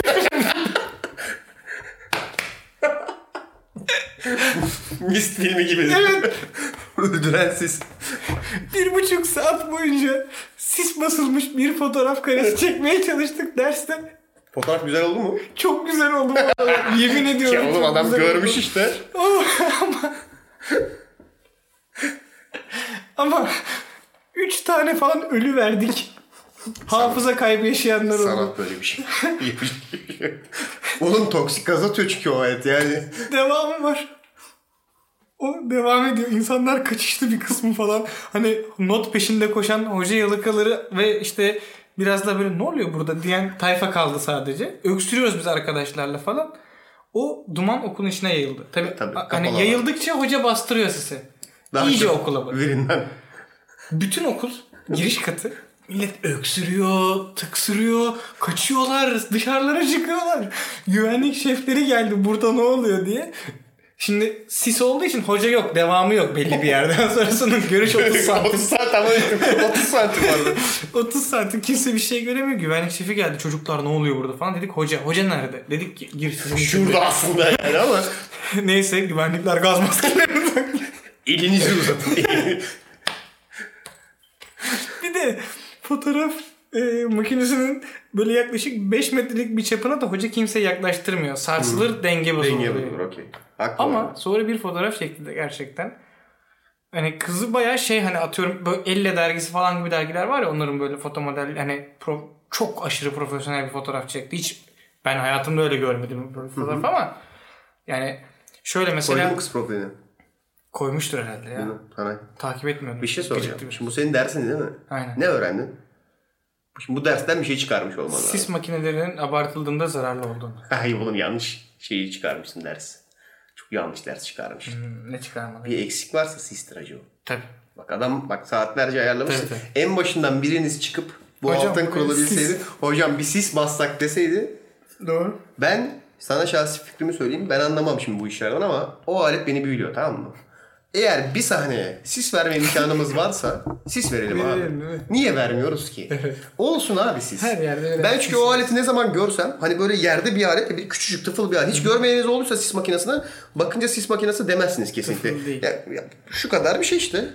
[SPEAKER 1] Mist filmi gibi.
[SPEAKER 2] Evet.
[SPEAKER 1] Öldüren sis.
[SPEAKER 2] Bir buçuk saat boyunca sis basılmış bir fotoğraf karesi çekmeye çalıştık derste.
[SPEAKER 1] Fotoğraf güzel oldu mu?
[SPEAKER 2] Çok güzel oldu bu arada. Yemin ediyorum.
[SPEAKER 1] Ya oğlum
[SPEAKER 2] çok
[SPEAKER 1] adam
[SPEAKER 2] güzel
[SPEAKER 1] görmüş
[SPEAKER 2] oldu.
[SPEAKER 1] işte.
[SPEAKER 2] Oğlum ama... ama... Üç tane falan ölü verdik. Hafıza kaybı yaşayanlar oldu.
[SPEAKER 1] Sanat böyle bir şey. oğlum toksik gaz atıyor çünkü o hayat yani.
[SPEAKER 2] Devamı var. O devam ediyor. İnsanlar kaçıştı bir kısmı falan. Hani not peşinde koşan hoca yalakaları ve işte biraz da böyle ne oluyor burada diyen tayfa kaldı sadece. Öksürüyoruz biz arkadaşlarla falan. O duman okulun içine yayıldı. Tabii,
[SPEAKER 1] Tabii,
[SPEAKER 2] a-
[SPEAKER 1] kapalı
[SPEAKER 2] hani
[SPEAKER 1] alan.
[SPEAKER 2] yayıldıkça hoca bastırıyor sizi.
[SPEAKER 1] Daha
[SPEAKER 2] İyice
[SPEAKER 1] çok
[SPEAKER 2] okula bak.
[SPEAKER 1] Birinden.
[SPEAKER 2] Bütün okul giriş katı millet öksürüyor, tıksırıyor, kaçıyorlar, dışarılara çıkıyorlar. Güvenlik şefleri geldi burada ne oluyor diye. Şimdi sis olduğu için hoca yok, devamı yok belli bir yerden sonrasının görüş 30 santim.
[SPEAKER 1] 30 saat ama 30 santim vardı.
[SPEAKER 2] 30 santim kimse bir şey göremiyor. Güvenlik şefi geldi. Çocuklar ne oluyor burada falan dedik. Hoca, hoca nerede? Dedik ki gir sizin
[SPEAKER 1] Şurada aslında yani ama
[SPEAKER 2] içinde." Neyse güvenlikler gaz maskelerini taktı.
[SPEAKER 1] elinizi uzatın.
[SPEAKER 2] Bir de fotoğraf e, makinesinin böyle yaklaşık 5 metrelik bir çapına da hoca kimseyi yaklaştırmıyor. Sarsılır denge bozulur.
[SPEAKER 1] Hmm. Denge bulunur okey. Haklı
[SPEAKER 2] Ama
[SPEAKER 1] olarak.
[SPEAKER 2] sonra bir fotoğraf çekti de gerçekten. Hani kızı bayağı şey hani atıyorum böyle elle dergisi falan gibi dergiler var ya onların böyle foto model hani pro- çok aşırı profesyonel bir fotoğraf çekti. Hiç ben hayatımda öyle görmedim böyle bir fotoğraf ama yani şöyle
[SPEAKER 1] Koydun
[SPEAKER 2] mesela
[SPEAKER 1] mu kız profilini?
[SPEAKER 2] koymuştur herhalde ya.
[SPEAKER 1] Sana
[SPEAKER 2] Takip etmiyorum.
[SPEAKER 1] bir şey soracağım.
[SPEAKER 2] Gecikti bir-
[SPEAKER 1] Şimdi bu senin dersin değil mi?
[SPEAKER 2] Aynen.
[SPEAKER 1] Ne öğrendin? Şimdi bu dersten bir şey çıkarmış olman lazım.
[SPEAKER 2] Sis makinelerinin abartıldığında zararlı olduğunu.
[SPEAKER 1] Hayır oğlum yanlış şeyi çıkarmışsın ders. Çok yanlış ders çıkarmış.
[SPEAKER 2] Hmm, ne çıkarmadı?
[SPEAKER 1] Bir eksik varsa sistir hacı o.
[SPEAKER 2] Tabii.
[SPEAKER 1] Bak adam bak saatlerce ayarlamış.
[SPEAKER 2] Tabii, tabii.
[SPEAKER 1] En başından biriniz çıkıp bu
[SPEAKER 2] Hocam,
[SPEAKER 1] altın
[SPEAKER 2] bu
[SPEAKER 1] kurulabilseydi.
[SPEAKER 2] sis.
[SPEAKER 1] Hocam bir sis bassak deseydi.
[SPEAKER 2] Doğru.
[SPEAKER 1] Ben sana şahsi fikrimi söyleyeyim. Ben anlamam şimdi bu işlerden ama o alet beni büyülüyor tamam mı? Eğer bir sahneye sis verme imkanımız varsa sis verelim abi.
[SPEAKER 2] Verelim, evet.
[SPEAKER 1] Niye vermiyoruz ki? Olsun abi sis.
[SPEAKER 2] Her yerde öyle
[SPEAKER 1] ben çünkü o aleti ne zaman görsem hani böyle yerde bir alet bir küçücük tıfıl bir alet. Hiç görmeyeniz olursa sis makinesine bakınca sis makinesi demezsiniz
[SPEAKER 2] Tıfıl değil.
[SPEAKER 1] kesinlikle. Ya- ya şu kadar bir şey işte.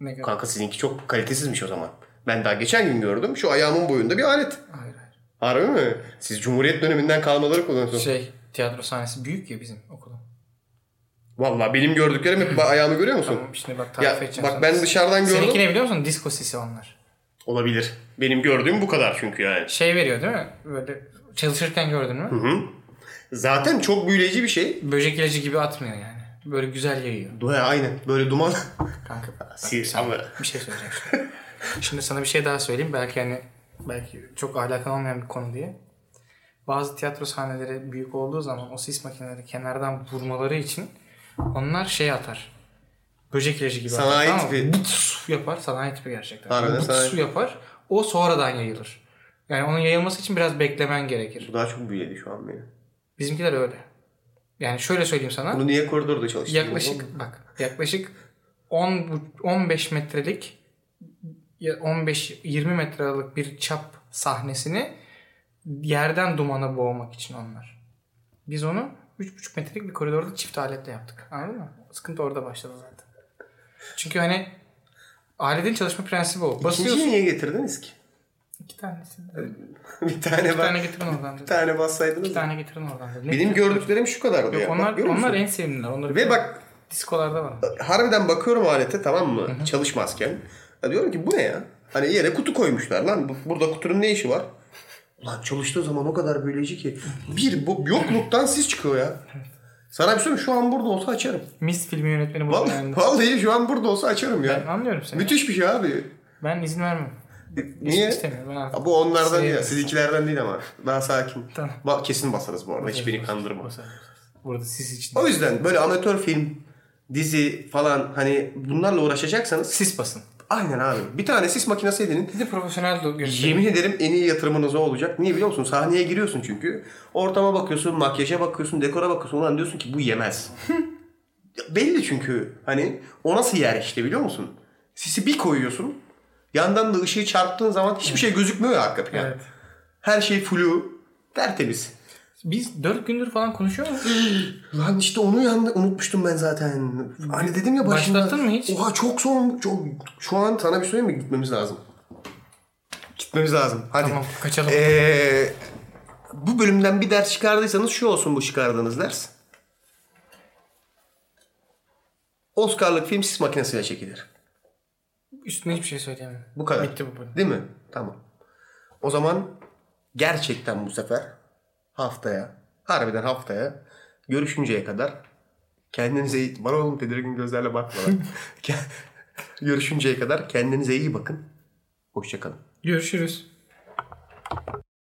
[SPEAKER 2] Ne kadar?
[SPEAKER 1] Kanka sizinki çok kalitesizmiş o zaman. Ben daha geçen gün gördüm. Şu ayağımın boyunda bir alet.
[SPEAKER 2] Hayır hayır.
[SPEAKER 1] Harbi mi? Siz Cumhuriyet döneminden kalmaları kullanıyorsunuz.
[SPEAKER 2] Şey tiyatro sahnesi büyük ya bizim okulun.
[SPEAKER 1] Vallahi benim gördüklerim hep ba- ayağımı görüyor musun?
[SPEAKER 2] Tamam şimdi bak
[SPEAKER 1] Ya,
[SPEAKER 2] tarif edeceğim.
[SPEAKER 1] bak
[SPEAKER 2] sana.
[SPEAKER 1] ben dışarıdan gördüm.
[SPEAKER 2] Seninki ne biliyor musun? Disko sisi onlar.
[SPEAKER 1] Olabilir. Benim gördüğüm bu kadar çünkü yani.
[SPEAKER 2] Şey veriyor değil mi? Böyle çalışırken gördün mü?
[SPEAKER 1] Zaten çok büyüleyici bir şey.
[SPEAKER 2] Böcek ilacı gibi atmıyor yani. Böyle güzel yayıyor.
[SPEAKER 1] Du- ha, Aynen. Böyle duman.
[SPEAKER 2] Kanka bak,
[SPEAKER 1] Sil-
[SPEAKER 2] sana
[SPEAKER 1] ama-
[SPEAKER 2] bir şey söyleyeceğim şimdi. Şimdi sana bir şey daha söyleyeyim. Belki hani belki çok alakan olmayan bir konu diye. Bazı tiyatro sahneleri büyük olduğu zaman o sis makineleri kenardan vurmaları için onlar şey atar. Böcek ilacı gibi
[SPEAKER 1] Sanayi
[SPEAKER 2] atar. tamam mı?
[SPEAKER 1] tipi.
[SPEAKER 2] Buts yapar. Sanayi tipi gerçekten.
[SPEAKER 1] Harbiden
[SPEAKER 2] Buts
[SPEAKER 1] sanayi.
[SPEAKER 2] yapar. O sonradan yayılır. Yani onun yayılması için biraz beklemen gerekir.
[SPEAKER 1] bu daha çok büyüledi şu an beni.
[SPEAKER 2] Bizimkiler öyle. Yani şöyle söyleyeyim sana.
[SPEAKER 1] Bunu niye koridorda çalıştırdın? oğlum?
[SPEAKER 2] Yaklaşık bak yaklaşık 10 bu- 15 metrelik ya 15-20 metre aralık bir çap sahnesini yerden dumana boğmak için onlar. Biz onu 3,5 metrelik bir koridorda çift aletle yaptık. Anladın mı? Sıkıntı orada başladı zaten. Çünkü hani aletin çalışma prensibi o.
[SPEAKER 1] İkinciyi
[SPEAKER 2] Basıyorsun.
[SPEAKER 1] niye getirdiniz ki?
[SPEAKER 2] İki tanesi.
[SPEAKER 1] bir tane
[SPEAKER 2] Bir
[SPEAKER 1] bak-
[SPEAKER 2] tane getirin oradan
[SPEAKER 1] bir
[SPEAKER 2] dedi.
[SPEAKER 1] tane bassaydınız.
[SPEAKER 2] Bir tane getirin oradan dedi. Ne
[SPEAKER 1] Benim
[SPEAKER 2] diyorsun?
[SPEAKER 1] gördüklerim şu kadardı ya.
[SPEAKER 2] Yok,
[SPEAKER 1] Bak,
[SPEAKER 2] onlar,
[SPEAKER 1] görüyor musun?
[SPEAKER 2] onlar en sevimliler. Onları
[SPEAKER 1] Ve bak
[SPEAKER 2] diskolarda var.
[SPEAKER 1] harbiden bakıyorum alete tamam mı? Çalışmazken. Ya diyorum ki bu ne ya? Hani yere kutu koymuşlar lan. Bu- Burada kutunun ne işi var? Lan çalıştığı zaman o kadar büyüleyici ki. Bir bu yokluktan sis çıkıyor ya. Sana bir söyleyeyim mi? şu an burada olsa açarım.
[SPEAKER 2] Mist filmi yönetmeni bu
[SPEAKER 1] Vallahi, vallahi şu an burada olsa açarım ya.
[SPEAKER 2] Ben anlıyorum seni.
[SPEAKER 1] Müthiş bir şey abi.
[SPEAKER 2] Ben izin vermem.
[SPEAKER 1] Niye?
[SPEAKER 2] İstemiyorum ben artık.
[SPEAKER 1] Ya Bu onlardan
[SPEAKER 2] Sevmiyorum.
[SPEAKER 1] değil. Sizinkilerden değil ama. Daha sakin.
[SPEAKER 2] Tamam.
[SPEAKER 1] Ba- kesin basarız bu arada. Hiçbirini kandırma.
[SPEAKER 2] Burada siz için.
[SPEAKER 1] O yüzden böyle amatör film, dizi falan hani bunlarla uğraşacaksanız
[SPEAKER 2] Sis basın.
[SPEAKER 1] aynen abi. Bir tane sis makinesi edinin.
[SPEAKER 2] Bir de profesyonel de gösterin.
[SPEAKER 1] Yemin ederim en iyi yatırımınız o olacak. Niye biliyor musun? Sahneye giriyorsun çünkü. Ortama bakıyorsun, makyaja bakıyorsun, dekora bakıyorsun. Ulan diyorsun ki bu yemez. Ya Belli çünkü. Hani o nasıl yer işte biliyor musun? Sisi bir koyuyorsun. Yandan da ışığı çarptığın zaman hiçbir şey gözükmüyor ya arka plan.
[SPEAKER 2] Evet.
[SPEAKER 1] Her şey flu. Tertemiz.
[SPEAKER 2] Biz 4 gündür falan konuşuyor muyuz?
[SPEAKER 1] Lan işte onu yandı, unutmuştum ben zaten. Hani dedim ya başında.
[SPEAKER 2] Başlattın mı hiç?
[SPEAKER 1] Oha çok son. Çok, şu an sana bir şey söyleyeyim mi? Gitmemiz lazım. Gitmemiz lazım. Hadi.
[SPEAKER 2] Tamam, kaçalım.
[SPEAKER 1] Ee, bu bölümden bir ders çıkardıysanız şu olsun bu çıkardığınız ders. Oscar'lık film sis makinesiyle çekilir.
[SPEAKER 2] Üstüne hiçbir şey söyleyemem.
[SPEAKER 1] Bu kadar.
[SPEAKER 2] Bitti bu bölüm.
[SPEAKER 1] Değil mi? Tamam. O zaman gerçekten bu sefer haftaya, harbiden haftaya görüşünceye kadar kendinize iyi... Bana oğlum tedirgin gözlerle bakma lan. Ke- görüşünceye kadar kendinize iyi bakın. Hoşçakalın.
[SPEAKER 2] Görüşürüz.